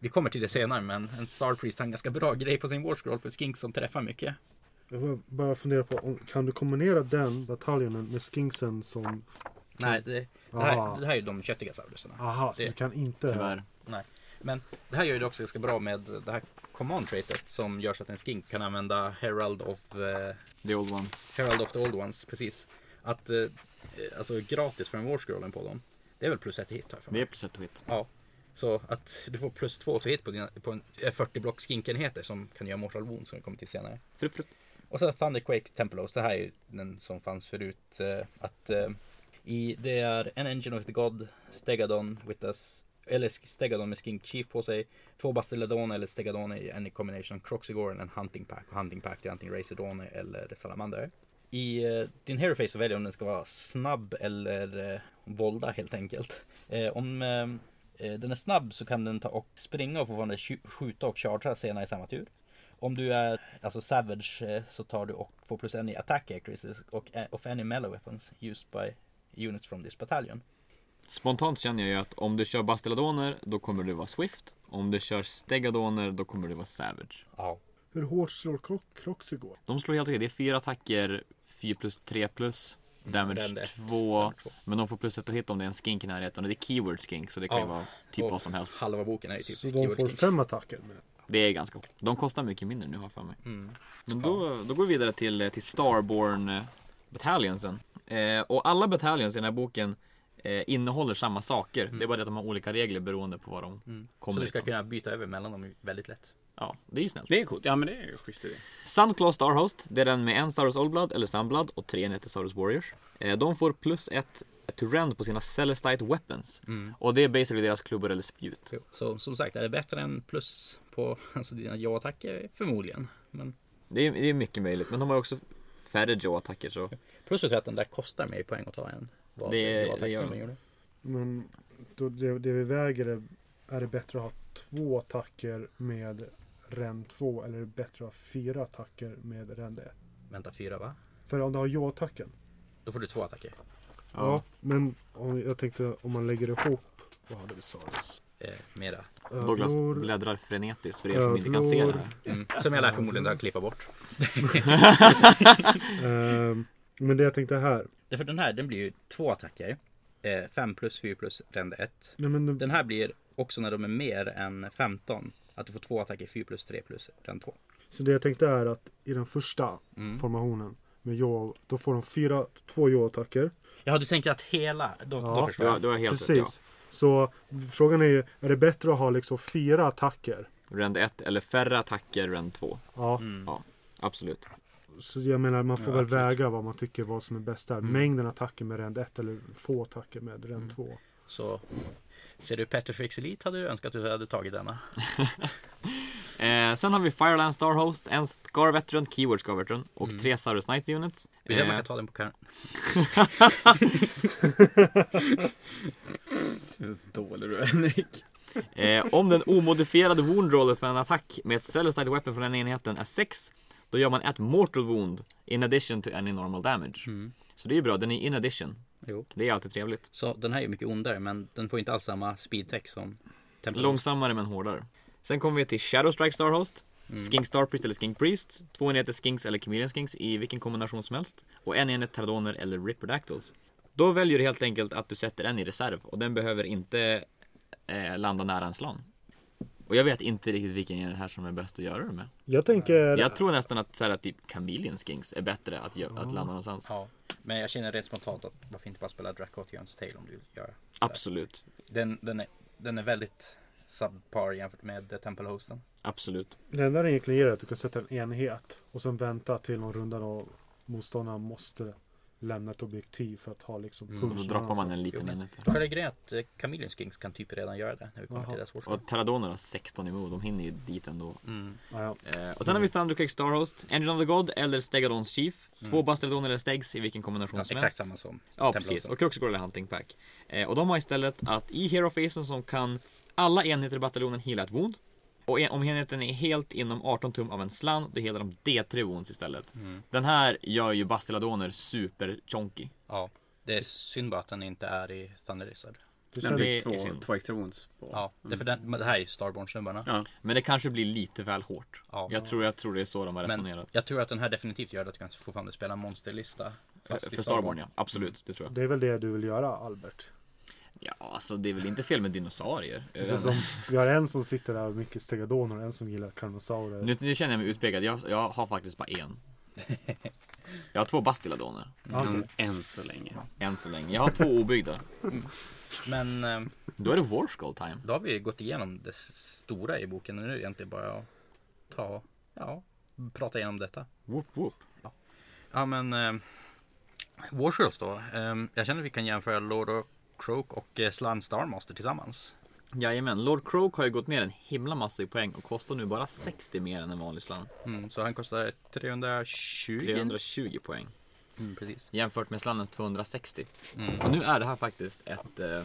A: Vi kommer till det senare men en Star Priest har en ganska bra grej på sin wardscroll för skinks som träffar mycket.
C: Jag får bara fundera på, om, kan du kombinera den bataljonen med skinksen som...
A: Nej, det, det, här,
C: Ah.
A: det här är ju de köttiga saurusarna.
C: Aha, så
A: Det-
C: du kan inte...
D: Tyvärr.
A: Nej. Men det här gör ju det också ganska bra med det här command traitet som gör så att en skink kan använda Herald of eh,
D: The old ones.
A: Herald of the Old Ones, precis. Att, eh, alltså gratis för en wardscrollen på dem. Det är väl plus ett hit här för
D: Det
A: mig.
D: är plus ett hit.
A: Ja. Så att du får plus två till hit på, dina, på en, eh, 40 block skinkenheter som kan göra mortal wound som vi kommer till senare.
D: Frupp, frupp.
A: Och sen Thunderquake Tempelos, det här är ju den som fanns förut. Eh, att eh, i, det är en Engine of the God, Stegadon with us, eller Stegadon med Skink Chief på sig, två Bastelladone eller Stegadone i any combination, Croxigore en Hunting Pack och Hunting Pack till antingen Razordone eller Salamander. I eh, din Hero Face så väljer du om den ska vara snabb eller eh, volda helt enkelt. Eh, om eh, eh, den är snabb så kan den ta och springa och fortfarande tju- skjuta och chargea senare i samma tur. Om du är alltså savage eh, så tar du och får plus en i attack characteristics och eh, of any melee weapons used by units from this battalion.
D: Spontant känner jag ju att om du kör Bastelladoner, då kommer du vara Swift. Om du kör Stegadoner, då kommer du vara Savage.
A: Ja.
C: Hur hårt slår Croc- Crocs igår?
D: De slår helt okej. Det är fyra attacker, 4 plus 3 plus.
A: den är
D: Damage
A: ett,
D: 2.
A: damage två.
D: Men de får plus ett att hitta om det är en skink i närheten. Och det är keyword skink, så det kan ju
A: Ja.
D: vara typ
A: Och
D: vad som helst.
A: Halva boken är ju typ
C: Så de får
A: keywordskinks.
C: fem attacker med
D: Det är ganska De kostar mycket mindre nu har jag för mig.
A: Mm.
D: Men då, då går vi vidare till, till Starborn eh, Battalionsen. Eh, och alla Battalions i den här boken eh, innehåller samma saker. Det är bara det att de har olika regler beroende på vad de
A: Mm. Så
D: kommer
A: du ska
D: ifrån.
A: kunna byta över mellan dem väldigt lätt.
D: Ja, det är ju snällt.
B: Det är coolt. Ja, men det är ju schysst idé.
D: Sunclaw Starhost, det är den med en Saurus Oldblood eller Sunblood och tre enheter Saurus Warriors. Eh, De får plus ett to rend på sina Celestite Weapons. Och det är basically deras klubbor eller spjut.
A: Så som sagt, är det bättre än plus på alltså, dina ja-attacker? Förmodligen. Men
D: Det är, det är mycket möjligt, men de har ju också färre Joe-attacker så
A: plus är att den där kostar mer poäng att ta än vad
D: Det- det
A: ja-attacker
D: gör
A: som
D: den.
A: den gjorde.
C: Men då, det, det vi väger är, är det bättre att ha två attacker med ren 2 eller är det bättre att ha fyra attacker med ren 1?
A: Vänta, fyra va?
C: För om du har ja-attacken.
A: Då får du två attacker.
C: Ja. Men om, jag tänkte om man lägger ihop. Vad hade vi Saurus?
A: Eh, mera.
D: Douglas
C: Ödlor,
D: bläddrar frenetiskt för er som inte kan se det här.
A: Mm. Som jag lär förmodligen att klippa bort.
C: ehm, men det jag tänkte här.
A: Därför den här, den blir ju två attacker. 5 plus 4 plus rände 1.
C: Nej, men,
A: Den här blir också när de är mer än 15. Att du får två attacker, 4 plus 3 plus rände 2.
C: Så det jag tänkte är att i den första
D: Mm.
C: formationen med ja, då får de fyra, två ja-attacker.
A: Ja, du tänker att hela... Då,
C: Ja.
A: då förstår
D: Du har,
A: jag.
D: du har helt rätt,
C: Precis. Så frågan är ju, är det bättre att ha liksom fyra attacker?
D: ja. Rend 1 eller färre attacker, rend 2.
C: Ja.
D: Ja, absolut.
C: Så jag menar, man får väl väga vad man tycker vad som är bäst
D: Mm.
C: där. Mängden attacker med rend 1 eller få attacker med rend 2.
A: Så ser du Petrifix Elite hade du önskat att du hade tagit denna.
D: Eh, sen har vi Fireland Starhost, en Scar Veteran, Keyword Scar Veteran och tre Saurus Knights Units.
A: Det är det man
D: Eh,
A: kan ta den på kan...
B: Dålig du är, Henrik.
D: Eh, om den omodifierade wound roller för en attack med ett Celestite Weapon från den enheten är 6 Då gör man ett mortal wound in addition to any normal damage.
A: Mm.
D: Så det är ju bra, den är in addition.
A: Jo.
D: Det är alltid trevligt.
A: Så den här är ju mycket ondare men den får inte alls samma speedtech som Temple
D: Långsammare men hårdare. Sen kommer vi till Shadow Strike Starhost. Skink Star Priest eller Skink Priest. Två enheter Skinks eller Chameleon Skinks i vilken kombination som helst. Och en enhet Tardoner eller Ripperdactyls. Då väljer du helt enkelt att du sätter en i reserv och den behöver inte eh, landa nära en slan. Och jag vet inte riktigt vilken enhet här som är bäst att göra det med.
C: Jag tänker...
D: Jag tror nästan att så här, typ Chameleon Skinks är bättre att, gö- att landa någonstans.
A: Ja, men jag känner rent spontant att varför inte bara spela Dracotians Tale om du gör det.
D: Absolut.
A: Den, den, är, den är väldigt subpar jämfört med eh, Temple Hosten.
D: Absolut.
C: Det enda den egentligen ger är att du kan sätta en enhet och sen vänta till någon runda då motståndaren måste lämna ett objektiv för att ha liksom
A: Mm,
D: Och då
C: punchen.
D: droppar man en
A: Jo,
D: liten
A: men-
D: enhet. där.
A: Själva grejen är att eh, Chameleon Skinks kan typ redan göra det när vi kommer
C: Jaha.
A: till deras årsdag.
D: Och Terradoner har 16 i move, de hinner ju dit ändå.
A: Mm.
C: Ja, ja.
D: Eh, och sen har vi Thundercake Starhost, Engine of the God eller Stegadons Chief. Två Bastidoner eller Stegs i vilken
A: Mm.
D: kombination
A: Ja,
D: som
A: exakt
D: helst.
A: samma som
D: Ja,
A: Temple
D: precis.
A: Hosten.
D: Och Croxicore eller Hunting Pack. Eh, och de har istället att i Hero Facen som kan alla enheter i bataljonen heala ett wound. Och en, om enheten är helt inom 18 tum av en slan, då helar de D3 wounds istället.
A: Mm.
D: Den här gör ju Bastiladoner super chonky.
A: Ja, det är synd bara att den inte är i Thunder Lizard.
C: Det
D: Men
B: Den
C: känns,
D: det
B: fick
D: är
B: två,
D: synd.
B: två extra wounds. På.
A: Ja, det, är för den, men det här är ju Starborn-snubbarna.
B: Ja.
D: Men det kanske blir lite väl hårt.
A: Ja.
D: Jag tror, jag tror det är så de har
A: Men
D: resonerat.
A: jag tror att den här definitivt gör att du kan fortfarande spela en monsterlista.
D: För
A: fast i Mm.
D: Starborn, Starborn ja, absolut. Det tror jag.
C: det är väl det du vill göra Albert?
D: Ja, alltså det är väl inte fel med dinosaurier. Jag
C: Det
D: vet
C: känns som,
D: inte.
C: vi har en som sitter där och mycket stegadoner och en som gillar karnosaurer.
D: Nu, nu känner jag mig utpekad. Jag, jag har faktiskt bara en. Jag har två bastiladoner.
C: Ja, okej.
B: Än, än så länge.
D: Än så länge. Jag har två obyggda.
A: Men eh,
D: Då är det Warskull time.
A: då har vi ju gått igenom det s- stora i boken. Nu är det egentligen bara att ta, ja, prata igenom detta.
D: Whoop, whoop.
A: Ja men eh, Warshields då. Eh, jag känner att vi kan jämföra Lord of Croak och eh, Slan Starmaster tillsammans.
D: Jajamän, Lord Croak har ju gått ner en himla massa i poäng och kostar nu bara 60 mer än en vanlig slant.
A: Mm, så han kostar 320.
D: 320 poäng.
A: Mm, precis.
D: Jämfört med slannens 260. Och nu är det här faktiskt ett... eh,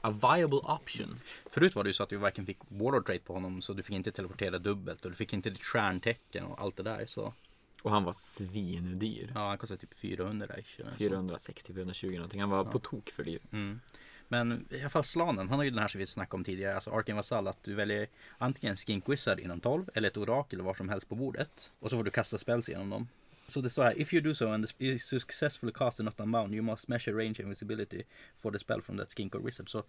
D: a viable option.
A: Förut var det ju så att du varken fick Warlord Trait på honom så du fick inte teleportera dubbelt och du fick inte ditt stjärntecken och allt det där. Så
D: Och han var svindyr.
A: ja, han kostar typ 400 ish. eller så.
D: 460-420 någonting. Han var på tok för dyr.
A: Men i alla fall Slanen, han har ju den här som vi snackade om tidigare, alltså Arkin Vasall, att du väljer antingen Skink Wizard inom 12 eller ett orakel var som helst på bordet. Och så får du kasta spells genom dem. Så det står här, if you do so and the is successfully cast not unbound you must measure range and visibility for the spell from that skink or wizard. Så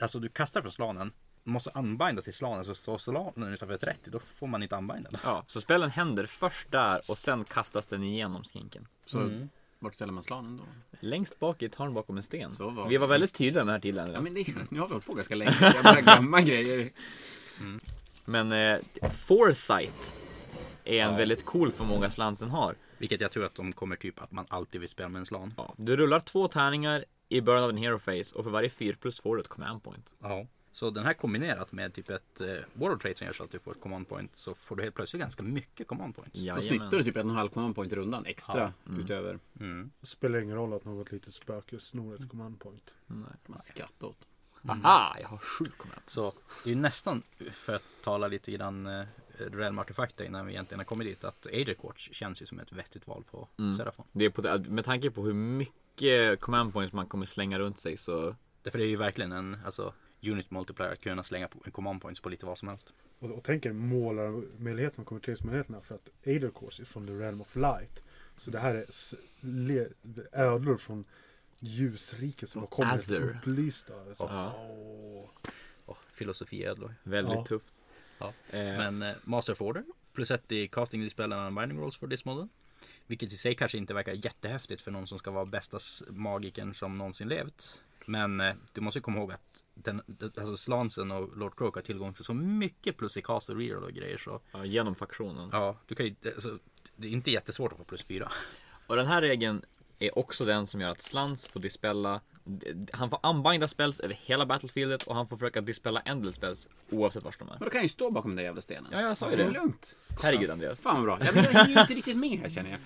A: alltså du kastar från slanen, måste unbinda till slanen, så står slanen utanför 30 då får man inte unbinda den.
D: Ja, så spelen händer först där och sen kastas den igenom skinken.
B: Så vart ställer man slanen då?
D: Längst bak i ett hörn bakom en sten.
B: Så var
D: Vi
B: det.
D: var väldigt tydliga med det här tidigare
B: Ja,
D: Andreas.
B: men det, nu har vi hållit på ganska länge. Jag börjar glömma grejer.
D: men... eh, foresight är en väldigt cool förmåga slansen har.
A: Vilket jag tror att de kommer typ att man alltid vill spela med en slan.
D: Ja. Du rullar två tärningar i början av en hero phase och för varje 4 plus får du ett command point.
A: Ja. Så den här kombinerat med typ ett eh, Warlord Trait som gör så att du får ett command point så får du helt plötsligt ganska mycket command points.
D: Jajamän.
B: Då snittar du typ en och en halv command point i rundan extra utöver.
C: Spelar ingen roll att något litet spöke snor ett command point.
B: Man skrattar åt.
D: Aha, jag har sju command.
A: Så det är ju nästan, för att tala lite grann eh, Realm Artefakta innan vi egentligen har kommit dit, att Ader Quartz känns ju som ett vettigt val på Serafon.
D: Det är på, med tanke på hur mycket command points man kommer slänga runt sig så...
A: Därför det är ju verkligen en alltså, unit multiplier att kunna slänga på- command points på lite vad som helst.
C: Och, och tänk er målarmöjligheterna och konverteringsmöjligheterna för att Ader Course är från the realm of light. Så det här är s- le, ödlor från ljusriket som har kommit
D: Azure.
C: upplysta. Så, åh.
A: Oh, filosofi ödlor.
D: Väldigt
C: Ja.
D: tufft.
A: Ja.
D: Eh,
A: Men eh, Master of Order, plus ett i casting dispel and binding rolls för this model. Vilket i sig kanske inte verkar jättehäftigt för någon som ska vara bästa s- magikern som någonsin levt. Men eh, du måste ju komma ihåg att den, den- alltså Slansen och Lord Croak har tillgång till så mycket plus i cast och reroll och grejer så
D: ja, genom faktionen.
A: Ja, du kan ju, alltså, det är inte jättesvårt att få plus fyra.
D: Och den här regeln är också den som gör att Slans får dispella han får unbinda spells över hela battlefieldet och han får försöka dispella endel spells oavsett vart de är.
B: Men då kan jag ju stå bakom den där jävla stenen.
D: Ja, jag sa ju
B: det. är
D: det.
B: lugnt.
D: Herregud Andreas.
B: Fan vad bra. Jag blir ju inte riktigt med här känner jag.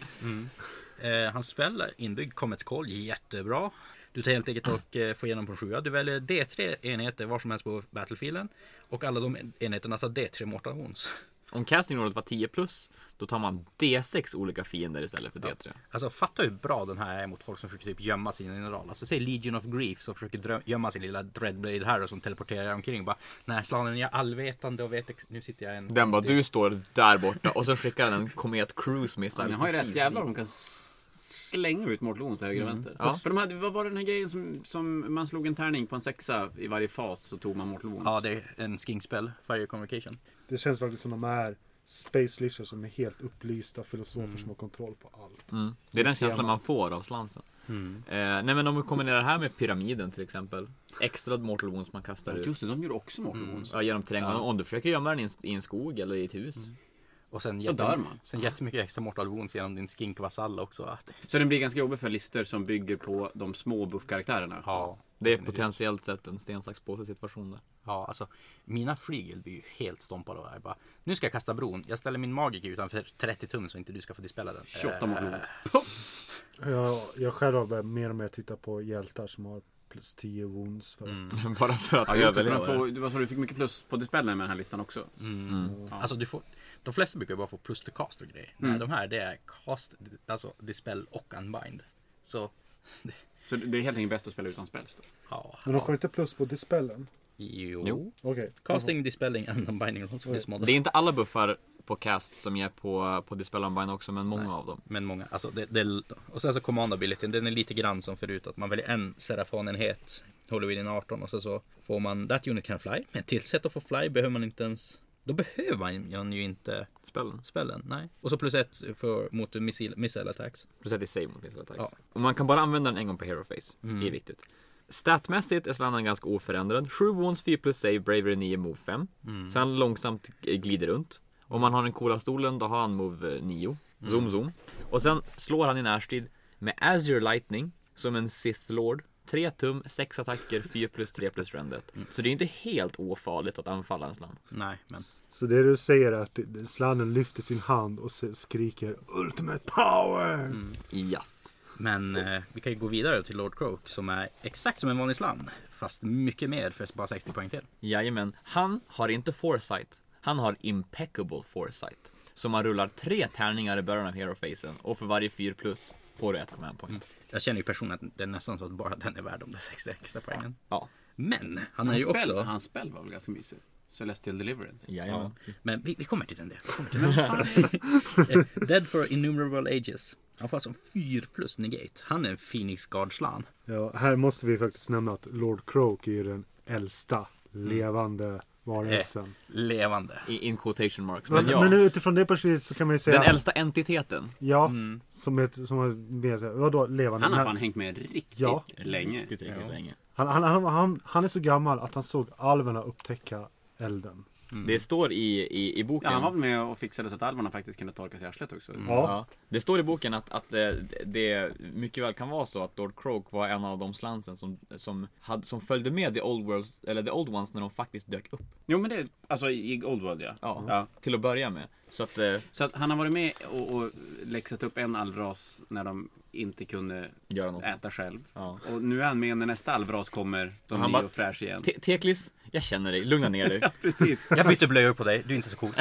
A: Eh, hans spel är inbyggd Comets Call, jättebra. Du tar helt enkelt och eh, får igenom på 7. Du väljer D3 enheter var som helst på Battlefielden. Och alla de enheterna tar D3 Mortal Wounds.
D: Om casting rollet var 10 plus, då tar man D6 olika fiender istället för D3.
A: Alltså fatta hur bra den här är mot folk som försöker typ gömma sin general. Alltså säg Legion of Grief som försöker drö- gömma sin lilla Dreadblade här och som teleporterar omkring. Bara, nej slanen jag är allvetande och vet ex- nu sitter jag i en...
D: Den bara, du står där borta och så skickar den en komet cruise missile.
B: Den har ju rätt
D: precis
B: jävlar
D: dit.
B: de kan s- slänga ut mårtlon till höger och vänster.
D: Ja.
B: För de hade, vad var den här grejen som, som man slog en tärning på en sexa i varje fas så tog man mårtlon?
A: Ja, det är en skingspel, Fire Communication.
C: Det känns faktiskt som de är space leisure som är helt upplysta filosofer som har kontroll på allt.
D: Mm. Det är den känslan man får av slansen.
B: Mm.
D: Eh, nej men om vi kombinerar det här med pyramiden till exempel. Extra mortal wounds man kastar
B: Ja,
D: ut.
B: Just det, de gjorde också mårtlon.
D: Ja, genom terrängen. Om du försöker gömma den i en, i en skog eller i ett hus.
A: Och sen,
B: dör man.
A: sen jättemycket extra mortal wounds genom din skinkvasall också. Att,
B: Så den blir ganska jobbig för lister som bygger på de små buffkaraktärerna.
A: ja,
D: Det är potentiellt sett en sten, sax, påse situation där.
A: ja, alltså mina flygel blir ju helt stompade av det här. Bara, nu ska jag kasta bron. Jag ställer min magiker utanför 30 tum så inte du ska få dispela den.
B: 28
A: Eh,
B: mårtlon.
C: Jag, jag själv har börjat mer och mer titta på hjältar som har plus 10 wounds. För att,
D: Bara för att
B: Ja, just det, för
D: överleva.
B: de får, det var så du fick mycket plus på dispellen med den här listan också.
A: Alltså du får, de flesta brukar bara få plus till cast och grejer.
C: Mm.
A: Nej, de här det är cast, alltså dispel och unbind. Så,
B: Så det är helt enkelt bäst att spela utan spells då.
A: ja.
C: men de får inte plus på dispellen?
A: Jo.
D: Jo.
C: Okej.
A: Casting, dispelling and unbinding är de som finns
D: Det är
A: moddade.
D: inte alla buffar på cast som ger på, på Dispel Unbind också, men många av dem.
A: Men många, alltså det, det, och sen så command abilityn, den är lite grann som förut att man väljer en serafonenhet, Halloween 18 och sen så får man that unit can fly. Men till sätt att få fly behöver man inte ens, då behöver man ju inte
D: Spelen.
A: spellen, nej. Och så plus ett för, mot missil, missile attacks.
D: Plus att det är save mot missile attacks.
A: Ja.
D: Och man kan bara använda den en gång per hero face. Det är viktigt. Statmässigt är Zlatan ganska oförändrad. 7 wounds, 4 plus save, bravery 9, move 5. Så han långsamt eh, glider runt. Om man har den coola stolen då har han move 9. Zoom zoom. Och sen slår han i närstrid med Azure Lightning som en Sith Lord. 3 tum, 6 attacker, 4 plus 3 plus rendet. Så det är inte helt ofarligt att anfalla en slant.
A: Nej, men.
C: Så det du säger är att sladden lyfter sin hand och se- skriker Ultimate power!
D: Yes.
A: Men eh, vi kan ju gå vidare till Lord Croak som är exakt som en vanlig slam. Fast mycket mer för bara 60 poäng till.
D: Jajamän, han har inte foresight. Han har impeccable foresight. Så man rullar tre tärningar i början av hero-facen och för varje 4 plus får du 1,1 poäng.
B: Mm.
A: Jag känner ju personligen att det är nästan så att bara den är värd de där 60 extra poängen.
D: Ja,
A: Men han är ju
B: Hans spell,
A: också...
B: hans spell var väl ganska mysig? Celestial Deliverance.
A: Ja,
D: jajamän.
A: men vi, vi kommer till den där. Vi kommer till den. Eh, Dead for innumerable ages. Han får alltså en 4 plus negate. Han är en Phoenix Guard slan.
C: Ja, här måste vi faktiskt nämna att Lord Croak är ju den äldsta levande
A: Eh.
C: varelsen.
A: Levande.
D: I, in quotation marks.
C: Men,
D: Men ja,
C: men utifrån det perspektivet så kan man ju säga...
D: den äldsta entiteten.
C: Ja, som, ett, som har mer så här, vadå levande?
B: Han har
C: Men
B: fan hängt med riktigt
C: Ja.
B: länge.
D: Riktigt, riktigt länge.
C: Han, han, han, han, han är så gammal att han såg alverna upptäcka elden.
D: Det står i, i,
B: Mm.
D: i
B: Ja,
D: boken.
B: han var väl med och fixade så att alverna faktiskt kunde torka sig i arslet också.
C: Ja.
D: Ja. Det står i boken att, att eh, det mycket väl kan vara så att Lord Croak var en av de slansen som, som, hade, som följde med the old, worlds, eller the old ones när de faktiskt dök upp.
B: Jo men det, alltså i Old World ja.
D: Ja,
B: Ja.
D: till att börja med. Så att eh,
B: Så att han har varit med och, och läxat upp en allras när de inte kunde
D: göra något.
B: äta själv.
D: Ja.
B: Och nu är han med när nästa allras kommer som
D: han
B: ny
D: bara-
B: och fräsch igen.
D: Te- Teklis, jag känner dig, lugna ner dig.
B: Precis.
A: Jag byter blöjor på dig. Du är inte så cool.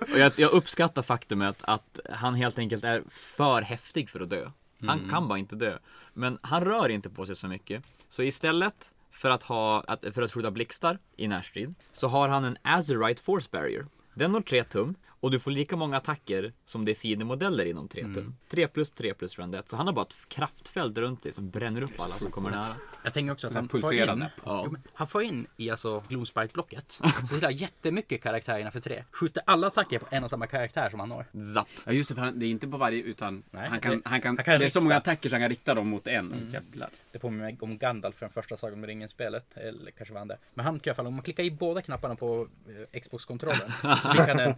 D: Och jag, jag uppskattar faktumet att han helt enkelt är för häftig för att dö. Han kan bara inte dö. Men han rör inte på sig så mycket. Så istället för att, ha, att, för att skjuta blixtar i närstrid så har han en Azerite Force Barrier. Den når 3 tum och du får lika många attacker som det är fiendemodeller inom 3 tum. 3 plus 3 plus round 1. Så han har bara ett kraftfält runt sig som bränner upp alla som kommer nära.
A: Jag tänker också att han får in,
B: pulserande.
D: Ja.
A: jo, men han får in i alltså Gloomspike-blocket. Så det är jättemycket karaktärerna för tre. Skjuter alla attacker på en och samma karaktär som han har.
D: Zapp!
B: Ja just det, för han, det är inte på varje utan
A: Nej,
B: han, kan,
A: det-
B: han, kan,
A: han kan
B: Det är så
A: rikta. Mm.
B: många attacker så han kan rikta dem mot en. Jävlar.
A: Det påminner mig om Gandalf från första Sagan om ringen-spelet. Eller kanske var han det. Men han kan i alla fall, om man klickar i båda knapparna på eh, Xbox-kontrollen. Så fick han en,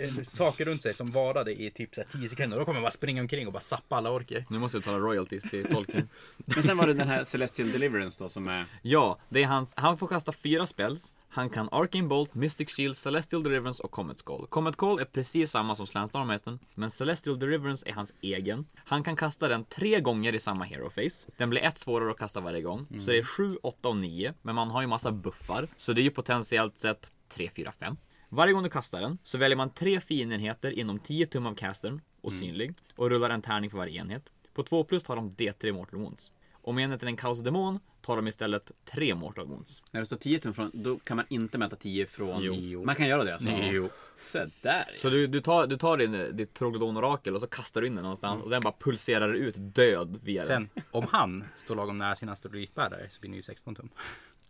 A: en saker runt sig som varade i typ så här 10 sekunder. Då kommer han bara springa omkring och bara sappa alla orker.
D: Nu måste jag betala royalties till Tolkien.
B: Men sen var det den här Celestial Deliverance då som är
D: Ja, det är hans, han får kasta fyra spells. Han kan Arcane Bolt, Mystic Shield, Celestial Deliverance och Comet Call. Comet Call är precis samma som Slanstormhästen, men Celestial Deliverance är hans egen. Han kan kasta den tre gånger i samma hero face. Den blir ett svårare att kasta varje gång. Så det är 7, 8 och 9. Men man har ju massa buffar, så det är ju potentiellt sett 3, 4, 5. Varje gång du kastar den så väljer man tre fiendenheter inom 10 tum av castern och synlig och rullar en tärning för varje enhet. På 2 plus tar de D3 mortal wounds. Om enheten är en kaosdemon tar de istället 3 mortal wounds.
B: När det står 10 tum från, då kan man inte mäta 10 från...
A: Jo.
B: Man kan göra det alltså?
A: Jo.
B: Så där.
D: Så du, du tar, du tar din, ditt troglodonorakel och så kastar du in den någonstans och sen bara pulserar det ut död via den.
A: Sen om han står lagom nära sin asteroidbärare så blir ni ju 16 tum.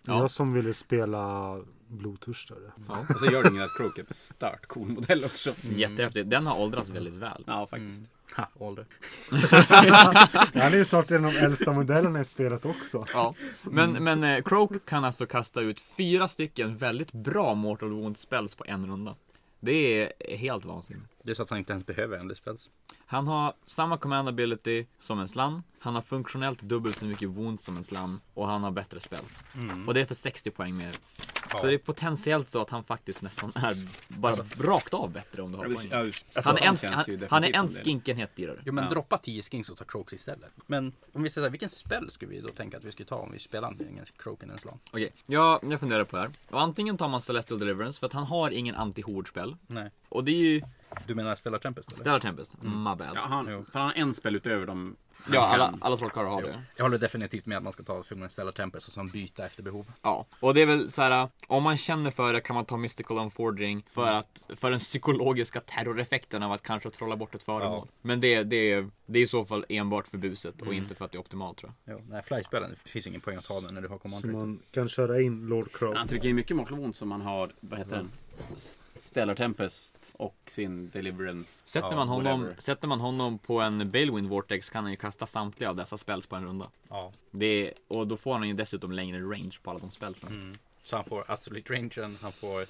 D: Ja.
C: Jag som ville spela blodtörstare.
B: Och så gör det inget att Croak är en stört cool modell också.
D: Jättehäftigt. Den har åldrats väldigt väl.
B: Ja, faktiskt.
A: Ha, ålder.
C: Han är ju snart en av de äldsta modellerna i spelet också.
D: Ja, men, men eh, Croak kan alltså kasta ut fyra stycken väldigt bra Mortal Wound spells på en runda. Det är helt vansinnigt.
A: Det är så att han inte ens behöver Elder Spells.
D: Han har samma command ability som en slan. Han har funktionellt dubbelt så mycket wound som en slan och han har bättre spells. Och det är för 60 poäng mer. Så det är potentiellt så att han faktiskt nästan är bara rakt av bättre om du har poäng.
B: alltså,
D: Han är en, han, han är en skinkenhet dyrare.
A: Jo men droppa 10 skins och ta Croaks istället. Men om vi säger så här, vilken spel skulle vi då tänka att vi skulle ta om vi spelar antingen Croak eller en slan?
D: Okej, jag, jag funderar på det här. Och antingen tar man Celestial Deliverance för att han har ingen anti-hord-spel.
A: Nej.
D: Och det är ju
A: Du menar Stellar Tempest eller?
D: Stellar Tempest, my bad.
B: Ja, han,
A: Jo.
B: för han har en spel utöver dem.
D: Ja, alla, alla trollkarlar har det.
A: Jag håller definitivt med att man ska ta förmodligen Stellar Tempest och sen byta efter behov.
D: Ja, och det är väl så här. om man känner för det kan man ta Mystical Unfordring
A: Mm.
D: för att, för den psykologiska terroreffekten av att kanske trolla bort ett föremål. Men det, det, är, det är i så fall enbart för buset och
A: Mm.
D: inte för att det är optimalt tror jag.
A: Jo, nej, flyspelen, det finns ingen poäng att ta den när du har
C: Så
A: command
C: man kan köra in Lord Crow.
B: Han trycker in mycket Mortal Wounds som han har, vad heter den? S- Stellar Tempest och sin Deliverance.
D: Sätter,
A: Ja,
D: man honom,
B: whatever.
D: sätter man honom på en Balewind Vortex kan han ju kasta samtliga av dessa spells på en runda.
A: Ja.
D: Det är, och då får han ju dessutom längre range på alla de spelsen.
A: Så han får Astrolite rangen, han får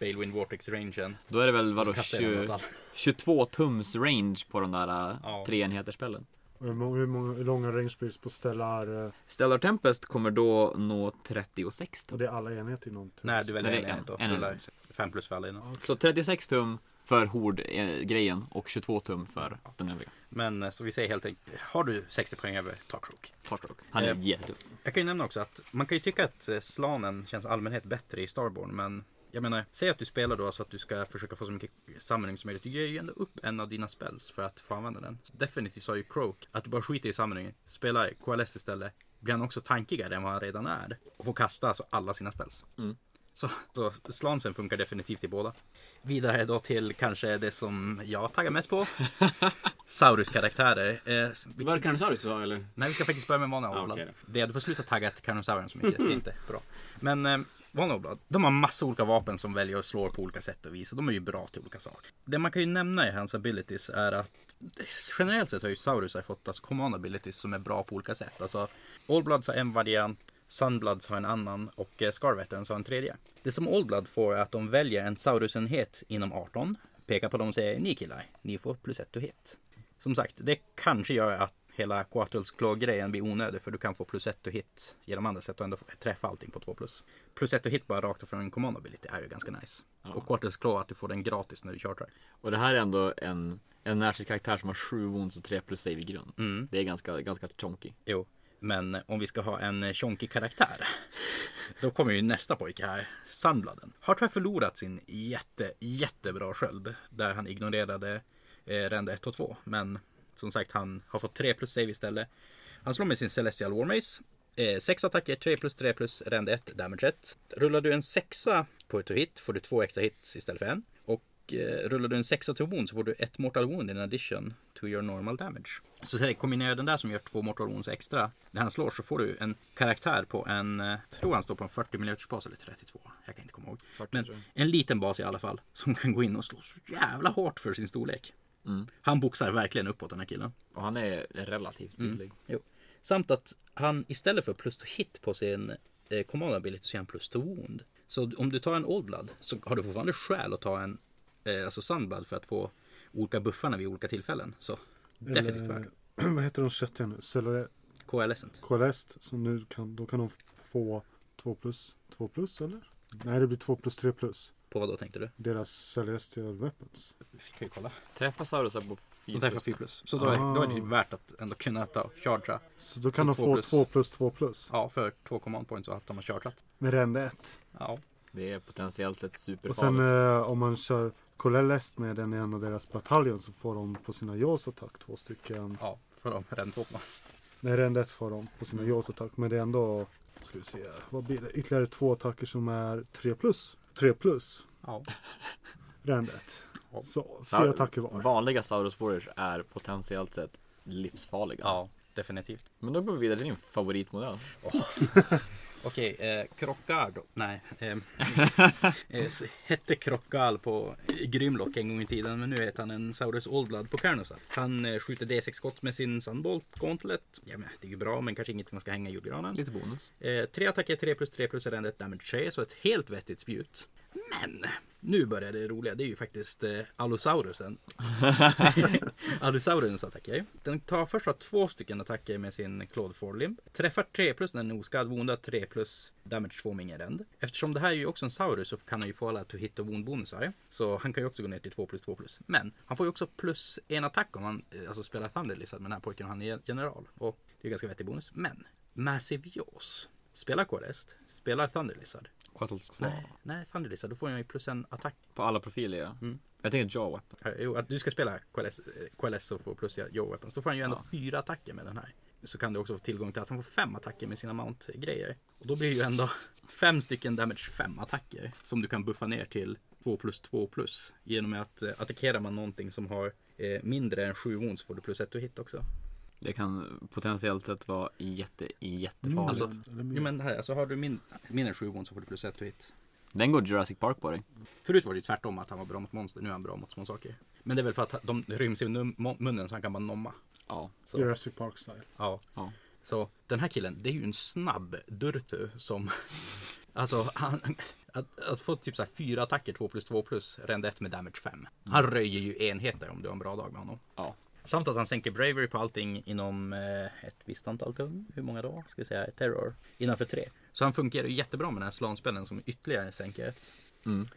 A: Balewind Vortex rangen.
D: Då är det väl vadå,
A: Så kastar jag den
D: 20,
A: alltså.
D: 22 tums range på de där äh,
A: Ja.
D: tre enheter spelen.
C: Och Hur, många, hur, många, hur långa range builds på stellar? eh,
D: Stellar Tempest kommer då nå 36
C: Och
D: tum.
C: det är alla enheter i någon typ? tur.
A: Nej, du väljer
D: Nej, det
A: en
D: är en-
A: enhet då.
D: en
A: Rullar
D: enhet.
A: Fem plus för alla enheter.
D: Så 36 tum för Hord-grejen och 22 tum för den övriga.
A: Men eh, så vi säger helt enkelt, har du 60 poäng över, ta Croak.
D: Partrock. Han är
A: Eh,
D: jättetuff.
A: Jag kan ju nämna också att man kan ju tycka att eh, slanen känns i allmänhet bättre i Starborn men jag menar, säg att du spelar då så att du ska försöka få så mycket samling som möjligt. Du ger ju ändå upp en av dina spells för att få använda den. Så definitivt sa ju Croak att du bara skiter i samlingen, spelar KLS istället, blir han också tankigare än vad han redan är och får kasta alltså alla sina spells. Så, så slansen funkar definitivt i båda. Vidare då till kanske det som jag taggar mest på. Saurus-karaktärer. Eh, vi-
B: Var det Carnosaurus du sa eller?
A: Nej, vi ska faktiskt börja med Vana
B: Ja,
A: Oblad.
B: okej
A: det, du får sluta tagga till Carnosauren så mycket. Det är inte bra. Men eh, Vana Oblad, de har massa olika vapen som väljer och slår på olika sätt och vis. Och de är ju bra till olika saker. Det man kan ju nämna i hans abilities är att generellt sett har ju Saurus fått alltså command abilities som är bra på olika sätt. Alltså Allbloods har en variant. Sunbloods har en annan och eh, Scarveterans har en tredje. Det som Allblood får är att de väljer en Saurusenhet inom 18, pekar på dem och säger ni killar, ni får plus ett to hit. Som sagt, det kanske gör att hela Quattuls grejen blir onödig för du kan få plus ett och hit genom andra sätt och ändå få- träffa allting på två plus. Plus ett och hit bara rakt från en command ability är ju ganska nice. Och Quattuls Claw att du får den gratis när du chartrar.
D: Och det här är ändå en, en närstridskaraktär som har 7 wounds och 3 plus save i grund.
A: Mm.
D: Det är ganska, ganska chonky.
A: Jo, men om vi ska ha en eh, chonkig karaktär. Då kommer ju nästa pojke här. Sandbladen. Har tyvärr förlorat sin jätte, jättebra sköld. Där han ignorerade eh, rända 1 och 2. Men som sagt, han har fått 3 plus save istället. Han slår med sin Celestial Warmace. 6 attacker, 3 plus 3 plus, ränd 1, damage 1. Rullar du en sexa på ett hit får du två extra hits istället för en. Och eh, rullar du en sexa till wound så får du ett mortal wound in addition to your normal damage. Så säg, kombinera den där som gör två mortal wounds extra. När han slår så får du en karaktär på en, eh, tror han står på en 40 mm bas eller 32. Jag kan inte komma ihåg. Men en liten bas i alla fall. Som kan gå in och slå så jävla hårt för sin storlek. Han boxar verkligen uppåt den här killen.
D: Och han är relativt billig.
A: Jo. Samt att han istället för plus to hit på sin eh, command ability så är han plus to wound. Så om du tar en old blood så har du fortfarande skäl att ta en eh, alltså sandblood för att få olika buffarna vid olika tillfällen. Så definitivt värd.
C: Eh, Vad heter de köttiga nu? Celler-
A: Coalescent.
C: Coalesced. Så nu kan, då kan de få 2 plus 2 plus eller? Nej det blir 2 plus 3 plus.
A: På vad då tänkte du?
C: Deras Celestial Weapons.
A: Fick vi kolla.
D: Träffar Saurusar på
A: De
D: 4
A: träffar 4 plus. Så då är, då är det ju värt att ändå kunna ta chargea.
C: Så då
A: Så
C: kan de
A: två
C: få
A: plus.
C: 2 plus 2 plus.
A: Ja, för två command points och att de har chargeat.
C: Med rände 1.
A: Ja.
D: Det är potentiellt sett
C: Och sen
D: superfarligt.
C: eh, om man kör Colellest med den i en av deras bataljon så får de på sina jaws attack två stycken.
A: Ja, för de räddhopparna.
C: Nej, rendet får de på sina jaws attack. Men det är ändå, ska vi se, vad blir det? Ytterligare två attacker som är 3 plus. 3 plus
A: Ja.
C: rendet.
A: Ja.
C: Så
D: Sa-
C: fyra attacker var.
D: Vanliga Saurus Warriors är potentiellt sett livsfarliga.
A: ja, definitivt.
D: Men då går vi vidare till din favoritmodell.
A: Okej, eh, Krockardo. Nej. ehm, Eh, s- hette Krockarl på Grymlock en gång i tiden, men nu heter han en Saurus Oldblood på Carnosaur. Han eh, skjuter D6-skott med sin Sunbolt Gauntlet. Ja, men det är ju bra, men kanske inget man ska hänga i julgranen.
D: Lite bonus.
A: Eh, tre attacker, 3 plus 3 plus är ändå ett damage 3, så ett helt vettigt spjut. Men nu börjar det roliga, det är ju faktiskt eh, Allosaurusen. Allosaurens attacker. Den tar först av två stycken attacker med sin Claude Forlimb. Träffar 3 plus när den är oskadd, vondar 3 plus damage 2 med ingen rend. Eftersom det här är ju också en Saurus så kan han ju få alla to hit och wound bonusar. Så han kan ju också gå ner till 2 plus 2 plus. Men han får ju också plus en attack om han eh, alltså spelar Thunder Lizard med den här pojken och han är general. Och det är ganska vettig bonus. Men Massive Jaws. Spela Corest, spela Thunder Lizard.
D: Quattles
A: Nej, nej Thunder Lizard, då får jag ju plus en attack.
D: På alla profiler ja. Jag tänker jaw weapon.
A: Eh, Jo, att du ska spela QLS, eh, QLS och få plus Joe Weapons. Då får han ju ändå fyra attacker med den här. Så kan du också få tillgång till att han får fem attacker med sina Mount-grejer. Och då blir det ju ändå fem stycken damage fem attacker som du kan buffa ner till 2 plus 2 plus. Genom att eh, attackerar man någonting som har eh, mindre än 7 wounds får du plus 1 och hit också.
D: Det kan potentiellt sett vara jätte, jättefarligt.
A: Alltså,
C: Eller mer.
A: jo, men här, alltså har du min, mindre än 7 wounds så får du plus 1 och hit.
D: Den går Jurassic Park på dig.
A: Förut var det ju tvärtom att han var bra mot monster, nu är han bra mot små saker. Men det är väl för att ha- de ryms i num- munnen så han kan bara nomma.
D: Ja.
A: Så.
C: Jurassic Park style.
A: Ja.
D: Ja.
A: Så den här killen, det är ju en snabb Durtu som... Alltså, han, att, att få typ så här fyra attacker, 2 plus 2 plus, rända ett med damage 5. Han röjer ju enheter om du har en bra dag med honom.
D: Ja.
A: Samt att han sänker bravery på allting inom eh, ett visst antal tum. Hur många då? Ska vi säga terror. Innanför tre. Så han funkar ju jättebra med den här slanspelen som ytterligare sänker ett.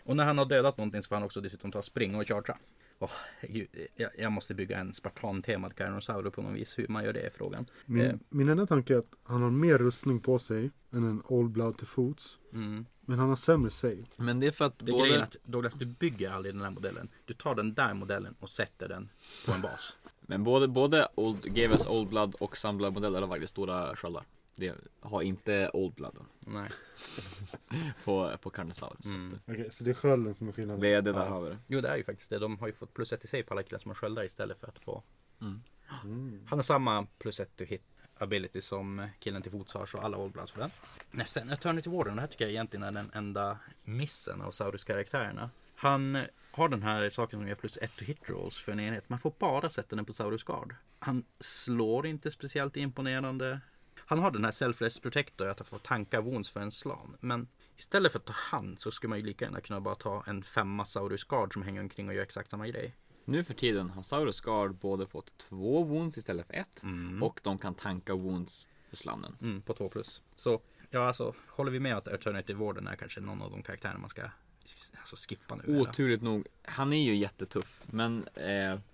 A: Och när han har dödat någonting så får han också dessutom ta spring och chargea. Åh, gud, jag, jag måste bygga en spartantemad Carnosauro på något vis. Hur man gör det är frågan.
C: Min,
A: Eh,
C: min enda tanke är att han har mer rustning på sig än en Old Blood till fots. Men han har sämre save.
D: Men det är för att
A: Det är
D: både...
A: grejen att Douglas, du bygger aldrig den här modellen. Du tar den där modellen och sätter den på en bas.
D: Men både, både old, Gavis Old Blood och Sunblood modeller har faktiskt stora sköldar. Det har inte Old Blooden
A: Nej.
D: på, på Carnosaur. Så
A: Mm.
D: att
C: Okej, så det är skölden som är skillnaden.
D: det, det där har vi det.
A: Jo, det är ju faktiskt det. De har ju fått plus ett i sig på alla killar som har sköldar istället för att få... Han har samma plus ett to hit ability som killen till fots har, så alla Old Bloods för den. Men sen Eternity Warden, det här tycker jag egentligen är den enda missen av Saurus-karaktärerna. Han har den här saken som ger plus ett to hit rolls för en enhet. Man får bara sätta den på Saurus Guard. Han slår inte speciellt imponerande. Han har den här selfless protector att han får tanka wounds för en slan. Men istället för att ta hand så skulle man ju lika gärna kunna bara ta en femma Saurus Guard som hänger omkring och gör exakt samma grej.
D: Nu för tiden har Saurus Guard både fått två wounds istället för ett och de kan tanka wounds för slammen.
A: Mm, på 2 plus. Så ja, alltså håller vi med att Alternative Warden är kanske någon av de karaktärer man ska alltså, skippa nu. eller?
D: Oturligt nog, han är ju jättetuff men eh,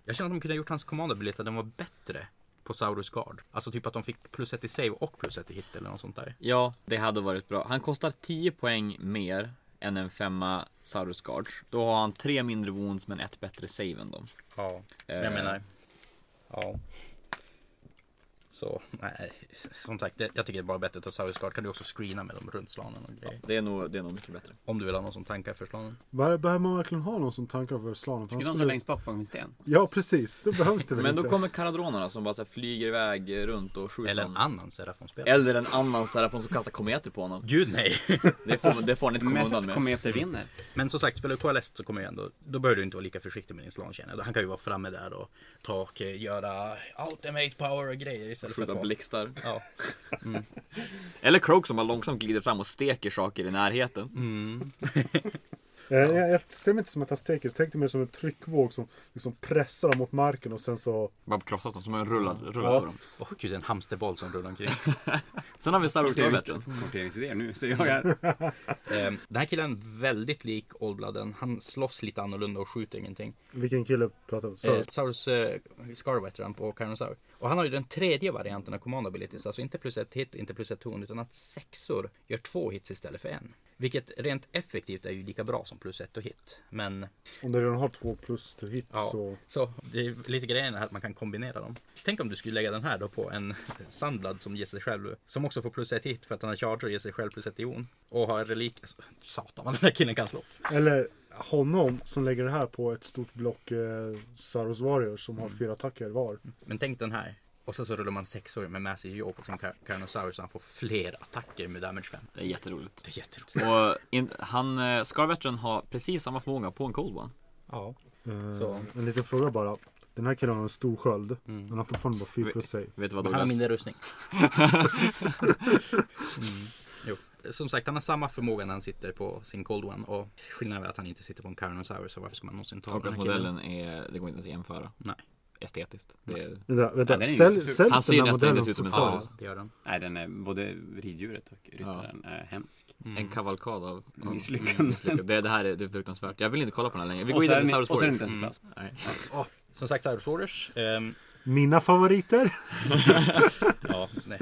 A: Jag känner att de kunde ha gjort hans commandabilitet att den var bättre på Saurus Guard. Alltså typ att de fick plus ett i save och plus ett i hit eller något sånt där.
D: ja, det hade varit bra. Han kostar 10 poäng mer än en femma Saurus Guard. Då har han tre mindre wounds men ett bättre save än dem.
A: Ja,
D: Eh.
A: jag menar. Ja. Så nej, som sagt, det, jag tycker det är bara bättre att ta Saurus Guard. Kan du också screena med dem runt slanen och grejer.
D: Det är nog, det är nog mycket bättre.
A: Om du vill ha någon som tankar för slanen.
C: Bör- Behöver man verkligen ha någon som tankar för slanen? För han
B: Skulle han
C: skulle-
B: stå längst bak bakom en sten?
C: Ja, precis. Då behövs det väl
D: Men
C: inte.
D: då kommer karadronerna som bara så här flyger iväg runt och skjuter
A: Eller en
D: honom.
A: annan Serafonspelare.
D: Eller en annan Serafon som kastar kometer på honom.
A: Gud nej!
D: Det får, det får han inte komma undan
B: Mest
D: med.
B: kometer vinner.
A: Men som sagt, spelar du KLS så kommer jag ändå, då behöver du inte vara lika försiktig med din slan känner jag. Han kan ju vara framme där och ta och eh, göra ultimate power och grejer istället för att
D: Skjuta
A: vara...
D: blixtar.
A: Ja.
D: Eller Croak som bara långsamt glider fram och steker saker i närheten.
C: Mm. Eh, jag, jag ser mig inte som att han steker. Jag tänkte mer som en tryckvåg som liksom pressar dem mot marken och sen så...
D: Bara krossat dem som en rullad, rullad
C: Ja.
D: på dem.
A: Åh gud, en hamsterboll som rullar omkring.
D: Sen har vi Saurus Corvetten.
B: Korteringsidéer nu. Så jag är...
A: Ehm, Den här killen är väldigt lik Oldblooden. Han slåss lite annorlunda och skjuter ingenting.
C: Vilken kille pratar om?
A: Eh,
C: Saurus?
A: Saurus eh, Scarveteran på Carnosaur. Och han har ju den tredje varianten av command abilities. Alltså inte plus ett hit, inte plus ett torn, utan att sexor gör två hits istället för en. Vilket rent effektivt är ju lika bra som plus ett och hit. Men
C: Om du redan har två plus till hit
A: Ja.
C: så...
A: så det är lite grejen är att man kan kombinera dem. Tänk om du skulle lägga den här då på en Sandblad som ger sig själv, som också får plus ett hit för att han har charger och ger sig själv plus ett i on. Och har en relik. Alltså, Satan vad den här killen kan slå.
C: Eller honom som lägger det här på ett stort block eh, Saros Warriors som
D: Mm.
C: har fyra attacker var.
A: Men tänk den här. Och sen så rullar man sexor med Massive Jaw på sin Car- Carnosaurus så han får fler attacker med damage fem.
D: Det är jätteroligt.
A: Det är jätteroligt.
D: Och in, han, eh, Scar Veteran har precis samma förmåga på en Cold One.
A: Ja.
D: Mm.
C: Eh,
A: Så.
C: En liten fråga bara. Den här killen har en stor sköld. Men han har fortfarande bara fyra
D: Mm. Vi-
C: plus sig.
D: Vet du vad
A: Men han har
D: Douglas?
A: mindre rustning. mm. Jo. Som sagt, han har samma förmåga när han sitter på sin Cold One. Och skillnaden är att han inte sitter på en Carnosaurus. Så varför ska man någonsin ta
D: Och
A: den
D: att
A: här killen?
D: modellen är, det går inte ens att jämfara
A: Nej.
D: estetiskt. Det är,
C: Vänta, vänta.
B: den är ju
C: Sälj,
B: jätteful.
C: säljs
D: Han ser
C: den här
D: nästan
C: modellen
D: inte ut som en
C: fortfarande?
D: Saurus.
A: Ja, det gör den.
B: Nej, den är både riddjuret och ryttaren är hemsk.
D: En kavalkad av, av
B: Mm. Misslyckanden.
D: misslyckanden. Det, det här är, det är fruktansvärt. Jag vill inte kolla på den här längre. Vi
B: Och
D: går
B: så är
D: vidare
B: den-
D: till Saurus Mm.
B: och så är den
D: Warrior.
B: inte ens plast.
D: Nej.
A: Som sagt, Cyrus Orders. ehm,
C: Mina favoriter?
A: ja, nej.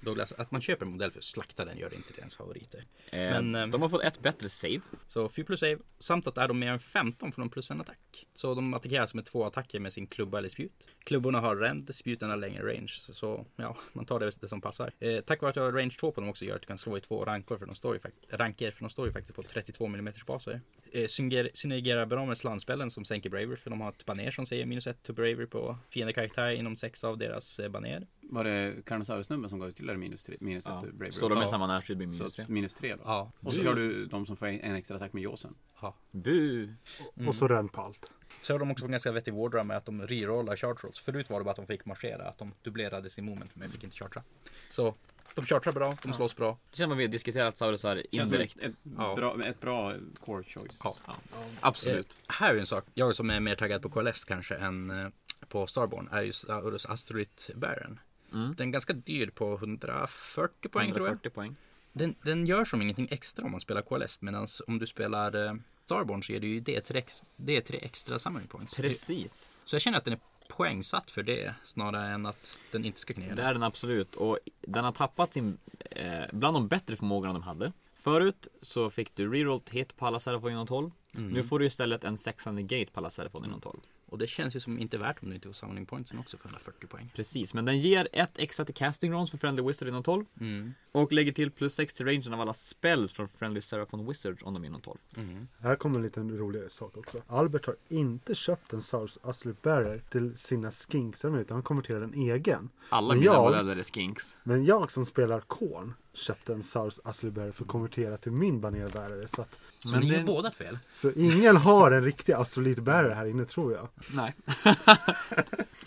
A: Douglas, att man köper en modell för att slakta den gör det inte till ens favoriter.
D: Eh,
A: Men, ehm,
D: de har fått ett bättre save.
A: Så 4 plus save, samt att är de mer än 15 får de plus en attack. Så de attackeras med två attacker med sin klubba eller spjut. Klubborna har ränd, spjuten har längre range. Så ja, man tar det, det som passar. Eh, tack vare att jag har range 2 på dem också gör att du kan slå i två rankor för de står ju, fakt- ranker, för de står ju faktiskt på 32 mm baser. Eh, synger- synergerar bra med slanspellen som sänker bravery för de har ett baner som säger minus 1 to bravery på fiendekaraktär inom sex av deras eh, baner.
B: Var det Carnosaurus-snubben som gav ytterligare minus tre? Minus ett
D: Ja.
B: ur Bravery?
D: Står de med
A: Ja.
D: samma närskydd blir minus
B: Så
D: tre.
B: att minus tre då.
A: Ja.
B: Och så kör du de som får en extra attack med Jawsen.
D: Bu! Mm.
C: Och så ränd på allt.
A: Så har de också fått ganska vettig wardra med att de rerollar charge rolls. Förut var det bara att de fick marschera, att de dubblerade sin moment men fick inte chartra. Så de chartrar bra, de slåss bra.
D: Det känns som att vi har diskuterat saurusar
B: Känns som
D: indirekt.
B: Ett, ett,
A: Ja.
B: bra, ett bra core choice.
A: Ja. Eh,
D: Absolut.
A: här är en sak, jag som är mer taggad på KLS kanske än eh, på Starborn är ju Saurus Asteroid Baron. Den är ganska dyr på 140 poäng tror jag.
D: 140 poäng.
A: Den, den gör som ingenting extra om man spelar KLS medan om du spelar eh, Starborn så ger det ju D3, ex- D3 extra summoning points.
D: Precis.
A: Så jag känner att den är poängsatt för det snarare än att den inte ska kunna göra
D: Det
A: det.
D: är den absolut och den har tappat sin, eh, bland de bättre förmågorna de hade. Förut så fick du reroll till hit på alla Serafon inom 12.
A: Mm.
D: Nu får du istället en sexande gate på alla Serafon inom 12.
A: Och det känns ju som inte värt om du inte får summoning pointsen också för 140 poäng.
D: Precis, men den ger ett extra till casting rounds för Friendly Wizard inom 12.
A: Mm.
D: Och lägger till plus 6 till rangen av alla spells från Friendly Serafon Wizards om de är inom 12.
A: Mm.
C: Här kommer en liten rolig sak också. Albert har inte köpt en Saurus Astley Bearer till sina skinksar utan han konverterade en egen.
D: Alla
C: Men
D: mina
C: jag-
D: modeller är skinks.
C: Men jag som spelar Korn köpte en Saurus Astley Bearer för att konvertera till min banerbärare. Så, att,
A: Så
D: Men
A: ni
D: det-
A: är båda fel.
C: så ingen har en riktig astrolitbärare här inne tror jag.
D: Nej.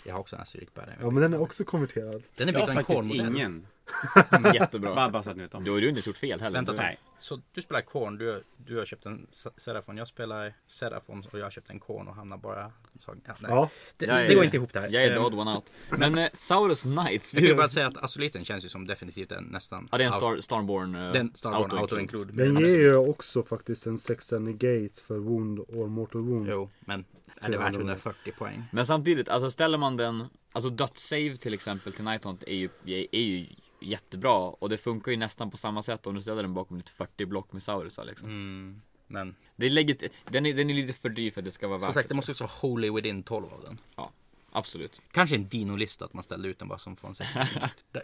A: Jag har också en asteroid på
C: Ja men den är också konverterad.
A: Den är
B: Jag
A: byggd
B: har
A: av en
B: faktiskt
A: kornmodell.
B: ingen. Bara,
D: Jättebra.
B: bara så att ni vet om.
D: Då har du inte gjort fel heller.
A: Mm, Vänta,
D: Du-
A: nej. Så du spelar korn, du, du har köpt en Se- Serafon. Jag spelar Serafon och jag har köpt en korn och hamnar bara... Ja, nej.
C: Ja,
A: Det,
D: Jag är-
A: det går inte ihop det här.
D: Jag är the
A: Ehm,
D: odd one out. Men eh, Saurus Knights.
A: Jag kan ju bara säga att Astroliten känns ju som definitivt en nästan...
D: Ja, det är en
A: out-
D: Star, Starborn eh,
A: Den Starborn
D: auto-include.
A: auto-include. Alltså,
C: den
A: Absolut.
C: ger ju också faktiskt en sexa negate för Wound or Mortal Wound.
A: Jo, men är det värt 140 poäng?
D: Men samtidigt, alltså ställer man den, alltså dödssave till exempel till Nighthaunt är ju, är ju jättebra och det funkar ju nästan på samma sätt om du ställer den bakom ditt 40 block med saurusar liksom.
A: Mm. Men
D: Det är legit, den, är, den är lite för dyr för att det ska vara
A: som
D: värt
A: sagt, det måste också vara Holy Within 12 av den.
D: Ja, absolut.
A: Kanske en dinolista att man ställde ut den bara som från 60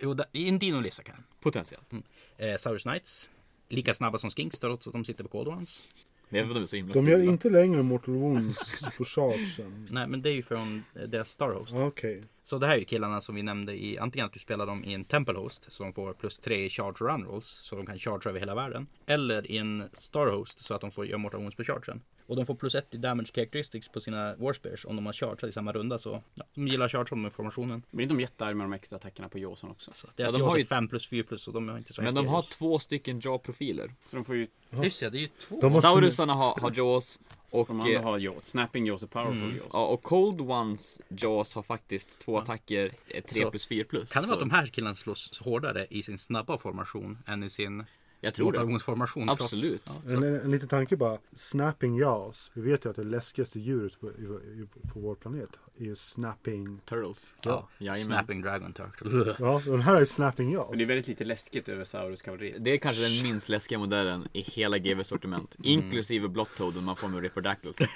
A: Jo, där- i en dinolista kan jag.
D: Potentiellt.
A: Eh, Saurus Knights. Lika snabba som Skinks trots att de sitter på Cold Ones.
D: Det är för att de är så himla
C: De gör
D: fula.
C: inte längre Mortal Wounds på chargen.
A: Nej men det är ju från eh, deras Starhost.
C: Okej.
A: Så det här är ju killarna som vi nämnde i antingen att du spelar dem i en Temple Host så de får plus 3 i charge run rolls så de kan charge över hela världen. Eller i en Starhost så att de får göra mortal wounds på chargen. Och de får plus 1 i damage characteristics på sina Warspears om de har chargeat i samma runda så ja, de gillar charge som formationen.
B: Blir inte de jättearga med de extra attackerna på Jawsen också?
A: Så deras
D: de
A: ja,
D: har
A: har
D: ju-
A: 5 plus 4 plus så de har inte så
D: Men de
A: häftiga
D: har
A: jaws.
D: två stycken jaw-profiler.
B: Så de får ju,
A: Just ja, det är ju två.
C: De har
D: Saurusarna har, har jaws och,
B: de andra
D: eh,
B: har Jaws. Snapping Jaws och Powerful Jaws.
D: Mm. ja, och Cold Ones jaws har faktiskt två attacker, 3
A: Så-
D: plus 4 plus.
A: Kan det vara
D: så-
A: att de här killarna slåss hårdare i sin snabba formation än i sin
D: Jag tror det.
A: Rotationsformation trots.
D: Absolut.
A: Ja.
C: En, en liten tanke bara. Snapping jaws. Vi vet ju att det läskigaste djuret på, i- i- på vår planet är ju snapping.
D: Turtles.
C: Ja.
D: jajamän.
A: Snapping Dragon Turtle.
C: Ja, den här är ju snapping jaws.
B: Men det är väldigt lite läskigt över Saurus kavalleri.
D: Det är kanske den minst läskiga modellen i hela GVs sortiment.
A: Mm.
D: Inklusive Blottoaden man får med Reprodactyls.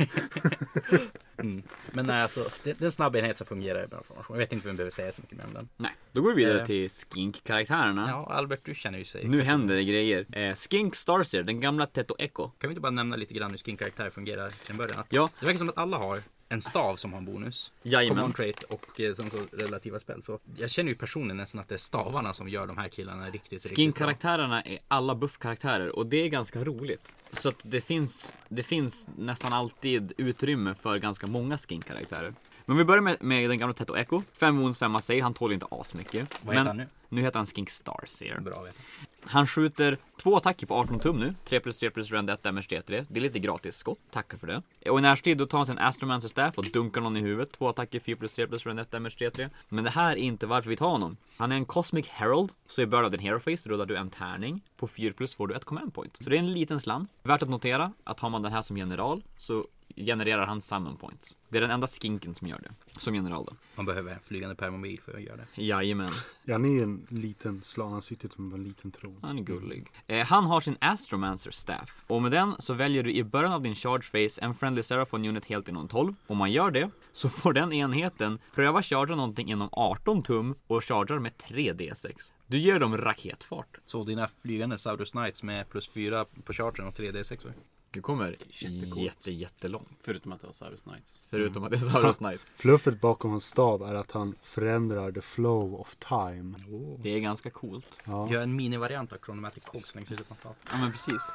A: Men nej, alltså, det, det är en snabb enhet som fungerar i bra formation. Jag vet inte om vi behöver säga så mycket mer om den.
D: Nej, då går vi vidare
A: Eh.
D: till Skink-karaktärerna.
A: Ja, Albert, du känner ju sig.
D: Nu händer det grejer. Eh, Skink Starseer, den gamla Teto Echo.
A: Kan vi inte bara nämna lite grann hur skin-karaktärer fungerar till en början? Att
D: Ja.
A: Det verkar som att alla har en stav som har en bonus.
D: Jajamän.
A: Command trait och eh, sen så relativa spel. Så jag känner ju personligen nästan att det är stavarna som gör de här killarna riktigt, riktigt bra.
D: Skin-karaktärerna är alla buff-karaktärer och det är ganska roligt. Så att det finns, det finns nästan alltid utrymme för ganska många skin-karaktärer. Men vi börjar med, med den gamla Teto Echo. Fem wounds, femma save. Han tål inte asmycket.
A: Vad heter
D: Men
A: han nu?
D: Nu heter han Skink Starseer.
A: Bra att veta.
D: Han skjuter två attacker på 18 tum nu. 3 plus 3 plus rend 1 damage D3. Det är lite gratis skott, tackar för det. Och i närstrid då tar han sin Astromancer Staff och dunkar någon i huvudet. Två attacker, 4 plus 3 plus rend 1 damage D3. Men det här är inte varför vi tar honom. Han är en Cosmic Herald, så i början av din Hero Face rullar du en tärning. På 4 plus får du 1,1 point. Så det är en liten slant. Värt att notera att har man den här som general så genererar han summon points. Det är den enda skinken som gör det. Som general då.
A: Man behöver en flygande permobil för att göra det.
D: Jajamän.
C: Ja, ni är en liten slan. Han sitter som en liten tron.
D: Han är gullig. Eh, han har sin Astromancer Staff. Och med den så väljer du i början av din Charge Phase en Friendly Seraphon Unit helt inom 12. Om man gör det så får den enheten pröva chargea någonting inom 18 tum och chargear med 3D6. Du ger dem raketfart.
A: Så dina flygande Saurus Knights med plus 4 på charten och 3D6 va?
D: Du kommer
B: Jättecoolt.
D: jätte, jättelångt.
B: Förutom att det var Saurus Knights.
D: Förutom att det är Saurus Knight.
C: Fluffet bakom hans stav är att han förändrar the flow of time.
B: Oh.
D: Det är ganska coolt.
C: Ja.
A: Gör en minivariant av Chronomatic Cogs längs huvudet på en stav.
D: Ja men precis.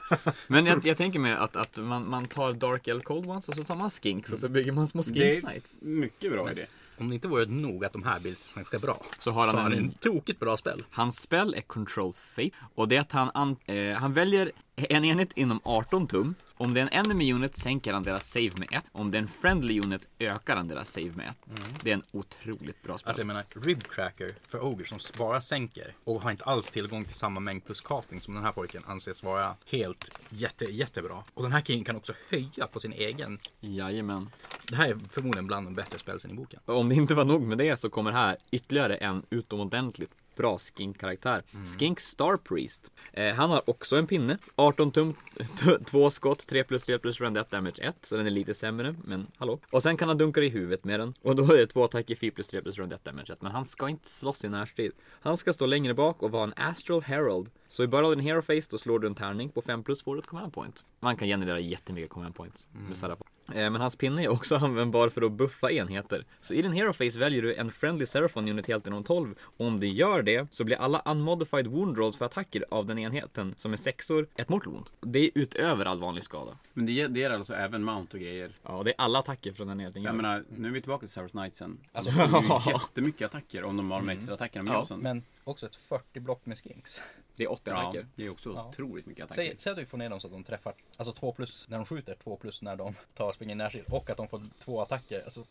D: Men jag, jag tänker mig att, att man, man tar Dark Elf Cold Ones och så tar man Skinks och så bygger man små Skink
B: Det är
D: Knights.
B: mycket bra idé.
A: Om det inte vore nog att de här blir lite ganska bra.
D: Så har
A: Så
D: han
A: har
D: en
A: en tokigt bra spel.
D: Hans spel är Control Fate och det är att han, an, eh, han väljer en enhet inom 18 tum. Om det är en enemy unit sänker han deras save med 1. Om det är en friendly unit ökar han deras save med 1. Det är en otroligt bra spel.
A: Alltså jag menar, Rib Cracker för Ogre som bara sänker och har inte alls tillgång till samma mängd plus casting som den här pojken anses vara helt jätte, jättebra. Och den här killen kan också höja på sin egen.
D: Jajamän.
A: Det här är förmodligen bland de bättre spelsen i boken.
D: Och om det inte var nog med det så kommer här ytterligare en utomordentligt bra Skink-karaktär. Skink Star Priest. Eh, han har också en pinne. 18 tum, t- två skott, 3 plus 3 plus rend 1 damage 1. Så den är lite sämre, men hallå. Och sen kan han dunka i huvudet med den. Och då är det två attacker, 4 plus 3 plus rend 1 damage 1. Men han ska inte slåss i närstrid. Han ska stå längre bak och vara en Astral Herald. Så i början av din Hero Face då slår du en tärning. På 5 plus får du ett command point. Man kan generera jättemycket command points
A: Mm.
D: med Seraph. Eh, Men hans pinne är också användbar för att buffa enheter. Så i din Hero Face väljer du en Friendly Seraphon Unit helt inom 12. Och om du gör det så blir alla unmodified wound rolls för attacker av den enheten som är sexor ett mortal wound. Det är utöver all vanlig skada.
B: Men det, ger- det är alltså även Mount och grejer.
D: Ja, det är alla attacker från den enheten.
B: Jag
D: gör.
B: menar, nu är vi tillbaka till Saurus Knightsen. Alltså, de får ju jättemycket attacker om de har de extra attackerna med
D: Mm. Ja,
B: oss.
A: Men också ett 40 block med skinks.
D: Det är 80
B: Ja,
D: attacker.
B: det är också
A: Ja.
B: otroligt mycket attacker.
A: Säg, säg att vi får ner dem så att de träffar, alltså 2 plus när de skjuter, 2 plus när de tar springer i närstrid och att de får två attacker. Alltså,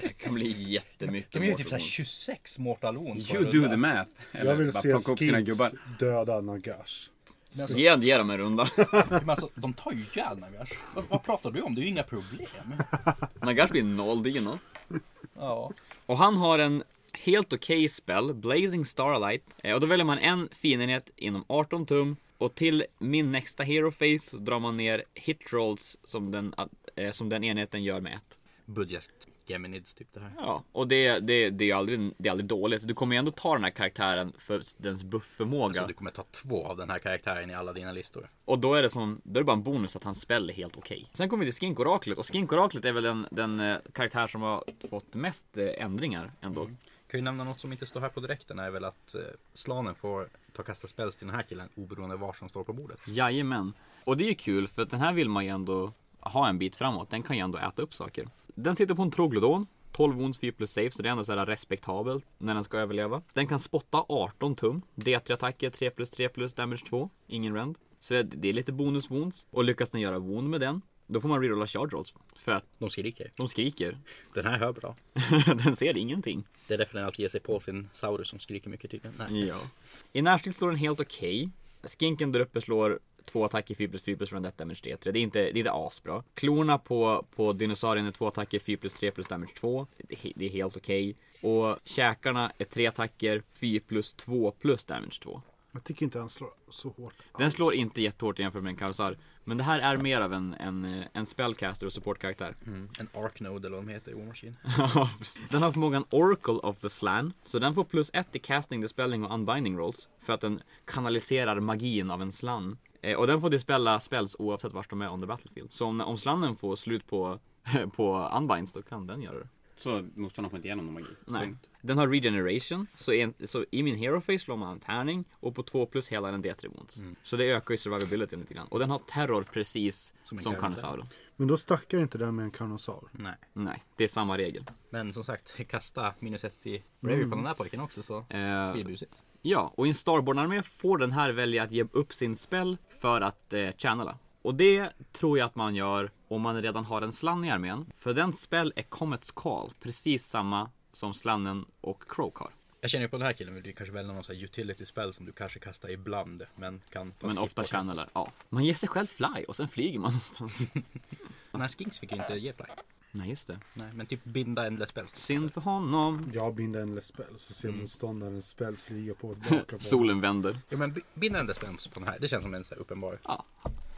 D: Det kan bli jättemycket
A: de är ju typ
D: mortal
A: såhär
D: wounds.
A: 26 mortal wounds. på en
B: You do
A: runda.
B: the math! Eller
C: Jag vill
B: bara
C: se
B: plocka upp sina gubbar.
C: Skinks döda Nagash.
A: Men alltså,
D: Ge, ge dem en runda.
A: men alltså, de tar ju ihjäl Nagash. Vad, vad pratar du om? Det är ju inga problem.
D: Nagash blir noll dino.
A: Ja.
D: Och han har en helt okej spel, Blazing Starlight. Eh, Och då väljer man en fin enhet inom 18 tum. Och till min nästa Hero Face så drar man ner Hit Rolls som den, eh, som den enheten gör med ett.
A: Budget Geminids typ det här.
D: Ja, och det, det, det är ju aldrig, det är aldrig dåligt. Du kommer ju ändå ta den här karaktären för dens
A: Så
D: buffförmåga.
A: Alltså, du kommer ta två av den här karaktären i alla dina listor.
D: Och då är det som, då är det bara en bonus att hans spel är helt okej. Sen kommer vi till Skink-oraklet och Skink-oraklet är väl den, den eh, karaktär som har fått mest eh, ändringar ändå.
A: Kan ju nämna något som inte står här på direkten är väl att eh, slanen får ta kasta spells till den här killen oberoende var som står på bordet.
D: Jajamän. Och det är ju kul för att den här vill man ju ändå ha en bit framåt. Den kan ju ändå äta upp saker. Den sitter på en troglodon. 12 wounds, 4 plus save, så det är ändå så här respektabelt när den ska överleva. Den kan spotta 18 tum. D3 attacker, 3 plus 3 plus, damage 2. Ingen rend. Så det, det är lite bonus wounds. Och lyckas den göra wound med den, då får man rerolla charge rolls. För att
A: De skriker.
D: de skriker.
A: Den här hör bra.
D: den ser ingenting.
A: Det är därför den alltid ger sig på sin Saurus som skriker mycket tydligen. Nej.
D: Ja. I närstrid slår den helt okej. Skinken där uppe slår två attacker 4 plus 4 plus från damage 3 3. Det är inte, det är inte asbra. Klorna på, på dinosaurien är två attacker 4 plus 3 plus damage 2. Det, är he- det är helt okej. Och käkarna är tre attacker 4 plus 2 plus damage 2.
C: Jag tycker inte han slår så hårt.
D: Den
C: alls.
D: slår inte jättehårt jämfört med en kausar. Men det här är mer av en, en, en spellcaster och supportkaraktär.
A: En Arknode eller vad de heter i War Machine.
D: Ja, precis. den har förmågan Oracle of the Slan, så den får plus ett i casting, dispelling och unbinding rolls för att den kanaliserar magin av en slan. Eh, och den får dispella spells oavsett vart de är on the battlefield. Så om, om slannen får slut på, på unbinds, då kan den göra det.
B: Så motståndaren får inte igenom någon magi.
D: Nej.
B: Punkt.
D: Den har regeneration, så, en, så i min hero face slår man en tärning och på 2 plus hela den D3 wounds.
A: Mm.
D: Så det ökar ju survivability lite grann. Och den har terror precis
A: Som
D: som,
A: en
D: som
A: Carnosaur.
D: Carnosaurus.
C: Men då stackar inte den med en karnosaur.
A: Nej.
D: Nej, det är samma regel.
A: Men som sagt, kasta minus ett i Bravery på den där pojken också så
D: Eh,
A: blir det busigt.
D: Ja, och i en Starborn-armé får den här välja att ge upp sin spell för att eh, channela. Och det tror jag att man gör om man redan har en slann i armén. För den spell är Comets Call, precis samma som slannen och Croak har.
A: Jag känner ju på den här killen vill du kanske välja någon sån här utility spell som du kanske kastar ibland men kan ta
D: Men
A: skip
D: ofta
A: på kast.
D: channelar, ja. Man ger sig själv fly och sen flyger man någonstans.
A: Nej, Skinks fick ju inte ge fly.
D: Nej, just det.
A: Nej, men typ binda endless spells.
D: Synd för honom.
C: Jag binder en spel så ser
B: Mm.
C: motståndaren spel flyga på och tillbaka. på.
D: Solen vänder.
A: Jo men bi- binda endless spells på den här, det känns som en så här uppenbar.
D: Ja.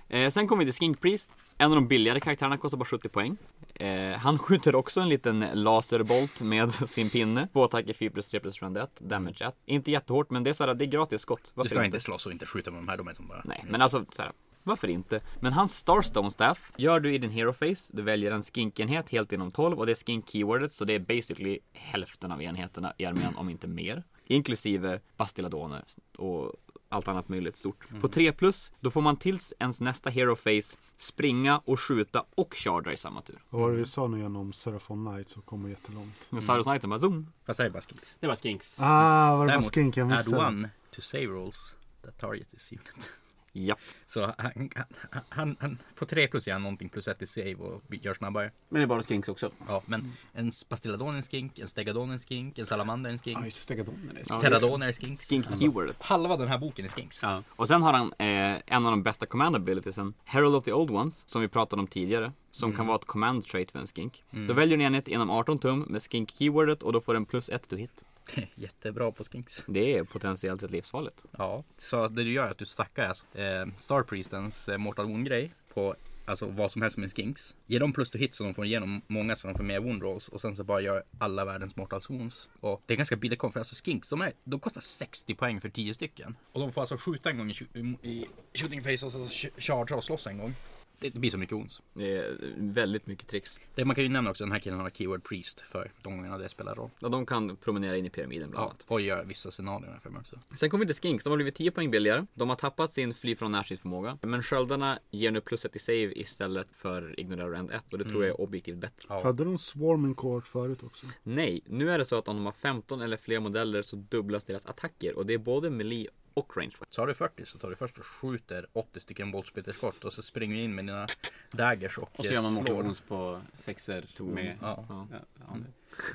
D: Eh, sen kommer vi till Skink Priest. En av de billigare karaktärerna kostar bara 70 poäng. Eh, han skjuter också en liten laserbolt med sin pinne. Två attacker 4 plus 3 plus rund 1. Damage 1. Inte jättehårt men det är, såhär, det är gratis skott.
A: Du
D: Varför
A: ska inte slåss och inte skjuta med de här, de är som bara...
D: Nej, men alltså såhär. Varför inte? Men hans Starstone Staff gör du i din Hero Face. Du väljer en skinkenhet helt inom 12 och det är skink keywordet så det är basically hälften av enheterna i armén om inte mer. Inklusive bastiladoner och allt annat möjligt stort. På 3 plus, då får man tills ens nästa Hero Face springa och skjuta och charga i samma tur.
C: Vad var det vi sa nu igen om Seraphon Knight som kommer jättelångt?
D: Men Cyrus Knighten bara zoom.
A: Fast det här är bara skinks.
B: Det var skinks.
C: Ah, var det bara
A: Däremot,
C: skinken jag
A: add
C: missade?
A: one to save rolls that target is unit.
D: Japp.
A: Så han, han, han, han, på 3 plus är han någonting plus 1 i save och bi- gör snabbare.
B: Men det är bara skinks också.
A: Ja, men en pastilladon är en skink, en stegadon är en skink, en salamander är en skink,
B: just det. Stegadoner är
D: Ja,
B: skinks.
A: pterodon är en skink.
D: Skink keywordet.
A: Halva den här boken är skinks.
B: Ja.
D: Och sen har han eh, en av de bästa command abilitiesen, Herald of the Old Ones, som vi pratade om tidigare. Som kan vara ett command trait för en skink. Då väljer ni en enhet inom 18 tum med skink keywordet och då får den plus 1 to hit.
A: Jättebra på skinks.
D: Det är potentiellt sett livsfarligt.
A: Ja, så det du gör är att du stackar alltså, eh, Star Priestens eh, Mortal Wound-grej på alltså, vad som helst med skinks. Ge dem plus to hit så de får igenom många så de får mer wound rolls och sen så bara gör alla världens Mortal Wounds. Och det är ganska billig konf, för alltså skinks de, är, de kostar 60 poäng för 10 stycken. Och de får alltså skjuta en gång i, tju- i shooting face och så ch- charge och slåss en gång. Det, det blir så mycket wounds.
D: Det är väldigt mycket tricks.
A: Det, man kan ju nämna också att den här killen har keyword priest för de gångerna det spelar roll.
D: Och de kan promenera in i pyramiden bland
A: Ja,
D: annat.
A: och gör vissa scenarier för mig också.
D: Sen kommer vi till Skinks, de har blivit 10 poäng billigare. De har tappat sin fly från närstridsförmåga. Men sköldarna ger nu plus 1 i save istället för ignorera rend 1 och det tror jag är objektivt bättre.
C: Hade de Swarming Court förut också?
D: Nej, nu är det så att om de har 15 eller fler modeller så dubblas deras attacker och det är både melee och range.
A: Så har du 40 så tar du först och skjuter 80 stycken boltspetterskott och så springer du in med dina daggers och,
B: Och så gör man
A: eh, slår.
B: motions på sexer med...
A: Ja.
B: Ja, ja,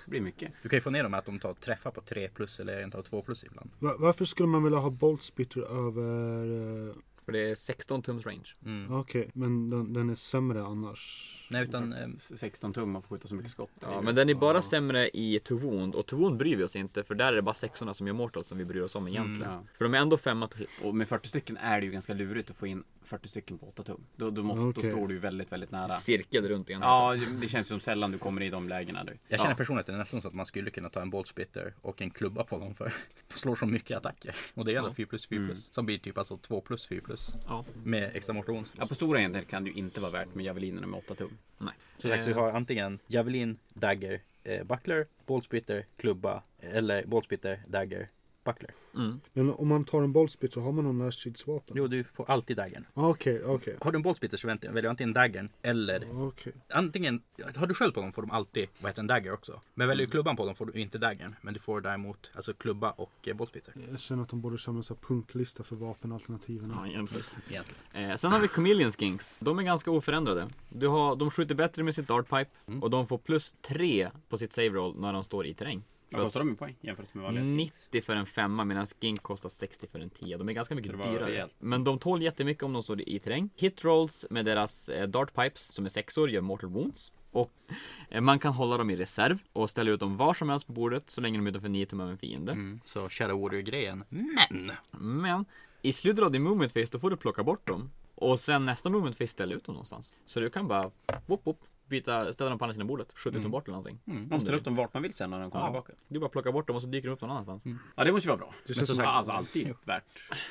B: det blir mycket.
A: Du kan ju få ner dem att de tar träffar på 3 plus eller rent av 2 plus ibland.
C: Va- Varför skulle man vilja ha Bolt Spitter över... eh,
D: För det är 16 tums range.
C: Okej, men den, den är sämre annars.
A: Nej utan eh,
B: S- 16 tum, man får skjuta så mycket skott.
D: Ja, men den är bara sämre i to wound och to wound bryr vi oss inte för där är det bara sexorna som gör mortal som vi bryr oss om egentligen.
B: Mm,
D: För de är ändå femma to hit.
B: Och med 40 stycken är det ju ganska lurigt att få in 40 stycken på 8 tum. Då, då, måste,
C: Okej.
B: då står du ju väldigt, väldigt nära.
D: Cirkel runt enheten.
B: Ja, det känns som sällan du kommer i de lägena. Du.
A: jag känner
D: Ja.
A: personligen att det är nästan så att man skulle kunna ta en boltsplitter och en klubba på dem för de slår så mycket attacker. Och det är ändå 4 plus 4
B: Mm.
A: plus som blir typ alltså 2 plus 4 plus
D: Ja.
A: med extra mortal wounds.
B: Ja, på stora enheter kan det ju inte vara värt med javelinerna med 8 tum.
D: Nej.
A: Som sagt, du
D: Eh,
A: har antingen javelin, dagger, eh, buckler, boltsplitter, klubba eller boltsplitter, dagger, buckler.
C: Men om man tar en Bolt Spitter, har man någon närstridsvapen?
A: Jo, du får alltid daggern.
C: Ah, Okej, okej. Ah,
A: Har du en boltsplitter så väljer du antingen daggern eller
C: Okej.
A: antingen har du sköld på dem får de alltid vad heter en dagger också. Men väljer du klubban på dem får du inte daggern. Men du får däremot alltså klubba och eh, boltsplitter.
C: Jag känner att de borde köra en sån här punktlista för vapenalternativen.
D: Ja, egentligen.
A: Egentligen.
D: Eh, sen har vi Chameleon Skinks. De är ganska oförändrade. Du Mm. har, de skjuter bättre med sitt dartpipe och de får plus 3 på sitt save roll när de står i terräng.
B: Vad kostar de i poäng jämfört med vanliga skins?
D: 90 för en femma medan skink kostar 60 för en 10. De är ganska
B: Så
D: mycket
B: det var
D: dyrare.
B: rejält.
D: Men de tål jättemycket om de står i terräng. Hit rolls med deras eh, dart pipes som är sexor gör mortal wounds. Och eh, man kan hålla dem i reserv och ställa ut dem var som helst på bordet så länge de är utanför 9 tum av en fiende.
A: Mm, så Shadow Mm. Warrior-grejen. Men!
D: Men i slutet av din movement phase då får du plocka bort dem. Och sen nästa movement phase ställa ut dem någonstans. Så du kan bara whoop, whoop, byta, ställa dem på andra sidan bordet, skjuta
B: Mm.
D: ut dem bort eller någonting.
B: Man ställer upp dem vart man vill sen när de kommer tillbaka.
D: Du bara plockar bort dem och så dyker de upp någon annanstans.
B: Ja, det måste ju vara bra.
C: Det
B: men
C: känns
B: som
C: som
B: sagt,
C: att-
B: alltså alltid värt.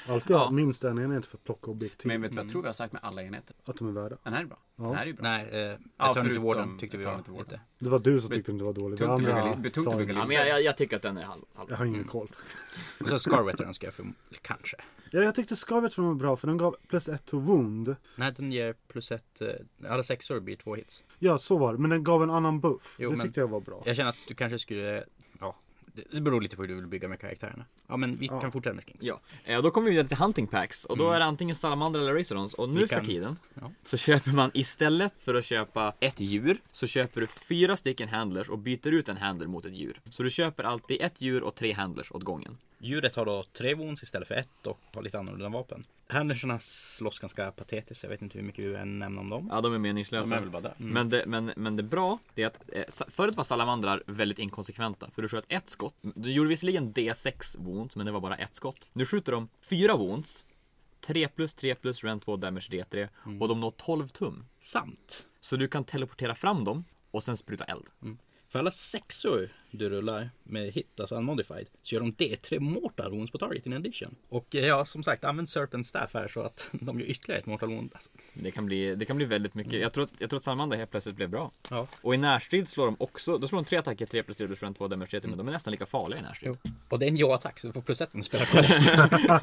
C: Alltid
D: Ja.
C: minst en enhet för att plocka objektiv.
B: Men vet du vad jag tror vi har sagt med alla enheter?
C: Att de är värda.
B: Den här är bra. Den här är ju bra.
A: Nej, eh,
B: Ja,
A: Return to
B: förutom
A: Warden tyckte vi
B: Return
A: var
B: to Warden.
A: lite.
C: Det var du som tyckte den var dålig. Det
B: tungt att bygga
C: andra
B: li- det är tungt att
C: sa
B: bygga
C: jag.
D: Ja, men jag, jag, jag tycker att den är halv. halv.
C: Jag har ingen koll.
A: Och sen Scar Veteran ska jag för, kanske.
C: Ja, jag tyckte Scarvet var bra för den gav plus ett to wound.
A: Nej, den ger plus ett. eh, Alla sexor blir två hits.
C: Ja, så var det. Men den gav en annan buff.
A: Jo,
C: det
A: men-
C: tyckte jag var bra.
A: Jag känner att du kanske skulle, ja, det det beror lite på hur du vill bygga med karaktärerna. Ja, men vi kan fortsätta med skinks.
D: Ja, eh, då kommer vi vidare till hunting packs och då
B: Mm.
D: är det antingen salamandra eller razorons och nu
A: Vi kan-
D: för tiden
A: ja.
D: så köper man istället för att köpa ett djur så köper du fyra stycken handlers och byter ut en handler mot ett djur. Så du köper alltid ett djur och tre handlers åt gången.
A: Djuret har då tre wounds istället för ett och har lite annorlunda vapen. Henderserna slåss ganska patetiskt. Jag vet inte hur mycket vi än nämner om dem.
D: Ja, de är meningslösa.
B: De är väl bara där. Mm.
D: Men, det, men, men det bra, det är att eh, sa- förut var salamandrar väldigt inkonsekventa. För du sköt ett skott. Du gjorde visserligen D6 wounds, men det var bara ett skott. Nu skjuter de fyra wounds. 3 plus 3 plus rent 2 damage D3
B: Mm.
D: och de når 12 tum.
A: Sant!
D: Så du kan teleportera fram dem och sen spruta eld.
A: För alla sexor du rullar med hit, alltså unmodified, så gör de D3 mortal wounds på target in addition. Och eh, ja, som sagt, använd Serpent Staff här så att de gör ytterligare ett mortal wound. Alltså,
D: Det kan bli, det kan bli väldigt mycket. Jag tror att, jag tror att Salamander helt plötsligt blev bra.
A: ja.
D: Och i närstrid slår de också, då slår de tre attacker, 3 plus 3 plus 2 damage 3 men de är nästan lika farliga i närstrid.
A: Jo. Och det är en ja-attack så du får plus ett om du spelar på resten.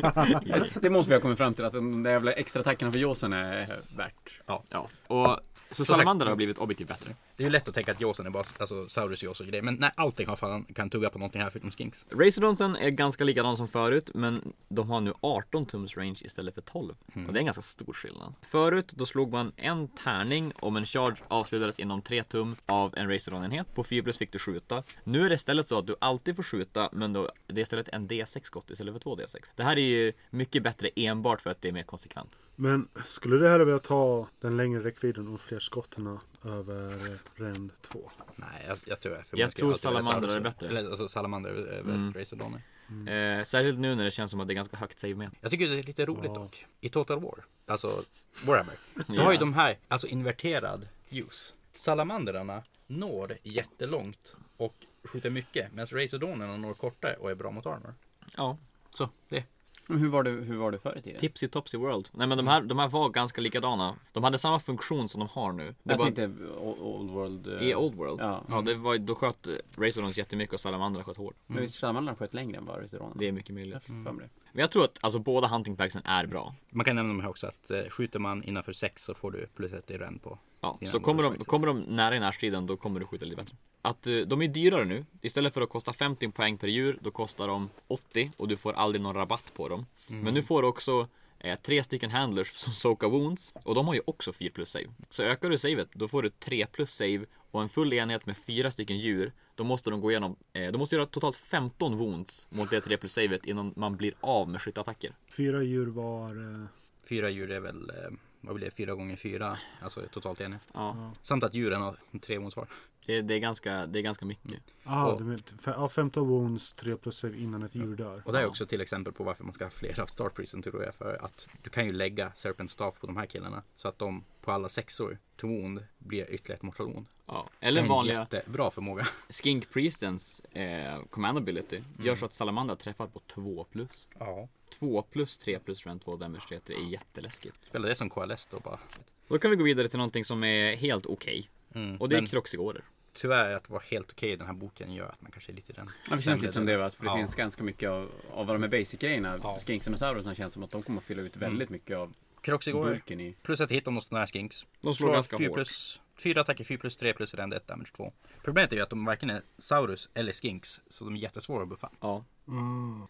B: Det måste vi ha kommit fram till att de där jävla extra attackerna för Jåsen är värt. Ja.
D: Ja. Och, så Salamander har blivit objektivt bättre.
A: Det är ju lätt att tänka att Jawsen är bara alltså, Saurus Jaws och grejer. Men nej, allting har fan, kan tugga på någonting här förutom Skinks.
D: Razordonsen är ganska likadan som förut men de har nu 18 tums range istället för 12.
B: Mm.
D: Och det är en ganska stor skillnad. Förut då slog man en tärning om en charge avslutades inom 3 tum av en Razordon-enhet. På 4 plus fick du skjuta. Nu är det istället så att du alltid får skjuta men då, det är istället en D6 skott istället för två D6. Det här är ju mycket bättre enbart för att det är mer konsekvent.
C: Men skulle du hellre vilja ta den längre räckvidden och fler skotterna över Rend 2?
A: Nej, jag, jag tror jag
D: Jag tror
A: alltid väljer
D: Salamander
A: Saurus.
D: är bättre. Mm.
A: Eller, alltså Salamander över Razordoner.
B: Mm.
D: Eh, särskilt nu när det känns som att det är ganska högt save med.
A: Jag tycker det är lite roligt
C: Ja.
A: dock. I Total War, alltså Warhammer. Då
D: Ja.
A: har ju de här, alltså inverterad use. Salamanderarna når jättelångt och skjuter mycket. Medan Razordonerna når kortare och är bra mot armor.
D: Ja.
A: Så, det.
B: Men hur var det, hur var det förr i tiden?
D: Tipsy Topsy World. Nej men de här, de här var ganska likadana. De hade samma funktion som de har nu. Det
B: Jag
D: var-
B: tänkte o- Old World. eh,
D: I Old World?
B: Ja.
D: det var, då sköt Razorons jättemycket och Salamandra sköt hårt.
B: Men visst Salamandrarna sköt längre än vad Restauranterna?
D: Det är mycket möjligt.
B: Jag mm. det.
D: Men jag tror att alltså, båda hunting packsen är bra.
A: Man kan nämna de här också att eh, skjuter man innanför sex så får du plus ett i rend på.
D: Ja,
A: dina
D: så kommer de,
A: modifiers.
D: kommer de nära i närstriden då kommer du skjuta lite bättre. Att eh, de är dyrare nu. Istället för att kosta 50 poäng per djur då kostar de 80 och du får aldrig någon rabatt på dem.
A: Mm.
D: Men nu får du också eh, tre stycken handlers som soka wounds och de har ju också 4 plus save. Så ökar du savet då får du 3 plus save och en full enhet med fyra stycken djur då måste de gå igenom, eh, de måste göra totalt 15 wounds mot det 3 plus savet innan man blir av med skytteattacker.
C: Fyra djur var... eh,
A: Fyra djur är väl, eh, vad blir det, fyra gånger fyra, alltså totalt enhet.
D: Ja,
A: Samt att djuren har tre wounds var.
D: det, det, är, ganska, det är ganska
A: Mm.
D: mycket.
C: Ah,
A: Och-
C: du menar, f- ja, 15 wounds, 3 plus save innan ett djur dör.
A: Och det är också till exempel på varför man ska ha flera Star Prison tror jag för att du kan ju lägga Serpent Staff på de här killarna så att de på alla sexor to wound blir ytterligare ett mortal wound.
D: Ja.
A: Det
D: Eller
A: är en
D: vanliga
A: jättebra förmåga.
D: Skink Priestens eh, command ability
A: Mm.
D: gör så att Salamandra träffar på 2 plus.
A: Ja.
D: 2 plus 3 plus rent 2 damage 3 är jätteläskigt.
A: Spela det som KLS då bara.
D: Då kan vi gå vidare till någonting som är helt okej.
A: Mm,
D: Och det är
A: men-
D: kroxigorer.
A: Tyvärr att vara helt okej i den här boken gör att man kanske är lite i den.
B: Ja, det känns lite som det va? För det
A: Ja.
B: finns ganska mycket av, av de här basic-grejerna.
A: Ja.
B: Skinksen och Sauron känns som att de kommer att fylla ut väldigt mycket av
A: Kroxigor.
B: burken i.
A: Plus att hit om de sådana här skinks.
D: De slår ganska
A: fyra
D: hårt.
A: Plus Fyra attacker 4 plus 3 plus rend 1 damage 2. Problemet är ju att de varken är Saurus eller Skinks, så de är jättesvåra att buffa.
D: Ja.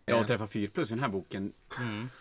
B: Jag träffar 4 plus i den här boken.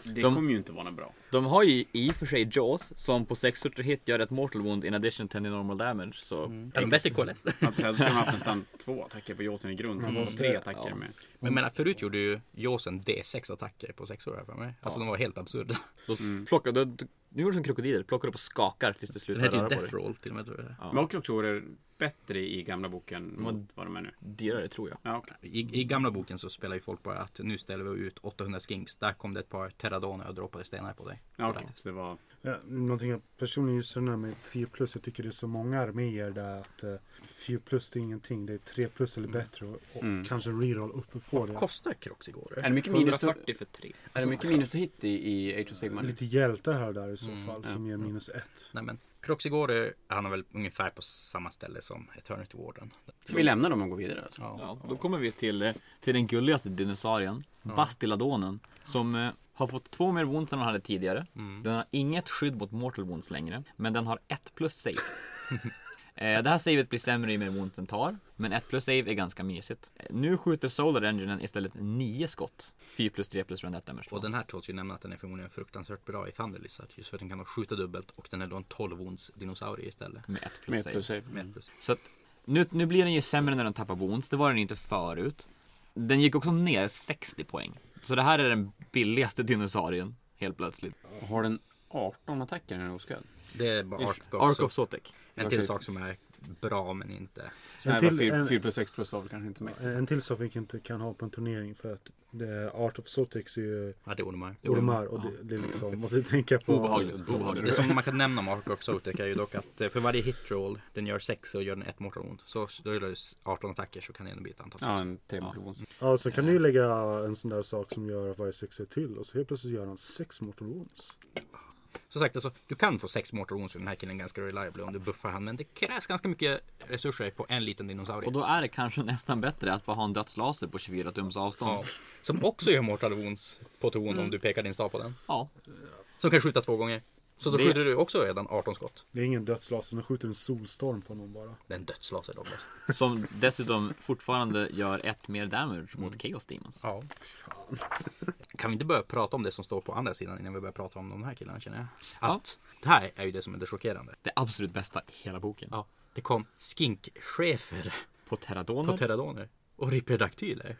B: Det
D: De-
B: kommer ju inte vara något bra.
D: De har ju i och för sig Jaws som på 6 hit gör ett mortal wound in addition to any normal damage. Så
A: Är de bättre KLS? Men
B: Man Alltså, skulle ha haft nästan två attacker på Jåsen i grund. Så det var tre attacker
D: ja.
B: med.
A: jag menar, förut gjorde ju Jawsen D6 attacker på sexor här för mig. Alltså de var helt absurda.
D: då plockar du, nu gjorde du som krokodiler, plockar upp och skakar tills du
A: Den
D: slutar
A: hette ju
D: röra på
A: Death
D: dig.
A: Roll till och med tror jag.
B: Men också doktorer bättre i gamla boken mot vad de är nu.
D: Dyrare tror jag.
B: Ja, okej.
A: I, I gamla boken så spelar ju folk bara att nu ställer vi ut 800 skinks. Där kom det ett par terradoner och droppade stenar på dig.
B: Ja, okej. Så det var...
C: Ja, någonting jag personligen gissar när med 4 plus, jag tycker det är så många arméer där att eh, 4 plus det är ingenting, det är 3 plus eller bättre och, och kanske en reroll uppe på det.
A: Kostar Crocs igår?
B: Är det mycket minus du,
D: 140 för 3.
B: är det mycket minus du hit i, i Age of Sigmar?
C: Lite hjältar här och där i så fall som ger minus 1.
A: Nej men Crocs igår, eh, han är väl ungefär på samma ställe som Eternity Warden.
B: Ska vi lämna dem och gå vidare? alltså?
A: Ja.
D: Ja, då kommer vi till, eh, till den gulligaste dinosaurien, Bastiladonen. Som eh, har fått två mer wounds än den hade tidigare.
A: Mm.
D: Den har inget skydd mot mortal wounds längre, men den har ett plus save. Eh, Det här savet blir sämre ju mer wounds den tar, men ett plus save är ganska mysigt. Eh, Nu skjuter Solar Enginen istället nio skott. 4 plus 3 plus rend 1 damage.
A: Och den här tåls ju nämna att den är förmodligen fruktansvärt bra i Thunder Lizard. Just för att den kan skjuta dubbelt och den är då en 12 wounds dinosaurie istället.
D: Med ett plus
B: Med
D: save.
B: plus save.
A: Med ett plus.
D: Så att, nu, nu blir den ju sämre när den tappar wounds, det var den inte förut. Den gick också ner 60 poäng. Så det här är den billigaste dinosaurien, helt plötsligt.
B: Har den 18 attacker när den är oskadd?
A: Det är bara Ark of-
D: Ark of Sotek.
A: En till sak som är bra men inte.
C: En
B: Nej,
C: till-
B: till, 4,
C: en-
B: plus 6 plus var väl kanske inte så mycket.
C: En till sak vi inte kan ha på en turnering för att det är Art of Sotex är ju
A: Ja, det är Ormar.
C: ormar och det, det är liksom, måste vi tänka på.
D: Obehagligt.
A: Det
D: Obehagligt.
A: som man kan nämna om Ark of Sotek är ju dock att eh, för varje hitroll den gör 6 och gör den ett mortal wound. Så då rullar du 18 attacker så kan den bli ett antal
B: Ja,
A: ja.
B: en 3 plus.
C: Ja, så kan du ju lägga en sån där sak som gör att varje sexa är till och så helt plötsligt gör han sex mortal wounds.
A: Som sagt alltså, du kan få 6 mortal wounds för den här killen ganska reliable om du buffar han. Men det krävs ganska mycket resurser på en liten dinosaurie.
D: Och då är det kanske nästan bättre att bara ha en dödslaser på 24 tums
A: ja.
D: avstånd.
A: Som också gör mortal wounds på ton om du pekar din stav på den.
D: Ja.
A: Som kan skjuta två gånger. Så då
D: Det-
A: skjuter du också redan 18 skott.
C: Det är ingen dödslaser, den skjuter en solstorm på någon bara.
A: Det är en dödslaser Douglas.
D: Som dessutom fortfarande gör ett mer damage
A: Mm.
D: mot Chaos Demons.
A: Ja. Kan vi inte börja prata om det som står på andra sidan innan vi börjar prata om de här killarna känner jag. Att det här är ju det som är det chockerande.
D: Det absolut bästa i hela boken.
A: Ja, det kom skinkchefer på
D: På Terradoner.
A: pterodoner och ripperdaktyler.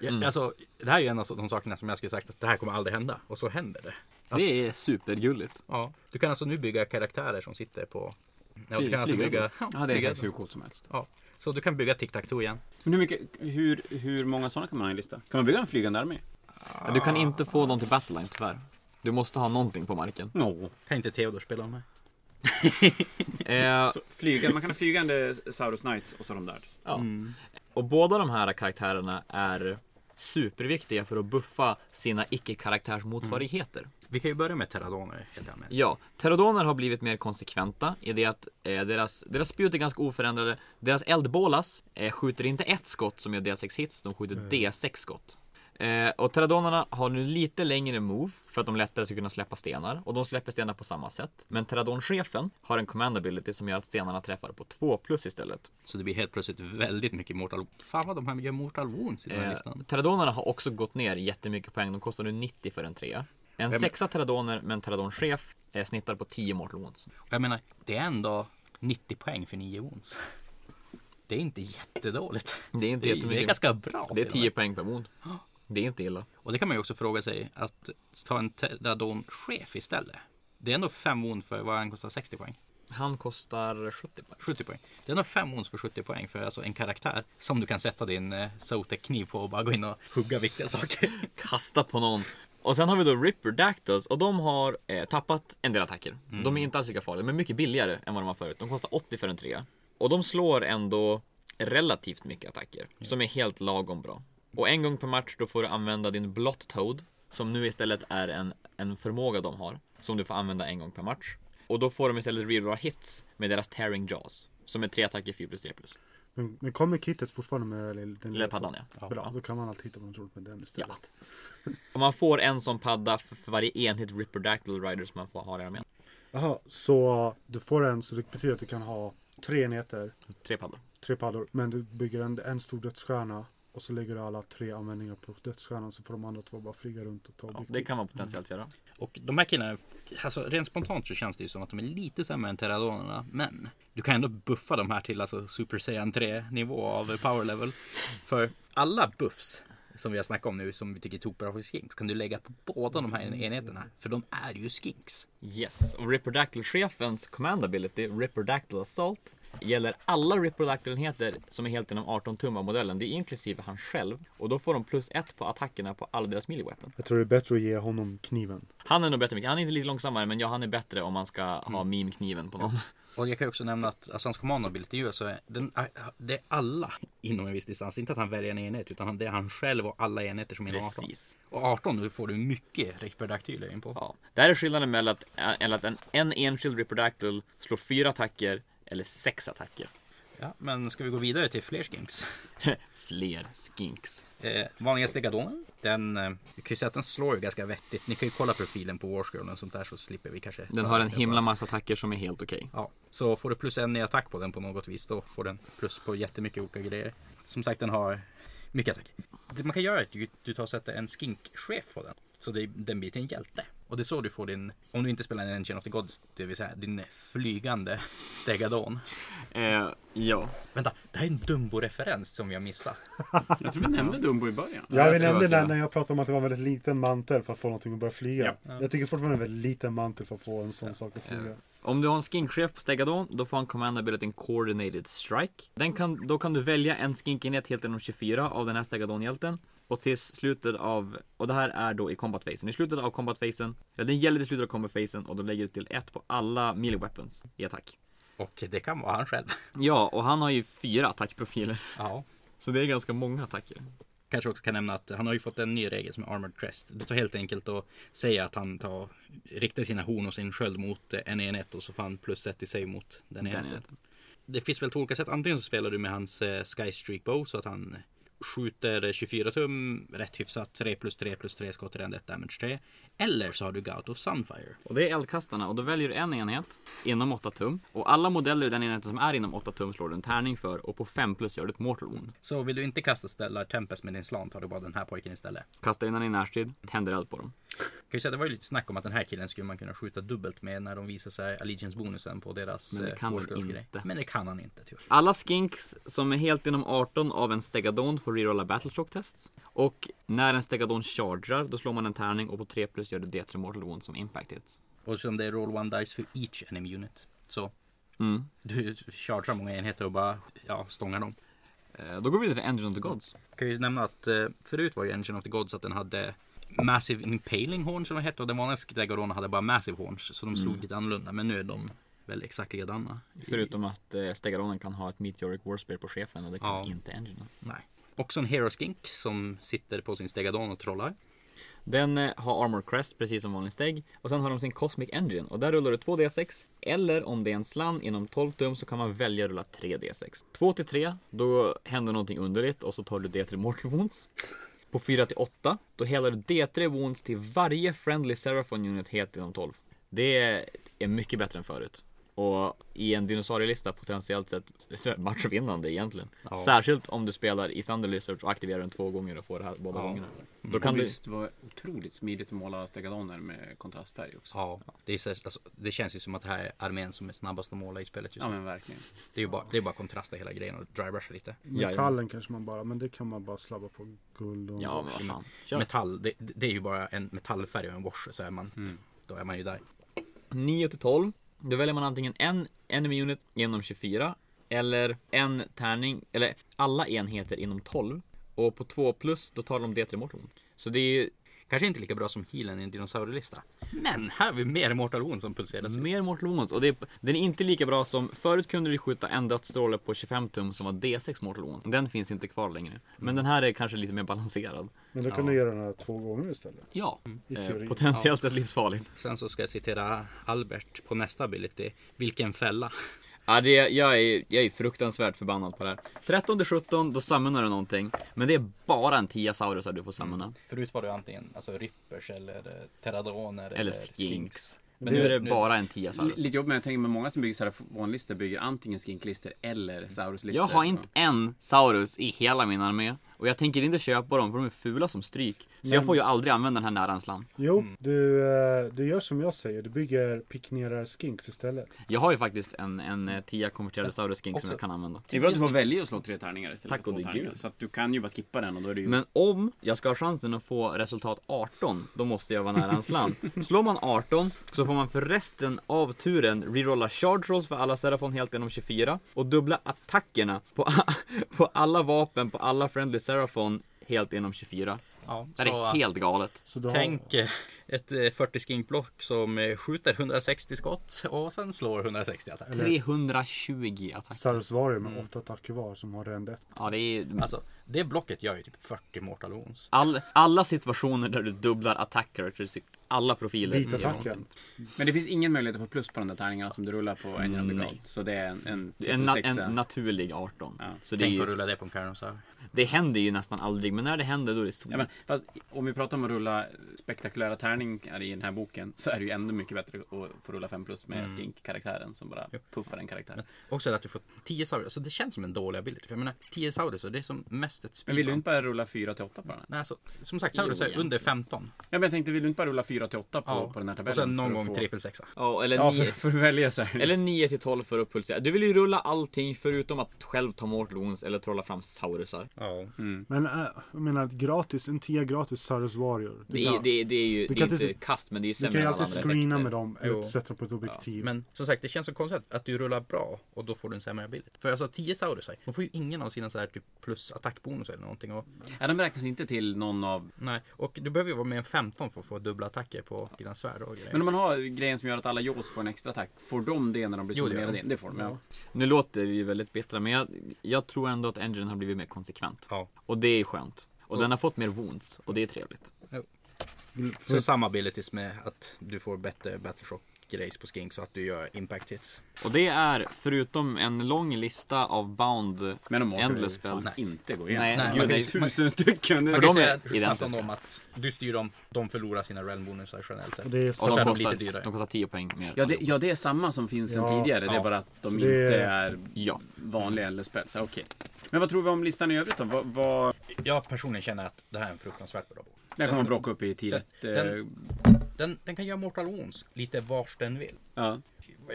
A: Ja, Alltså, det här är ju en av de sakerna som jag skulle sagt att det här kommer aldrig hända. Och så händer det. Att,
D: det är supergulligt.
A: ja, du kan alltså nu bygga karaktärer som sitter på... Ja, du
D: Flyg-
A: kan alltså
D: flygande.
A: bygga...
B: Ja, det är
A: bygga-
B: faktiskt hur coolt som helst.
A: ja. Så du kan bygga tic tac toe igen.
B: Men hur, mycket, hur, hur många sådana kan man ha i en lista? Kan man bygga en flygande armé?
A: Ah.
D: Ja, Du kan inte få dem till Battleline tyvärr. Du måste ha någonting på marken.
B: No.
A: Kan inte Theodor spela med?
D: Eh,
B: Så Alltså, flyga, man kan ha flygande Saurus Knights och så de där.
D: Ja. Och båda de här karaktärerna är superviktiga för att buffa sina icke-karaktärsmotsvarigheter.
A: Vi kan ju börja med Terradoner helt allmänt.
D: Ja, Pterodoner har blivit mer konsekventa i det att eh, deras, deras spjut är ganska oförändrade. Deras eldbolas eh, skjuter inte ett skott som gör D6 hits, de skjuter D6 skott. Eh, och Pteradonerna har nu lite längre move för att de lättare ska kunna släppa stenar och de släpper stenar på samma sätt. Men Pteradonchefen har en command ability som gör att stenarna träffar på 2 plus istället.
A: Så det blir helt plötsligt väldigt mycket Mortal Fan vad de här gör Mortal Wounds i den här
D: Eh,
A: listan.
D: Teradonerna har också gått ner jättemycket poäng. De kostar nu 90 för en trea. En sexa Teradoner med en Teradonchef eh, snittar på 10 Mortal Wounds.
A: Och Jag menar, det är ändå 90 poäng för 9 wounds. Det är inte jättedåligt.
D: Det är inte
A: det,
D: jättemycket.
A: Det är ganska bra.
D: Det är
A: till och med.
D: 10 poäng per wound. Det är inte illa.
A: Och det kan man ju också fråga sig att ta en Teradon-chef istället. Det är ändå 5 wounds för vad han kostar 60 poäng.
D: Han kostar 70 poäng.
A: 70 poäng. Det är ändå 5 wounds för 70 poäng för alltså en karaktär som du kan sätta din eh, Zotek-kniv på och bara gå in och hugga viktiga saker.
D: Kasta på någon. Och sen har vi då Ripper Dactyls och de har eh, tappat en del attacker. De är inte alls lika farliga, men mycket billigare än vad de var förut. De kostar 80 för en trea. Och de slår ändå relativt mycket attacker, som är helt lagom bra. Och en gång per match då får du använda din Blot Toad, som nu istället är en, en förmåga de har, som du får använda en gång per match. Och då får de istället rerolla hits med deras Tearing Jaws, som är tre attacker 4 plus 3 plus.
C: Men, men kommer kittet fortfarande med den lilla
D: Leopardan, ja.
C: Bra, då kan man alltid hitta på något roligt med den istället.
D: Och man får en som padda för, för varje enhet Ripper Dactyl Rider som man får, har i armén.
C: Jaha, så du får en, så det betyder att du kan ha tre enheter,
D: Tre paddor.
C: tre paddor, men du bygger en, en stor dödsstjärna och så lägger du alla tre användningar på dödsstjärnan så får de andra två bara flyga runt och ta
D: Ja,
C: objektiv.
D: det kan man potentiellt göra.
A: Och de här killarna, alltså rent spontant så känns det ju som att de är lite sämre än Terradonerna. Men du kan ändå buffa de här till alltså Super Saiyan 3 nivå av power level. För alla buffs som vi har snackat om nu som vi tycker är tokbra för skinks kan du lägga på båda de här enheterna. För de är ju skinks.
D: Yes, och Ripperdactyl-chefens command ability, Ripperdactyl Assault, gäller alla Ripperdactyl-enheter som är helt inom 18 tum av modellen. Det är inklusive han själv. Och då får de plus ett på attackerna på alla deras melee weapon.
C: Jag tror det är bättre att ge honom kniven.
D: Han är nog bättre, Mikael. han är inte lite långsammare, men ja, han är bättre om man ska ha meme-kniven på någon.
A: Och jag kan ju också nämna att alltså, hans command ability ju alltså, är- den, det är alla inom en viss distans. Inte att han väljer en enhet utan han- det är han själv och alla enheter som är inom 18.
D: Precis.
A: Och 18 nu får du mycket Riperdactyler in på.
D: Ja. Det här är skillnaden mellan att, eller att en, en enskild Ripperdactyl slår fyra attacker eller sex attacker.
A: Ja, men ska vi gå vidare till fler skinks?
D: Fler skinks.
A: Eh, vanligaste gadonen. Den, eh, vi kan ju säga att den slår ju ganska vettigt. Ni kan ju kolla profilen på Warsgirl och sånt där så slipper vi kanske.
D: Den har en himla massa attacker som är helt okej.
A: Ja, så får du plus en i attack på den på något vis då får den plus på jättemycket olika grejer. Som sagt den har mycket attack. Det man kan göra är att du, du tar och sätter en skinkchef på den. Så det, den blir till en hjälte. Och det är så du får din, om du inte spelar en Engine of the Gods, det vill säga din flygande Stegadon.
D: Eh, ja.
A: Vänta, det här är en Dumbo-referens som jag missade.
B: Jag tror vi nämnde Dumbo i början.
C: Ja, vi
D: tror
C: nämnde
D: att jag-
C: när, när jag pratade om att det var en väldigt liten mantel för att få någonting att börja flyga. Jag tycker fortfarande en väldigt liten mantel för att få en sån sak att flyga.
D: Om du har en skinkchef på Stegadon, då får han command abilityn Coordinated Strike. Den kan, då kan du välja en skinkenhet helt inom 24 av den här Stegadon-hjälten. Och till slutet av, och det här är då i combat-fasen. I slutet av combat-fasen, eller den gäller i slutet av combat-fasen och då lägger du till ett på alla melee weapons i attack.
A: Och det kan vara han själv.
D: Ja, och han har ju fyra attackprofiler.
A: Ja.
D: Så det är ganska många attacker.
A: Kanske också kan nämna att han har ju fått en ny regel som är Armored Crest. Du tar helt enkelt och säger att han tar, riktar sina horn och sin sköld mot en enhet och så får han plus ett i sig mot den enheten.
D: enheten.
A: Det finns väl två olika sätt. Antingen så spelar du med hans eh, Sky Streak Bow så att han skjuter 24 tum rätt hyfsat 3 plus 3 plus 3 skott i den, ett damage 3. Eller så har du Gout of Sunfire.
D: Och det är eldkastarna och då väljer du en enhet inom 8 tum. Och alla modeller i den enheten som är inom 8 tum slår du en tärning för och på 5 plus gör du ett mortal wound.
A: Så vill du inte kasta Stellar Tempest med din slant har du bara den här pojken istället.
D: Kastar in den i närstrid, tänder eld på dem.
A: Kan ju säga, det var ju lite snack om att den här killen skulle man kunna skjuta dubbelt med när de visar sig Allegiance-bonusen på deras
D: Men det
A: eh,
D: kan han
A: årskursgrej.
D: inte.
A: Men det kan han inte typ. tyvärr.
D: Alla skinks som är helt inom 18 av en stegadon får rerolla battleshock tests. Och när en stegadon chargear, då slår man en tärning och på 3 plus gör du D3 mortal wound som impact hits.
A: Och som det är roll one dice för each enemy unit. Så
D: Mm.
A: du chargear många enheter och bara ja, stångar dem.
D: Eh, Då går vi vidare till Engine of the Gods.
A: Jag kan ju nämna att eh, förut var ju Engine of the Gods att den hade Massive Impaling Horns som det hette och den vanliga Stegadonen hade bara Massive Horns.
D: Mm.
A: Så de slog lite annorlunda men nu är de väl exakt likadana.
D: Förutom att eh, stegadonen kan ha ett meteoric warspear på chefen och det kan
A: Ja.
D: inte Engine.
A: Nej. Också en Hero Skink som sitter på sin Stegadon och trollar.
D: Den eh, har Armor Crest precis som vanlig steg och sen har de sin Cosmic Engine och där rullar du 2D6 eller om det är en slann inom 12 tum så kan man välja att rulla 3D6. 2 till 3, då händer någonting underligt och så tar du D3 Mortal Wounds. På 4 till 8, då helar du D3 Wounds till varje Friendly Seraphon Unit helt inom 12. Det är mycket bättre än förut. Och i en dinosaurielista potentiellt sett matchvinnande egentligen. Särskilt om du spelar i Thunder Lizard och aktiverar den två gånger och får det här båda gångerna. Då kan
B: Och
D: du...
B: visst var otroligt smidigt att måla stegadoner med kontrastfärg också.
A: Ja, det, är, så- alltså, det känns ju som att det här är armén som är snabbast att måla i spelet just
B: Ja
A: nu.
B: men verkligen.
A: Det är ju bara, det är bara kontrasta hela grejen och drybrush lite.
D: Jajamän.
C: Metallen kanske man bara, men det kan man bara slabba på guld och...
D: Ja, men vad fan. Kör.
A: Metall, det, det är ju bara en metallfärg och en wash så är man, då är man ju där.
D: 9 till 12. Då väljer man antingen en enemy unit genom 24 eller en tärning, eller alla enheter inom 12. Och på 2 plus, då tar de D3 Mortal Wound. Så det är ju
A: Kanske inte lika bra som healen i en dinosaurielista. Men här har vi mer Mortal Wound som pulseras. ut.
D: mer Mortal Wounds. Och det är, den är inte lika bra som, förut kunde du skjuta en dödsstråle på 25 tum som var D6 Mortal Wounds. Den finns inte kvar längre. Men den här är kanske lite mer balanserad.
C: Men då kan du göra den här två gånger istället.
D: Ja,
C: I
D: eh,
C: teorin.
D: potentiellt sett livsfarligt.
A: Sen så ska jag citera Albert på nästa ability. Vilken fälla.
D: Ja, det, jag, är, jag är fruktansvärt förbannad på det här. 13-17, då samlar du någonting. Men det är bara en 10
B: Mm.
D: saurusar du får samla.
A: Förut var det antingen alltså rippers eller terradoner
D: Eller skinks. Men nu är det bara en Tia Saurus.
B: Lite jobbigt men jag tänker med många som bygger sarafonlister bygger antingen skinklister eller sauruslister.
D: Jag har inte en Saurus i hela min armé. Och jag tänker inte köpa dem för de är fula som stryk. Så jag får ju aldrig använda den här närans land.
C: Jo, du, eh, du gör som jag säger. Du bygger piknerar skinks istället.
D: Jag har ju faktiskt en, en eh, Tia konverterade Saurus skink som jag kan använda.
B: Det är bra att du får välja att slå tre tärningar istället
D: Tack
B: för två
D: gode
B: tärningar.
D: gud.
B: Så att du kan ju bara skippa den och då är det ju...
D: Men om jag ska ha chansen att få resultat 18, då måste jag vara nära hans land. Slår man 18 så får man för resten av turen rerolla charge rolls för alla Serafon helt genom 24 och dubbla attackerna på, på alla vapen på alla friendly Serafon helt genom 24.
A: Ja,
D: Det här är
A: så, äh,
D: helt galet.
C: Så du
A: Tänk eh, ett eh, 40 skinkblock som eh, skjuter 160 skott och sen slår 160 attack.
D: 320
C: har
D: attacker.
C: Sarusvarier
D: Mm.
C: med åtta attacker var som har en ett.
D: Ja, det är...
A: Alltså, det blocket gör ju typ 40 mortal wounds.
D: All, alla situationer där du dubblar attacker, så det är typ alla profiler.
C: Vita
D: gör någonsin.
C: attacken.
B: Men det finns ingen möjlighet att få plus på de där tärningarna som du rullar på en genom
D: Mm, Nej.
B: legalt. Så det är en, en, typ
D: En, na,
B: sexa.
D: en naturlig 18.
B: Ja.
D: Så det, är
A: Tänk
D: ju,
A: att rulla det på en Karamsar.
D: det händer ju nästan aldrig, men när det händer då är det så.
B: Ja, men, fast om vi pratar om att rulla spektakulära tärningar i den här boken så är det ju ännu mycket bättre att få rulla 5 plus med
D: Mm.
B: skink-karaktären som bara puffar en karaktär.
A: Också att du får 10 saurus, så det känns som en dålig ability. För jag menar, 10 saurus, det är som mest ett
B: Men vill du
A: speedrun.
B: inte bara rulla 4 till 8 på den här?
A: Nej, alltså, som sagt, saurus är
D: egentligen.
A: under 15.
B: Ja, men jag tänkte, vill du inte bara rulla 4 till 8 på,
A: Ja.
B: på den här tabellen?
A: Och sen
B: för
A: någon
B: att
A: gång
B: få-
A: triple sexa.
D: Ja, eller,
B: Ja,
D: nio,
B: för, för att välja så här.
D: eller 9 till 12 för att pulsera. Du vill ju rulla allting förutom att själv ta mortal wounds eller trolla fram saurusar.
A: Ja.
B: Mm.
D: Mm.
C: Men äh, jag menar gratis, en tia gratis Sarus Warrior. Du
D: Det är,
C: kan,
D: det, är- det är ju
C: Du
D: det
C: kan
D: är inte
C: inte-
D: kast, men det är ju
C: du
D: sämre
C: kan ju
D: än
C: alltid
D: alla andra
C: screena
D: effekter.
C: med dem
A: Jo.
C: eller sätta dem på ett objektiv.
A: Men som sagt, det känns så konstigt att du rullar bra och då får du en sämre ability. För alltså 10 saurusar, de får ju ingen av sina så här typ plus attackbonus eller någonting. Och,
B: Ja, de räknas inte till någon av...
A: nej. och du behöver ju vara med en 15 för att få dubbla attacker på dina svärd och grejer.
B: Men om man har grejen som gör att alla Jaws får en extra attack, får de det när de blir
A: Jo, det gör
B: summerade
A: de.
B: in? Det får de, ja.
D: Nu låter vi ju väldigt bittra, men jag, jag tror ändå att Engine har blivit mer konsekvent.
A: Ja.
D: Och det är skönt. Och den har fått mer wounds, och det är trevligt.
A: Så samma abilities med att du får bättre battleshock grejs på skink så att du gör impact hits.
D: Och det är, förutom en lång lista av bound
B: Men de
D: Endless
B: orkar ju fan
D: spells.
B: inte gå igenom.
D: Nej,
A: Nej,
D: gud,
A: man
B: Det
D: det
B: är
D: är,
B: tusen stycken.
A: Man
D: För
A: kan
D: de
A: ju
D: är
A: säga snabbt om
D: identiska.
A: dem att du styr dem, de förlorar sina realm bonusar generellt sett.
C: Och det är
D: och
C: så,
A: så
D: de
A: är de
D: kostar,
A: lite dyrare.
D: de kostar 10 poäng mer.
B: Ja det, ja, det är samma som finns sen
C: Ja,
B: tidigare. Det
A: ja.
B: är bara att de
C: Så
B: inte
C: det-
B: är
D: Ja.
B: vanliga eller spels. Ja, Okej. Men vad tror vi om listan i övrigt då? Vad, vad...
A: Jag personligen känner att det här är en fruktansvärt bra bok.
B: Där kommer Brock upp i tidigt.
A: Den-
B: eh,
A: Den, den kan göra mortal wounds lite vars den vill.
B: Ja.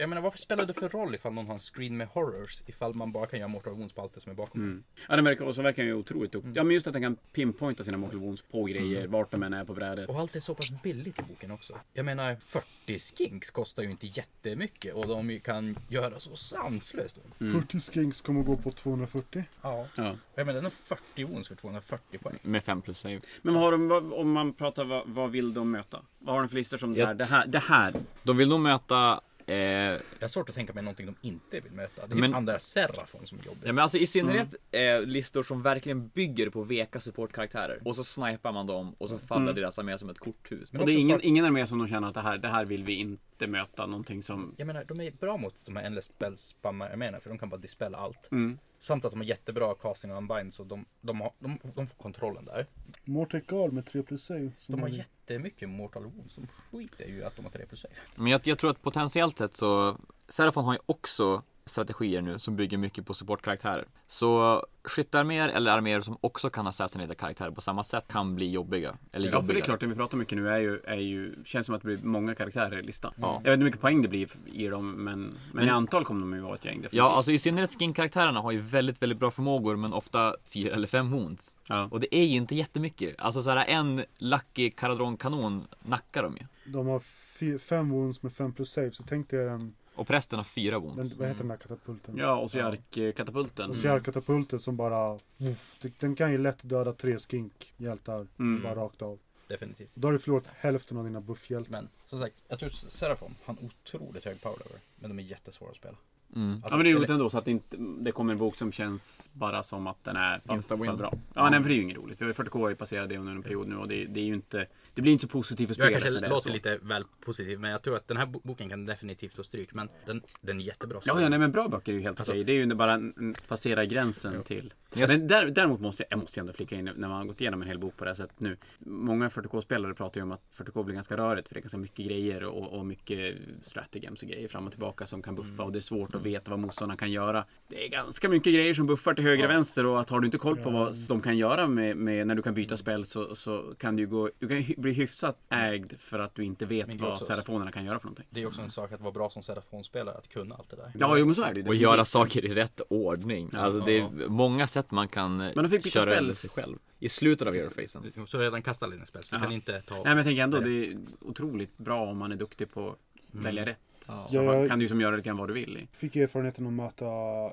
A: Jag menar varför spelar det för roll ifall någon har en screen med horrors ifall man bara kan göra mortal wounds på allt det som är bakom?
B: ja, den verkar, och så verkar den ju otroligt duktig.
A: Mm.
B: Ja, men just att den kan pinpointa sina mortal wounds på grejer, vart de än är på brädet.
A: Och allt är så pass billigt i boken också. Jag menar 40 skinks kostar ju inte jättemycket och de ju kan göra så sanslöst.
D: Mm.
B: Mm.
C: 40 skinks kommer gå på 240.
A: Ja.
B: Ja.
A: Jag menar den har 40 wounds för 240 poäng.
D: Med 5 plus save.
B: Men vad har de, vad, om man pratar, vad, vad vill de möta? Vad har de för listor som det här,
D: Jag-
B: det här, det här?
D: De vill nog möta eh,
A: Jag har svårt att tänka mig någonting de inte vill möta. Det är
D: Men-
A: andra Serafon som är jobbigt.
D: Ja men alltså i synnerhet eh, listor som verkligen bygger på veka supportkaraktärer. Och så snipar man dem och så faller deras armé som ett korthus.
A: Men
B: Och det är
A: också
B: ingen,
A: sak-
B: ingen armé som de känner att det här, det här vill vi inte möta. Någonting som...
A: Jag menar, de är bra mot de här endless spell spammar jag menar, för de kan bara dispella allt.
D: Mm.
A: Samt att de har jättebra casting och unbind, så de, de, har, de, de får kontrollen där.
C: Mortec Guard med 3 plus save.
A: De
D: Mm.
A: har jättemycket mortal wounds, de skiter ju i att de har 3 plus 6.
D: Men jag, jag tror att potentiellt sett så, Serafon har ju också strategier nu som bygger mycket på supportkaraktärer. Så skyttearméer eller arméer som också kan assassinera karaktärer på samma sätt kan bli jobbiga. Eller
B: Ja, för det är
D: jobbigare.
B: klart, det vi pratar mycket nu är ju, är ju, känns som att det blir många karaktärer i listan.
D: Ja.
B: Jag vet inte hur mycket poäng det blir i dem, men, men, i antal kommer de ju vara ett gäng. definitivt.
D: Ja, alltså i synnerhet skin-karaktärerna har ju väldigt, väldigt bra förmågor men ofta fyra eller fem wounds.
B: Ja.
D: Och det är ju inte jättemycket. Alltså så här en Lucky Caradron-kanon nackar de ju.
C: De har 5 wounds med 5 plus save. Så tänk dig den,
D: Och prästen har fyra
C: den
D: wounds.
C: vad heter den där katapulten?
B: Alltså, mm. Ja, och så eh, Jark-katapulten.
C: Och så är det katapulten som bara... Uff, den kan ju lätt döda tre skinkhjältar.
B: Mm.
C: Bara rakt av.
A: Definitivt.
C: Då har du förlorat hälften av dina buffhjältar.
A: Men som sagt, jag tror Serafon har en otroligt hög power level. Men de är jättesvåra att spela.
D: Mm.
A: Alltså,
B: ja men det är roligt
A: eller-
B: ändå så att det, inte, det kommer en bok som känns bara som att den är
D: Insta win.
B: för bra. Ja, nej, för det är ju inget roligt. Vi har ju 40K har ju passerat det under en period nu och det, det är ju inte... Det blir inte så positivt för
A: Jag
B: spelet.
A: kanske
B: när det är
A: låter
B: så.
A: lite väl positiv, men jag tror att den här bo- boken kan definitivt få stryk. Men den, den är jättebra.
B: Ja, ja, nej men bra böcker är ju helt
A: Alltså-
B: okej. Det är ju inte bara en- en- passera gränsen till.
D: Jag-
B: Men där, däremot måste jag, jag måste ju ändå flika in när man har gått igenom en hel bok på det här sättet nu. Många 40K-spelare pratar ju om att 40K blir ganska rörigt för det är ganska mycket grejer och, och mycket strategems och grejer fram och tillbaka som kan
D: Mm.
B: buffa och det är svårt att veta vad motståndarna kan göra. Det är ganska mycket grejer som buffar till höger och vänster och att har du inte koll på vad de kan göra med, med när du kan
D: Mm.
B: byta spel så, så kan du ju gå, du kan hy- bli hyfsat ägd för att du inte
A: Men
B: vet
A: det är
B: vad
A: också-
B: serafonerna kan göra för någonting.
A: Det är också en sak att vara bra som serafonspelare, att kunna allt det där.
B: Ja, jo men så är det ju.
D: Och göra saker i rätt ordning. Alltså det
A: Ja.
D: är många sätt man kan eh,
B: Men de fick byta
D: köra över
B: spells.
D: sig själv. I slutet av Eurofacen.
A: Så redan kasta dina spel, så du
B: Jaha.
A: kan inte ta...
B: Nej men jag tänker ändå det är otroligt bra om man är duktig på att välja rätt.
A: Ja.
B: Så
C: Ja,
B: alltså, man
C: jag-
B: kan du ju som göra lite grann vad du vill. i.
C: Fick erfarenheten att möta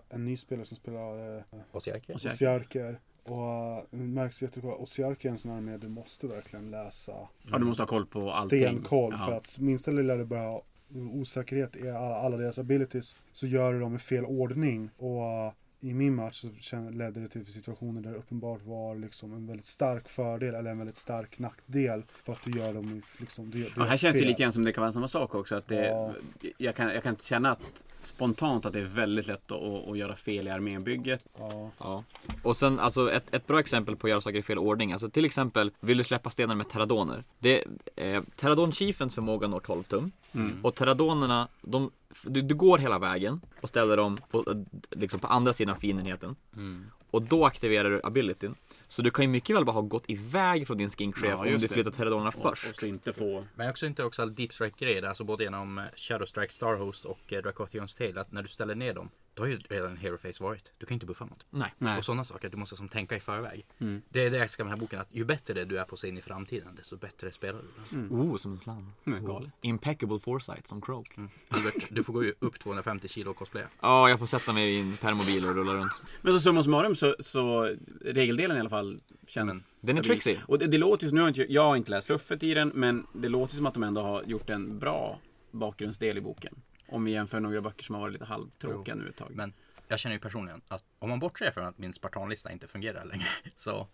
C: en ny spelare som spelar eh,
A: Och säker.
B: Osiarker.
C: Osiarker. Och eh, det märks jättebra. Osiarker är en sån här med du måste verkligen läsa
B: Ja, du måste ha koll på allting.
C: stenkoll. För
B: Ja.
C: att minsta lilla det börjar osäkerhet i alla, alla deras abilities så gör du dem i fel ordning. Och eh, i min match så kände- ledde det till situationer där det uppenbart var liksom en väldigt stark fördel eller en väldigt stark nackdel. För att du gör dem i liksom, du, gör- du
B: Ja,
C: gör
B: här känns det ju
C: fel.
B: lite grann som det kan vara samma sak också. Att det,
C: Ja.
B: jag, kan, jag kan känna att spontant att det är väldigt lätt att, att, att göra fel i armébygget.
C: Ja.
D: Ja. Och sen alltså ett, ett bra exempel på att göra saker i fel ordning. Alltså till exempel, vill du släppa stenar med terradoner? Det, eh, Terradon-chiefens förmåga når 12 tum.
B: Mm.
D: Och terradonerna, de, du, du går hela vägen och ställer dem på, eh, liksom på andra sidan finenheten.
B: Mm.
D: Och då aktiverar du abilityn. Så du kan ju mycket väl bara ha gått iväg från din skinkchef
B: Ja,
D: om
B: just
D: du
B: det.
D: flyttar terradonerna
B: Och, och
D: först.
B: så inte få...
A: Men jag också inte också all deep strike grejer, alltså både genom eh, Shadow Strike Starhost och eh, Dracothions Tail, att när du ställer ner dem, då har ju redan Hero Face varit. Du kan inte buffa något.
D: Nej.
B: Nej. Mm.
A: Och sådana saker, du måste som tänka i förväg. Det är det jag älskar med den här boken, att ju bättre du är på att se in i framtiden, desto bättre spelar du.
D: Oh, som en slang.
B: Mm, galet. Mm.
D: Impeccable foresight som Croak. Ja,
A: Albert, du får gå ju upp 250 kilo och cosplaya.
D: jag får sätta mig i en permobil och rulla runt.
B: Men så summa summarum så, så regeldelen i alla fall känns...
D: Den är
B: stabil.
D: tricksy.
B: Och det, det låter ju som, nu har inte, jag har inte läst fluffet i den, men det låter som att de ändå har gjort en bra bakgrundsdel i boken. Om vi jämför några böcker som har varit lite halvtråkiga nu ett tag.
A: Men jag känner ju personligen att om man bortser från att min spartanlista inte fungerar längre, så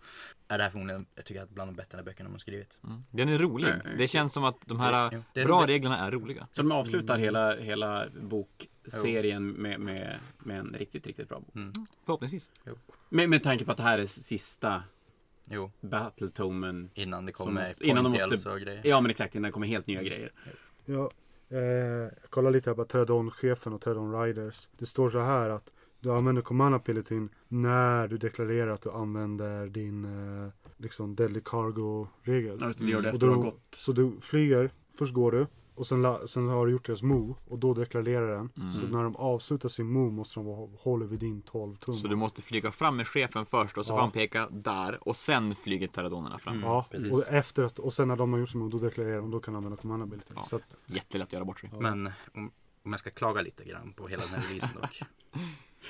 A: är det här förmodligen, jag tycker att bland de bättre böckerna man skrivit.
D: Den är rolig.
B: Nej.
D: Det känns som att de här
A: Det-
D: eh,
A: det är
D: bra
A: roligt.
D: reglerna är roliga.
B: Så de avslutar hela, hela bokserien med, med, med en riktigt, riktigt bra bok.
A: Mm.
D: Förhoppningsvis.
B: Med, med tanke på att det här är sista
A: Jo,
B: Battletomen.
A: innan det
B: Som
A: kommer
B: måste- innan de
A: pointels
B: måste-
A: och grejer.
B: Ja men exakt, innan det kommer helt nya grejer.
C: Ja, eh, jag kollar lite här på Teradon-chefen och Teradon Riders. Det står så här att du använder command abilityn när du deklarerar att du använder din eh, liksom deadly cargo-regel.
B: När du gör det
C: Och
B: efter att ha
C: då,
B: gått.
C: så du flyger, först går du och sen, la, sen har du gjort deras move och då deklarerar den.
B: Mm.
C: Så när de avslutar sin move måste de vara- hålla vid din 12 tum.
B: Mm.
D: Så du måste flyga fram med chefen först och så
C: Ja.
D: får han peka där och sen flyger terradonerna fram.
B: Mm.
C: Ja,
A: precis.
C: och, efter att, och sen när de har gjort sin move, då deklarerar de, då kan de använda command abilityn.
D: Ja.
C: Så att,
D: Jättelätt att göra bort sig.
A: Men om, om jag ska klaga lite grann på hela den här releasen dock.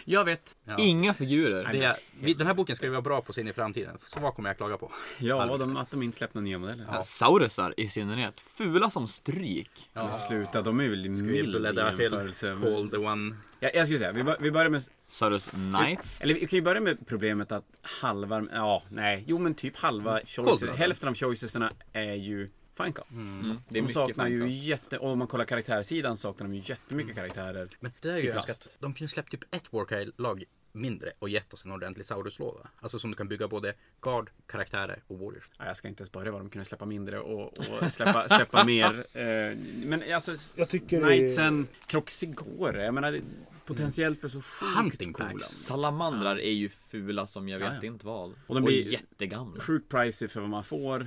B: Jag vet.
A: Ja.
D: Inga figurer.
A: Det, vi, den här boken ska vi vara bra på sen i framtiden. Så vad kommer jag klaga på?
B: Ja, de, att de inte släppt några nya modeller.
A: Ja.
D: Saurusar i synnerhet. Fula som stryk.
B: Men sluta, de är väl mild i
A: Bläddra till
B: jämförelse. med-
A: Paul the One.
B: Jag, jag skulle säga, vi, bör, vi börjar med
D: Saurus Knight.
B: Eller vi kan ju börja med problemet att halva, ja nej, jo men typ
D: Mm.
B: halva choices,
A: Coldblood.
B: hälften av choicesarna är ju Finecast.
D: Mm. Det är
B: de saknar
D: mycket
B: ju
D: fancast.
B: jätte, och om man kollar karaktärsidan saknar de ju jättemycket
D: Mm.
B: karaktärer.
A: Men det är ju
B: I plast.
A: önskat. De kunde släppt typ ett Warcry-lag mindre och gett oss en ordentlig Saurus-låda. Alltså som du kan bygga både Guard, karaktärer och Warriors.
B: Ja, jag ska inte ens börja vad de kunde släppa mindre och, och släppa, släppa mer. Eh, men alltså,
C: Jag tycker det är-
B: Knightsen, Croxigore, jag menar det är potentiell för så sjukt
A: Hunting
B: coola.
A: packs.
D: Salamandrar är ju fula som jag
B: Ja,
D: vet
B: ja.
D: inte vad.
B: Och de
D: Och de
B: blir-
D: blir jättegamla.
B: Sjukt pricey för vad man får.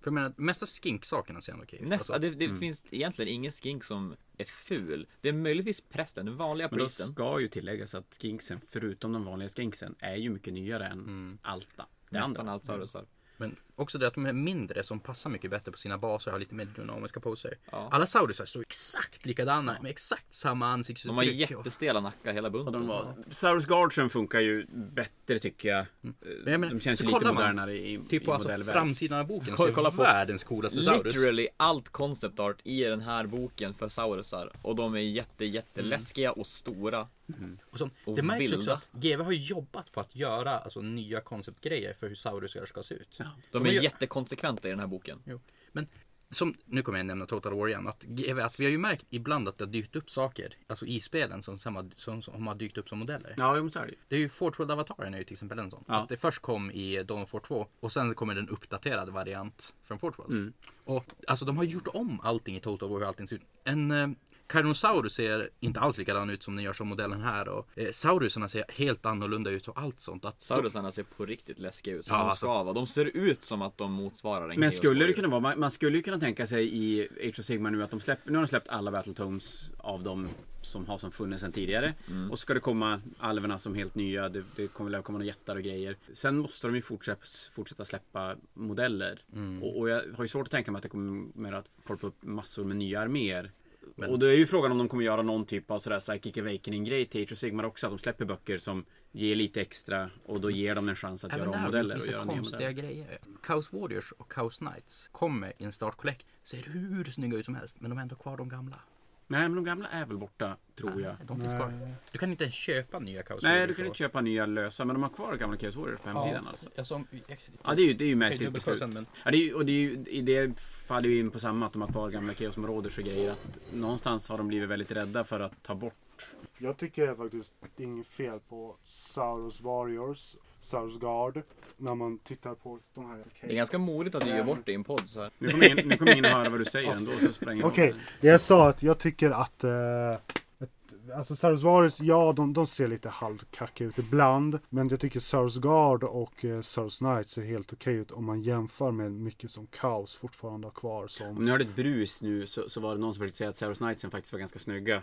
A: För jag menar, mesta skink-sakerna ser ändå okej ut.
D: Nästa,
A: Alltså,
D: det
B: Mm.
D: det finns egentligen ingen skink som är ful. Det är möjligtvis prästen, den vanliga
B: Men då
D: priesten.
B: ska ju tilläggas att skinksen,
A: Mm.
B: förutom de vanliga skinksen, är ju mycket nyare än Alta. Det andra.
D: Nästan allt saurusar.
A: Men Också det att de är mindre som passar mycket bättre på sina baser och har lite mer dynamiska poser.
D: Ja.
A: Alla saurusar står exakt likadana med exakt samma
D: De har
A: ansiktsuttryck. och-
D: jättestela nackar hela bunten.
B: De var, Saurus Guardian funkar ju bättre tycker jag.
A: Mm.
B: Eh,
A: Men jag menar,
B: De känns
A: så
B: ju lite
A: kollar man
B: modernare i,
A: Typ
B: i
A: på alltså
B: modellvärlden.
A: framsidan av boken
D: Kolla-
A: så är
D: kolla på-
A: världens coolaste saurus.
D: Literally allt concept art i den här boken för saurusar och de är jätte jätteläskiga och stora.
A: Och sånt.
D: Och
A: det märks
D: vilda.
A: också att GW har ju jobbat på att göra alltså, nya konceptgrejer för hur saurusar ska se ut.
D: De är
A: gör-
D: jättekonsekventa i den här boken.
A: Jo. Men som, nu kommer jag nämna Total War igen, att, GW att vi har ju märkt ibland att det har dykt upp saker, alltså i spelen som, samma, som, som har dykt upp som modeller.
B: Ja, jo, men så är det ju.
A: Det är ju Fort World Avataren är ju till exempel en sån.
B: Ja.
A: Att det först kom i Dawn of War 2 och sen kommer den uppdaterade variant från Fort World.
B: Mm.
A: Och alltså de har gjort om allting i Total War hur allting ser ut. En eh, Carnosaurus ser inte alls likadan ut som den gör som modellen här och eh, Saurusarna ser helt annorlunda ut och allt sånt. Att de,
D: Saurusarna ser på riktigt läskiga ut som
A: Ja,
D: de
A: alltså.
D: ska vara. De ser ut som att de motsvarar en
B: Men
D: Chaos
B: skulle det
D: Warrior.
B: kunna vara, man, man skulle ju kunna tänka sig i Age of Sigma nu att de släpper, nu har de släppt alla Battletomes av de som har som funnits sedan tidigare.
A: Mm.
B: Och så ska det komma alverna som helt nya, det, det kommer väl komma några jättar och grejer. Sen måste de ju fortsätta, fortsätta släppa modeller.
A: Mm.
B: Och, och jag har ju svårt att tänka mig att det kommer att poppa upp massor med nya arméer.
A: Men-
B: Och då är ju frågan om de kommer göra någon typ av sådär Psychic Awakening-grej till Age of Sigmar också. Att de släpper böcker som ger lite extra och då ger de en chans att
A: Även
B: göra om
A: där
B: modeller och
A: vissa
B: göra nya
A: konstiga
B: modeller.
A: grejer. Chaos Warriors och Chaos Knights kommer i en start collect. Ser hur snygga ut som helst men de har ändå kvar de gamla.
B: Nej, men de gamla är väl borta,
A: Ah,
B: tror jag.
A: De finns kvar. Du kan inte ens köpa nya Chaos
B: Oh Nej,
A: Warriors.
B: du kan
A: och-
B: inte köpa nya lösa, men de har kvar gamla Chaos Warriors på hemsidan alltså.
A: Alltså,
B: Ja, det är ju, det är
A: Hej,
B: ju märkligt beslut.
A: dubbelkorsen, men-
B: Ja, det är, ju- och det är ju, i det faller ju in på samma, att de har kvar gamla Chaos Marauders och grejer. Att någonstans har de blivit väldigt rädda för att ta bort.
C: Jag tycker faktiskt det är inget fel på Saurus Warriors, Saurus Guard, när man tittar på de här.
D: Det är ganska modigt att du gör bort det i en podd så här.
B: Nu kommer ingen, nu kommer ingen att höra vad du säger ändå, så spränger de
C: Okej,
B: det.
C: det jag sa att jag tycker att... Eh, ett, alltså Saurus Warriors, ja de, de ser lite halvkacka ut ibland. Men jag tycker Saurus Guard och eh, Saurus Knight ser helt okej ut om man jämför med mycket som Kaos fortfarande har kvar
B: Om
C: som...
B: ni hörde ett brus nu så, så var det någon som försökte säga att Saurus Knightsen faktiskt var ganska snygga.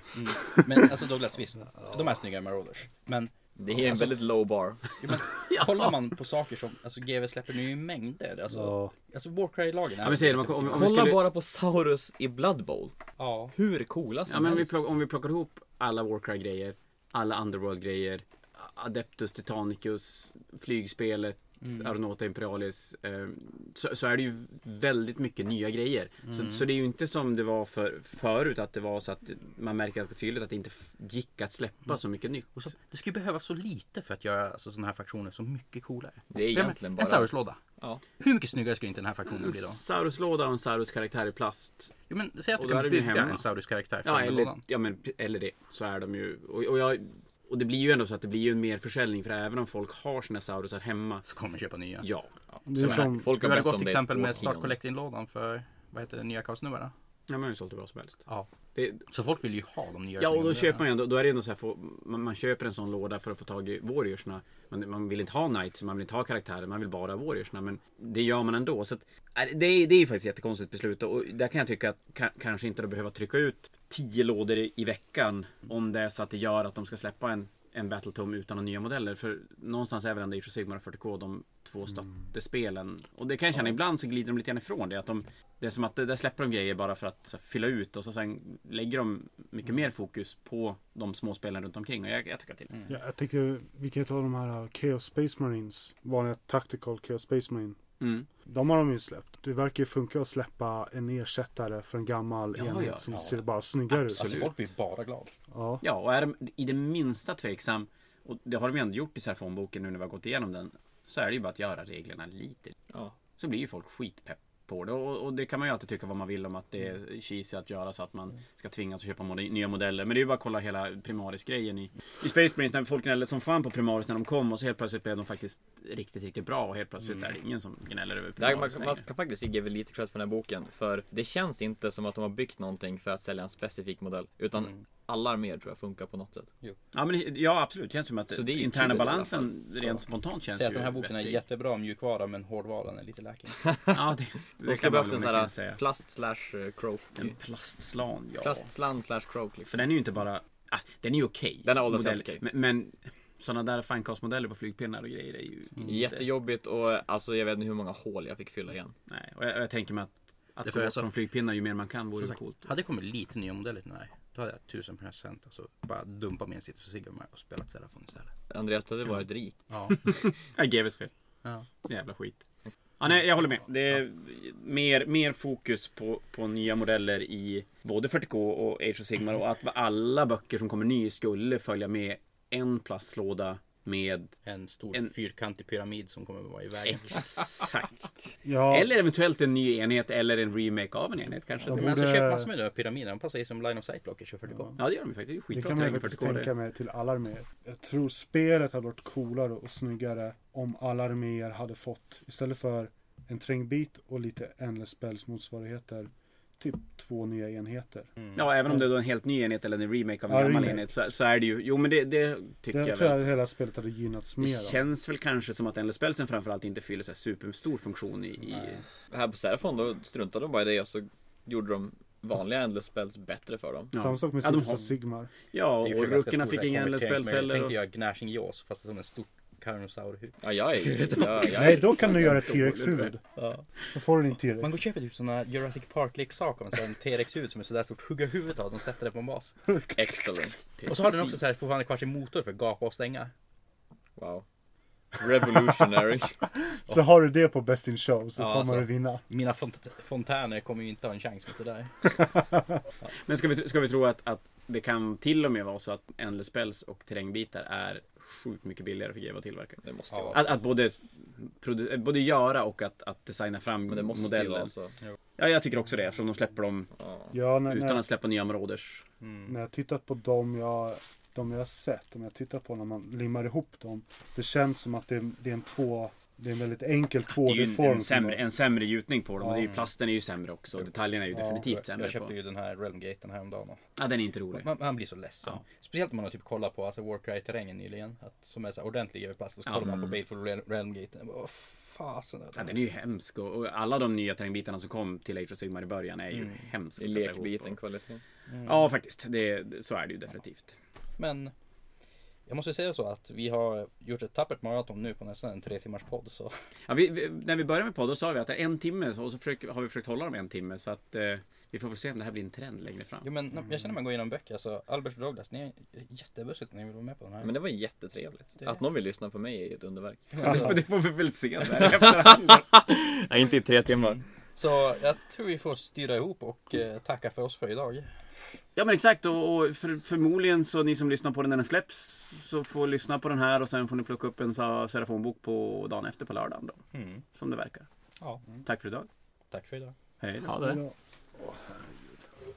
A: Men alltså Douglas, visst. De är snygga Marauders. Men
D: Det är en
A: Alltså-
D: väldigt low bar.
A: kollar man på saker som, alltså GW släpper nu i mängder. Alltså,
C: Ja.
A: alltså Warcry-lagen. är
B: Ja, men säger de,
A: definitivt-
B: om- om-
D: Kolla
B: skulle-
D: bara på Saurus i Blood Bowl.
A: Ja.
D: Hur coola som
B: Ja, men vi
D: helst.
B: plock, om vi plockar ihop alla Warcry-grejer, alla Underworld-grejer, Adeptus Titanicus, flygspelet,
A: Mm.
B: Aeronauta Imperialis. Eh, så, så är det ju väldigt mycket nya grejer.
A: Mm.
B: Så, så det är ju inte som det var för, förut, att det var så att man märker ganska tydligt att det inte f- gick att släppa så mycket nytt.
A: Mm. Och så, det skulle behövas så lite för att göra alltså, sådana här fraktioner så mycket coolare.
D: Det är
A: Jag menar,
D: egentligen
A: En
D: bara...
A: Saurus-låda.
D: Ja.
A: Hur mycket snyggare skulle inte den här fraktionen bli då?
B: Saurus-låda och en Saurus-karaktär i plast.
A: Jo, men säg att
B: Och
A: du
B: då
A: kan
B: är det ju
A: bygga
B: hemma.
A: en Saurus-karaktär från
B: Ja,
A: den
B: eller,
A: lådan.
B: ja men, eller det. Så är de ju. Och, och, jag, och det blir ju ändå så att det blir ju en mer försäljning för även om folk har sina Saurusar hemma.
A: Så kommer de köpa nya.
B: Ja,
C: Det är
A: Så menar
C: som,
D: Folk
A: Hur har
D: har
A: det
D: bett om
A: gått
D: det
A: till
D: i
A: exempel med
D: årtionden.
A: Start Collecting-lådan för, vad heter det, nya kaosnumren?
B: Ja, man har ju sålt hur bra som helst.
A: Ja.
B: Det,
A: Så folk vill ju ha de nya
B: ja, och
A: snygga
B: då köper man ju ändå, då är det ändå så här, få- man, man köper en sån låda för att få tag i warriorsna. Man, man vill inte ha knights, man vill inte ha karaktärer, man vill bara ha warriorsna. Men det gör man ändå. Så att, äh, det, är, det är ju faktiskt ett jättekonstigt beslut och där kan jag tycka att ka- kanske inte då behöva trycka ut tio lådor i, i veckan om det är så att det gör att de ska släppa en en Battletome utan några nya modeller. För någonstans är väl ändå Age of Sigmar och 40K de två stöttespelen. Och det kan jag känna, ibland så glider de lite grann ifrån det. Att de, det är som att det- där släpper de grejer bara för att så, här, fylla ut och så sen lägger de mycket mer fokus på de små spelen runt omkring. Och jag, jag tycker till.
C: ja, jag tycker vilket av de här eh, Chaos Space Marines, vanliga Tactical Chaos Space Marine.
B: Mm.
C: De har de ju släppt. Det verkar ju funka att släppa en ersättare för en gammal
B: Ja,
C: enhet
B: ja,
C: som
B: ja.
C: ser bara snyggare ut.
A: Alltså folk blir bara glada.
C: Ja.
B: Ja, och är de i det minsta tveksam, och det har de ju ändå gjort i Serfonboken nu när vi har gått igenom den, så är det ju bara att göra reglerna lite
D: Ja.
B: så blir ju folk skitpepp på det. Och, och det kan man ju alltid tycka vad man vill om att det är cheesy att göra så att man ska tvingas att köpa mod- nya modeller. Men det är ju bara att kolla hela Primaris-grejen i, i Space Marines när folk gnällde som fan på Primaris när de kom och så helt plötsligt blev de faktiskt riktigt, riktigt bra och helt plötsligt är det ingen som gnäller över
D: Mm. Där man,
B: Primaris
D: man
B: längre.
D: kan faktiskt ge väl lite cred för den här boken. För det känns inte som att de har byggt någonting för att sälja en specifik modell. Utan alla arméer tror jag funkar på något sätt.
B: Ja, men, Mm. det- ja absolut, det känns som att
D: Så det är ju
B: interna
D: kul i alla
B: balansen rent spontant känns
A: Säg att
B: ju
A: den här boken är
B: vettig.
A: jättebra mjukvara men hårdvaran är lite läking.
B: Ja, det,
D: De
B: det
D: ska
B: kan man
D: behövt
B: väl
D: en
B: mycket
D: sån här
B: säga.
D: plast slash eh, croak.
A: Mm.
B: En plastslan, ja.
D: Plastsland slash croak liksom.
B: För den är ju inte bara... Ah, den är ju okej.
D: Den har åldrats
B: Modell.
D: helt okej.
B: Men, men sådana där fancastmodeller på flygpinnar och grejer är ju
A: Mm.
B: inte...
D: Jättejobbigt och alltså jag vet inte hur många hål jag fick fylla igen.
B: Nej, och jag, och jag tänker mig att,
A: Det
B: att
A: får
B: gå
A: jag
B: bort
A: så-
B: från flygpinnar ju mer man kan vore
A: Som
B: ju
A: sagt,
B: coolt.
A: Hade det kommit lite nya modeller till den här, då hade jag 1000 procent alltså bara dumpat min Citrus och Sigma och spelat Serafon istället.
D: Andreas, du hade varit rik.
A: Ja.
B: Jag gav fel.
A: ja.
B: Jävla skit. Ja, nej, jag håller med. Det är mer, mer fokus på, på nya modeller i både 40K och Age of Sigmar och att alla böcker som kommer ny skulle följa med en plastlåda med
A: En stor
B: En-
A: fyrkantig pyramid som kommer att vara i vägen.
B: exakt.
C: Ja,
B: Eller eventuellt en ny enhet eller en remake av en enhet kanske.
C: Ja,
A: Men alltså
C: Borde-
A: köp massor med de här pyramiderna, de passar ju som line of sight blockers i 40K.
B: Ja, det gör de ju faktiskt. Det är ju
C: det
B: skitbra
C: kan man ju
B: terräng för
C: faktiskt
B: 40K.
C: tänka
B: det.
C: mig till alla arméer. Jag tror spelet hade varit coolare och snyggare om alla arméer hade fått, istället för en trängbit och lite endless spells motsvarigheter, typ två nya enheter.
B: Ja, även om det är då en helt ny enhet eller en remake av en
C: Ja,
B: gammal
C: remake.
B: enhet så, så är det ju. Jo, men det, det tycker
C: Det
B: jag
C: tror
B: väl.
C: jag hela spelet hade gynnats mer
B: Det
C: av.
B: känns väl kanske som att Endless Spelsen framförallt inte fyller så här superstor funktion i... i...
D: Här på Serafon då struntade de bara i det och så gjorde de vanliga Endless Spells bättre för dem.
B: Ja.
C: Samma sak med
B: Ja, de
C: Citrus
B: har-
C: och Sigmar.
A: Det
B: Ja,
A: är ju för
B: och
A: ganska
B: ruckerna
A: stora
B: fick inga Endless Spells
A: konverteringsmöjligheter.
B: heller.
A: Tänk
B: Och...
A: dig göra Gnashing Jaws fast som en stor karnosaurhuvud.
D: Ja, jag är ju... Jag, jag,
C: Nej, då kan du göra ett T-Rex-huvud.
A: Ja.
C: Så får du
A: Man
C: din
A: går och
C: T-Rex.
A: köper typ såna Jurassic Park-leksaker med en sån T-rex-huvud som är sådär stort. Hugger huvudet av dem och sätter det på en bas.
D: Excellent.
A: Och så har den också så här fortfarande kvar sin motor för att gapa och stänga.
D: Wow. Revolutionary.
C: Så har du det på Best in Show så
A: Ja,
C: kommer
A: alltså.
C: du vinna.
A: Mina font- fontäner kommer ju inte ha en chans mot det där.
B: Men ska vi, ska vi tro att, att det kan till och med vara så att Endless Spells och terrängbitar är sjukt mycket billigare för GW att tillverka?
D: Det måste ju
A: Ja.
D: vara.
B: Att, att både, produ- både göra och att, att designa fram
D: Men det måste ju
B: modellen.
D: vara så.
B: Ja, jag tycker också det eftersom de släpper dem
D: Ja.
C: Ja, när,
A: eh,
B: utan
C: när,
B: att släppa nya områders.
C: när jag tittat på dem jag, de jag har sett, om jag tittar på när man limmar ihop dem. Det känns som att det, är- det är en två, det är en väldigt enkel
B: Det är ju en,
C: tvådig-form.
B: en, sämre, en sämre gjutning på dem. Och det är ju,
C: Ja.
B: plasten är ju sämre också. och Detaljerna är ju
C: Ja,
B: definitivt sämre.
A: Jag köpte
B: på.
A: ju den här Realmgaten häromdagen. och
B: Ja, den är inte rolig.
A: Man, man blir så ledsen.
B: Ja.
A: Speciellt om man har typ kollat på alltså Warcry-terrängen nyligen. Att, som är så här ordentlig överplast. Och så
B: Ja,
A: kollar man
B: mm.
A: på Baleful Real- Realmgaten. Vad fasen är
B: Ja,
A: det?
B: den är ju hemsk och, och alla de nya terrängbitarna som kom till Age of Sigmar i början är ju
A: Mm.
B: hemska.
D: I
B: att sätta ihop
D: lekbiten
B: och-
D: kvalitet.
B: Ja, faktiskt. Det, det- så är det ju definitivt.
A: Men jag måste säga så att vi har gjort ett tappert maraton nu på nästan en tre timmars podd. Så
B: Ja, vi, vi, när vi började med podden sa vi att det är en timme och så försöker, har vi försökt hålla dem en timme så att eh, vi får väl se om det här blir en trend längre fram.
A: jo, men, jag
B: Mm.
A: känner man går igenom böcker. Så Albert och Douglas, ni är jättebussigt när ni vill vara med på den här.
D: Men det var jättetrevligt. Att någon vill lyssna på mig är ju ett underverk.
B: Men det får vi väl se så här i efterhand.
D: Nej, inte i tre timmar.
A: Så jag tror vi får styra ihop och eh, tacka för oss för idag.
B: Ja men exakt och, och för, förmodligen så ni som lyssnar på den när den släpps så får lyssna på den här och sen får ni plocka upp en Sa- Serafonbok på dagen efter på lördagen Mm. då. Som det verkar.
A: Ja.
B: Tack för idag.
A: Tack för idag.
B: Hej då.
D: Ha det.
C: Ja.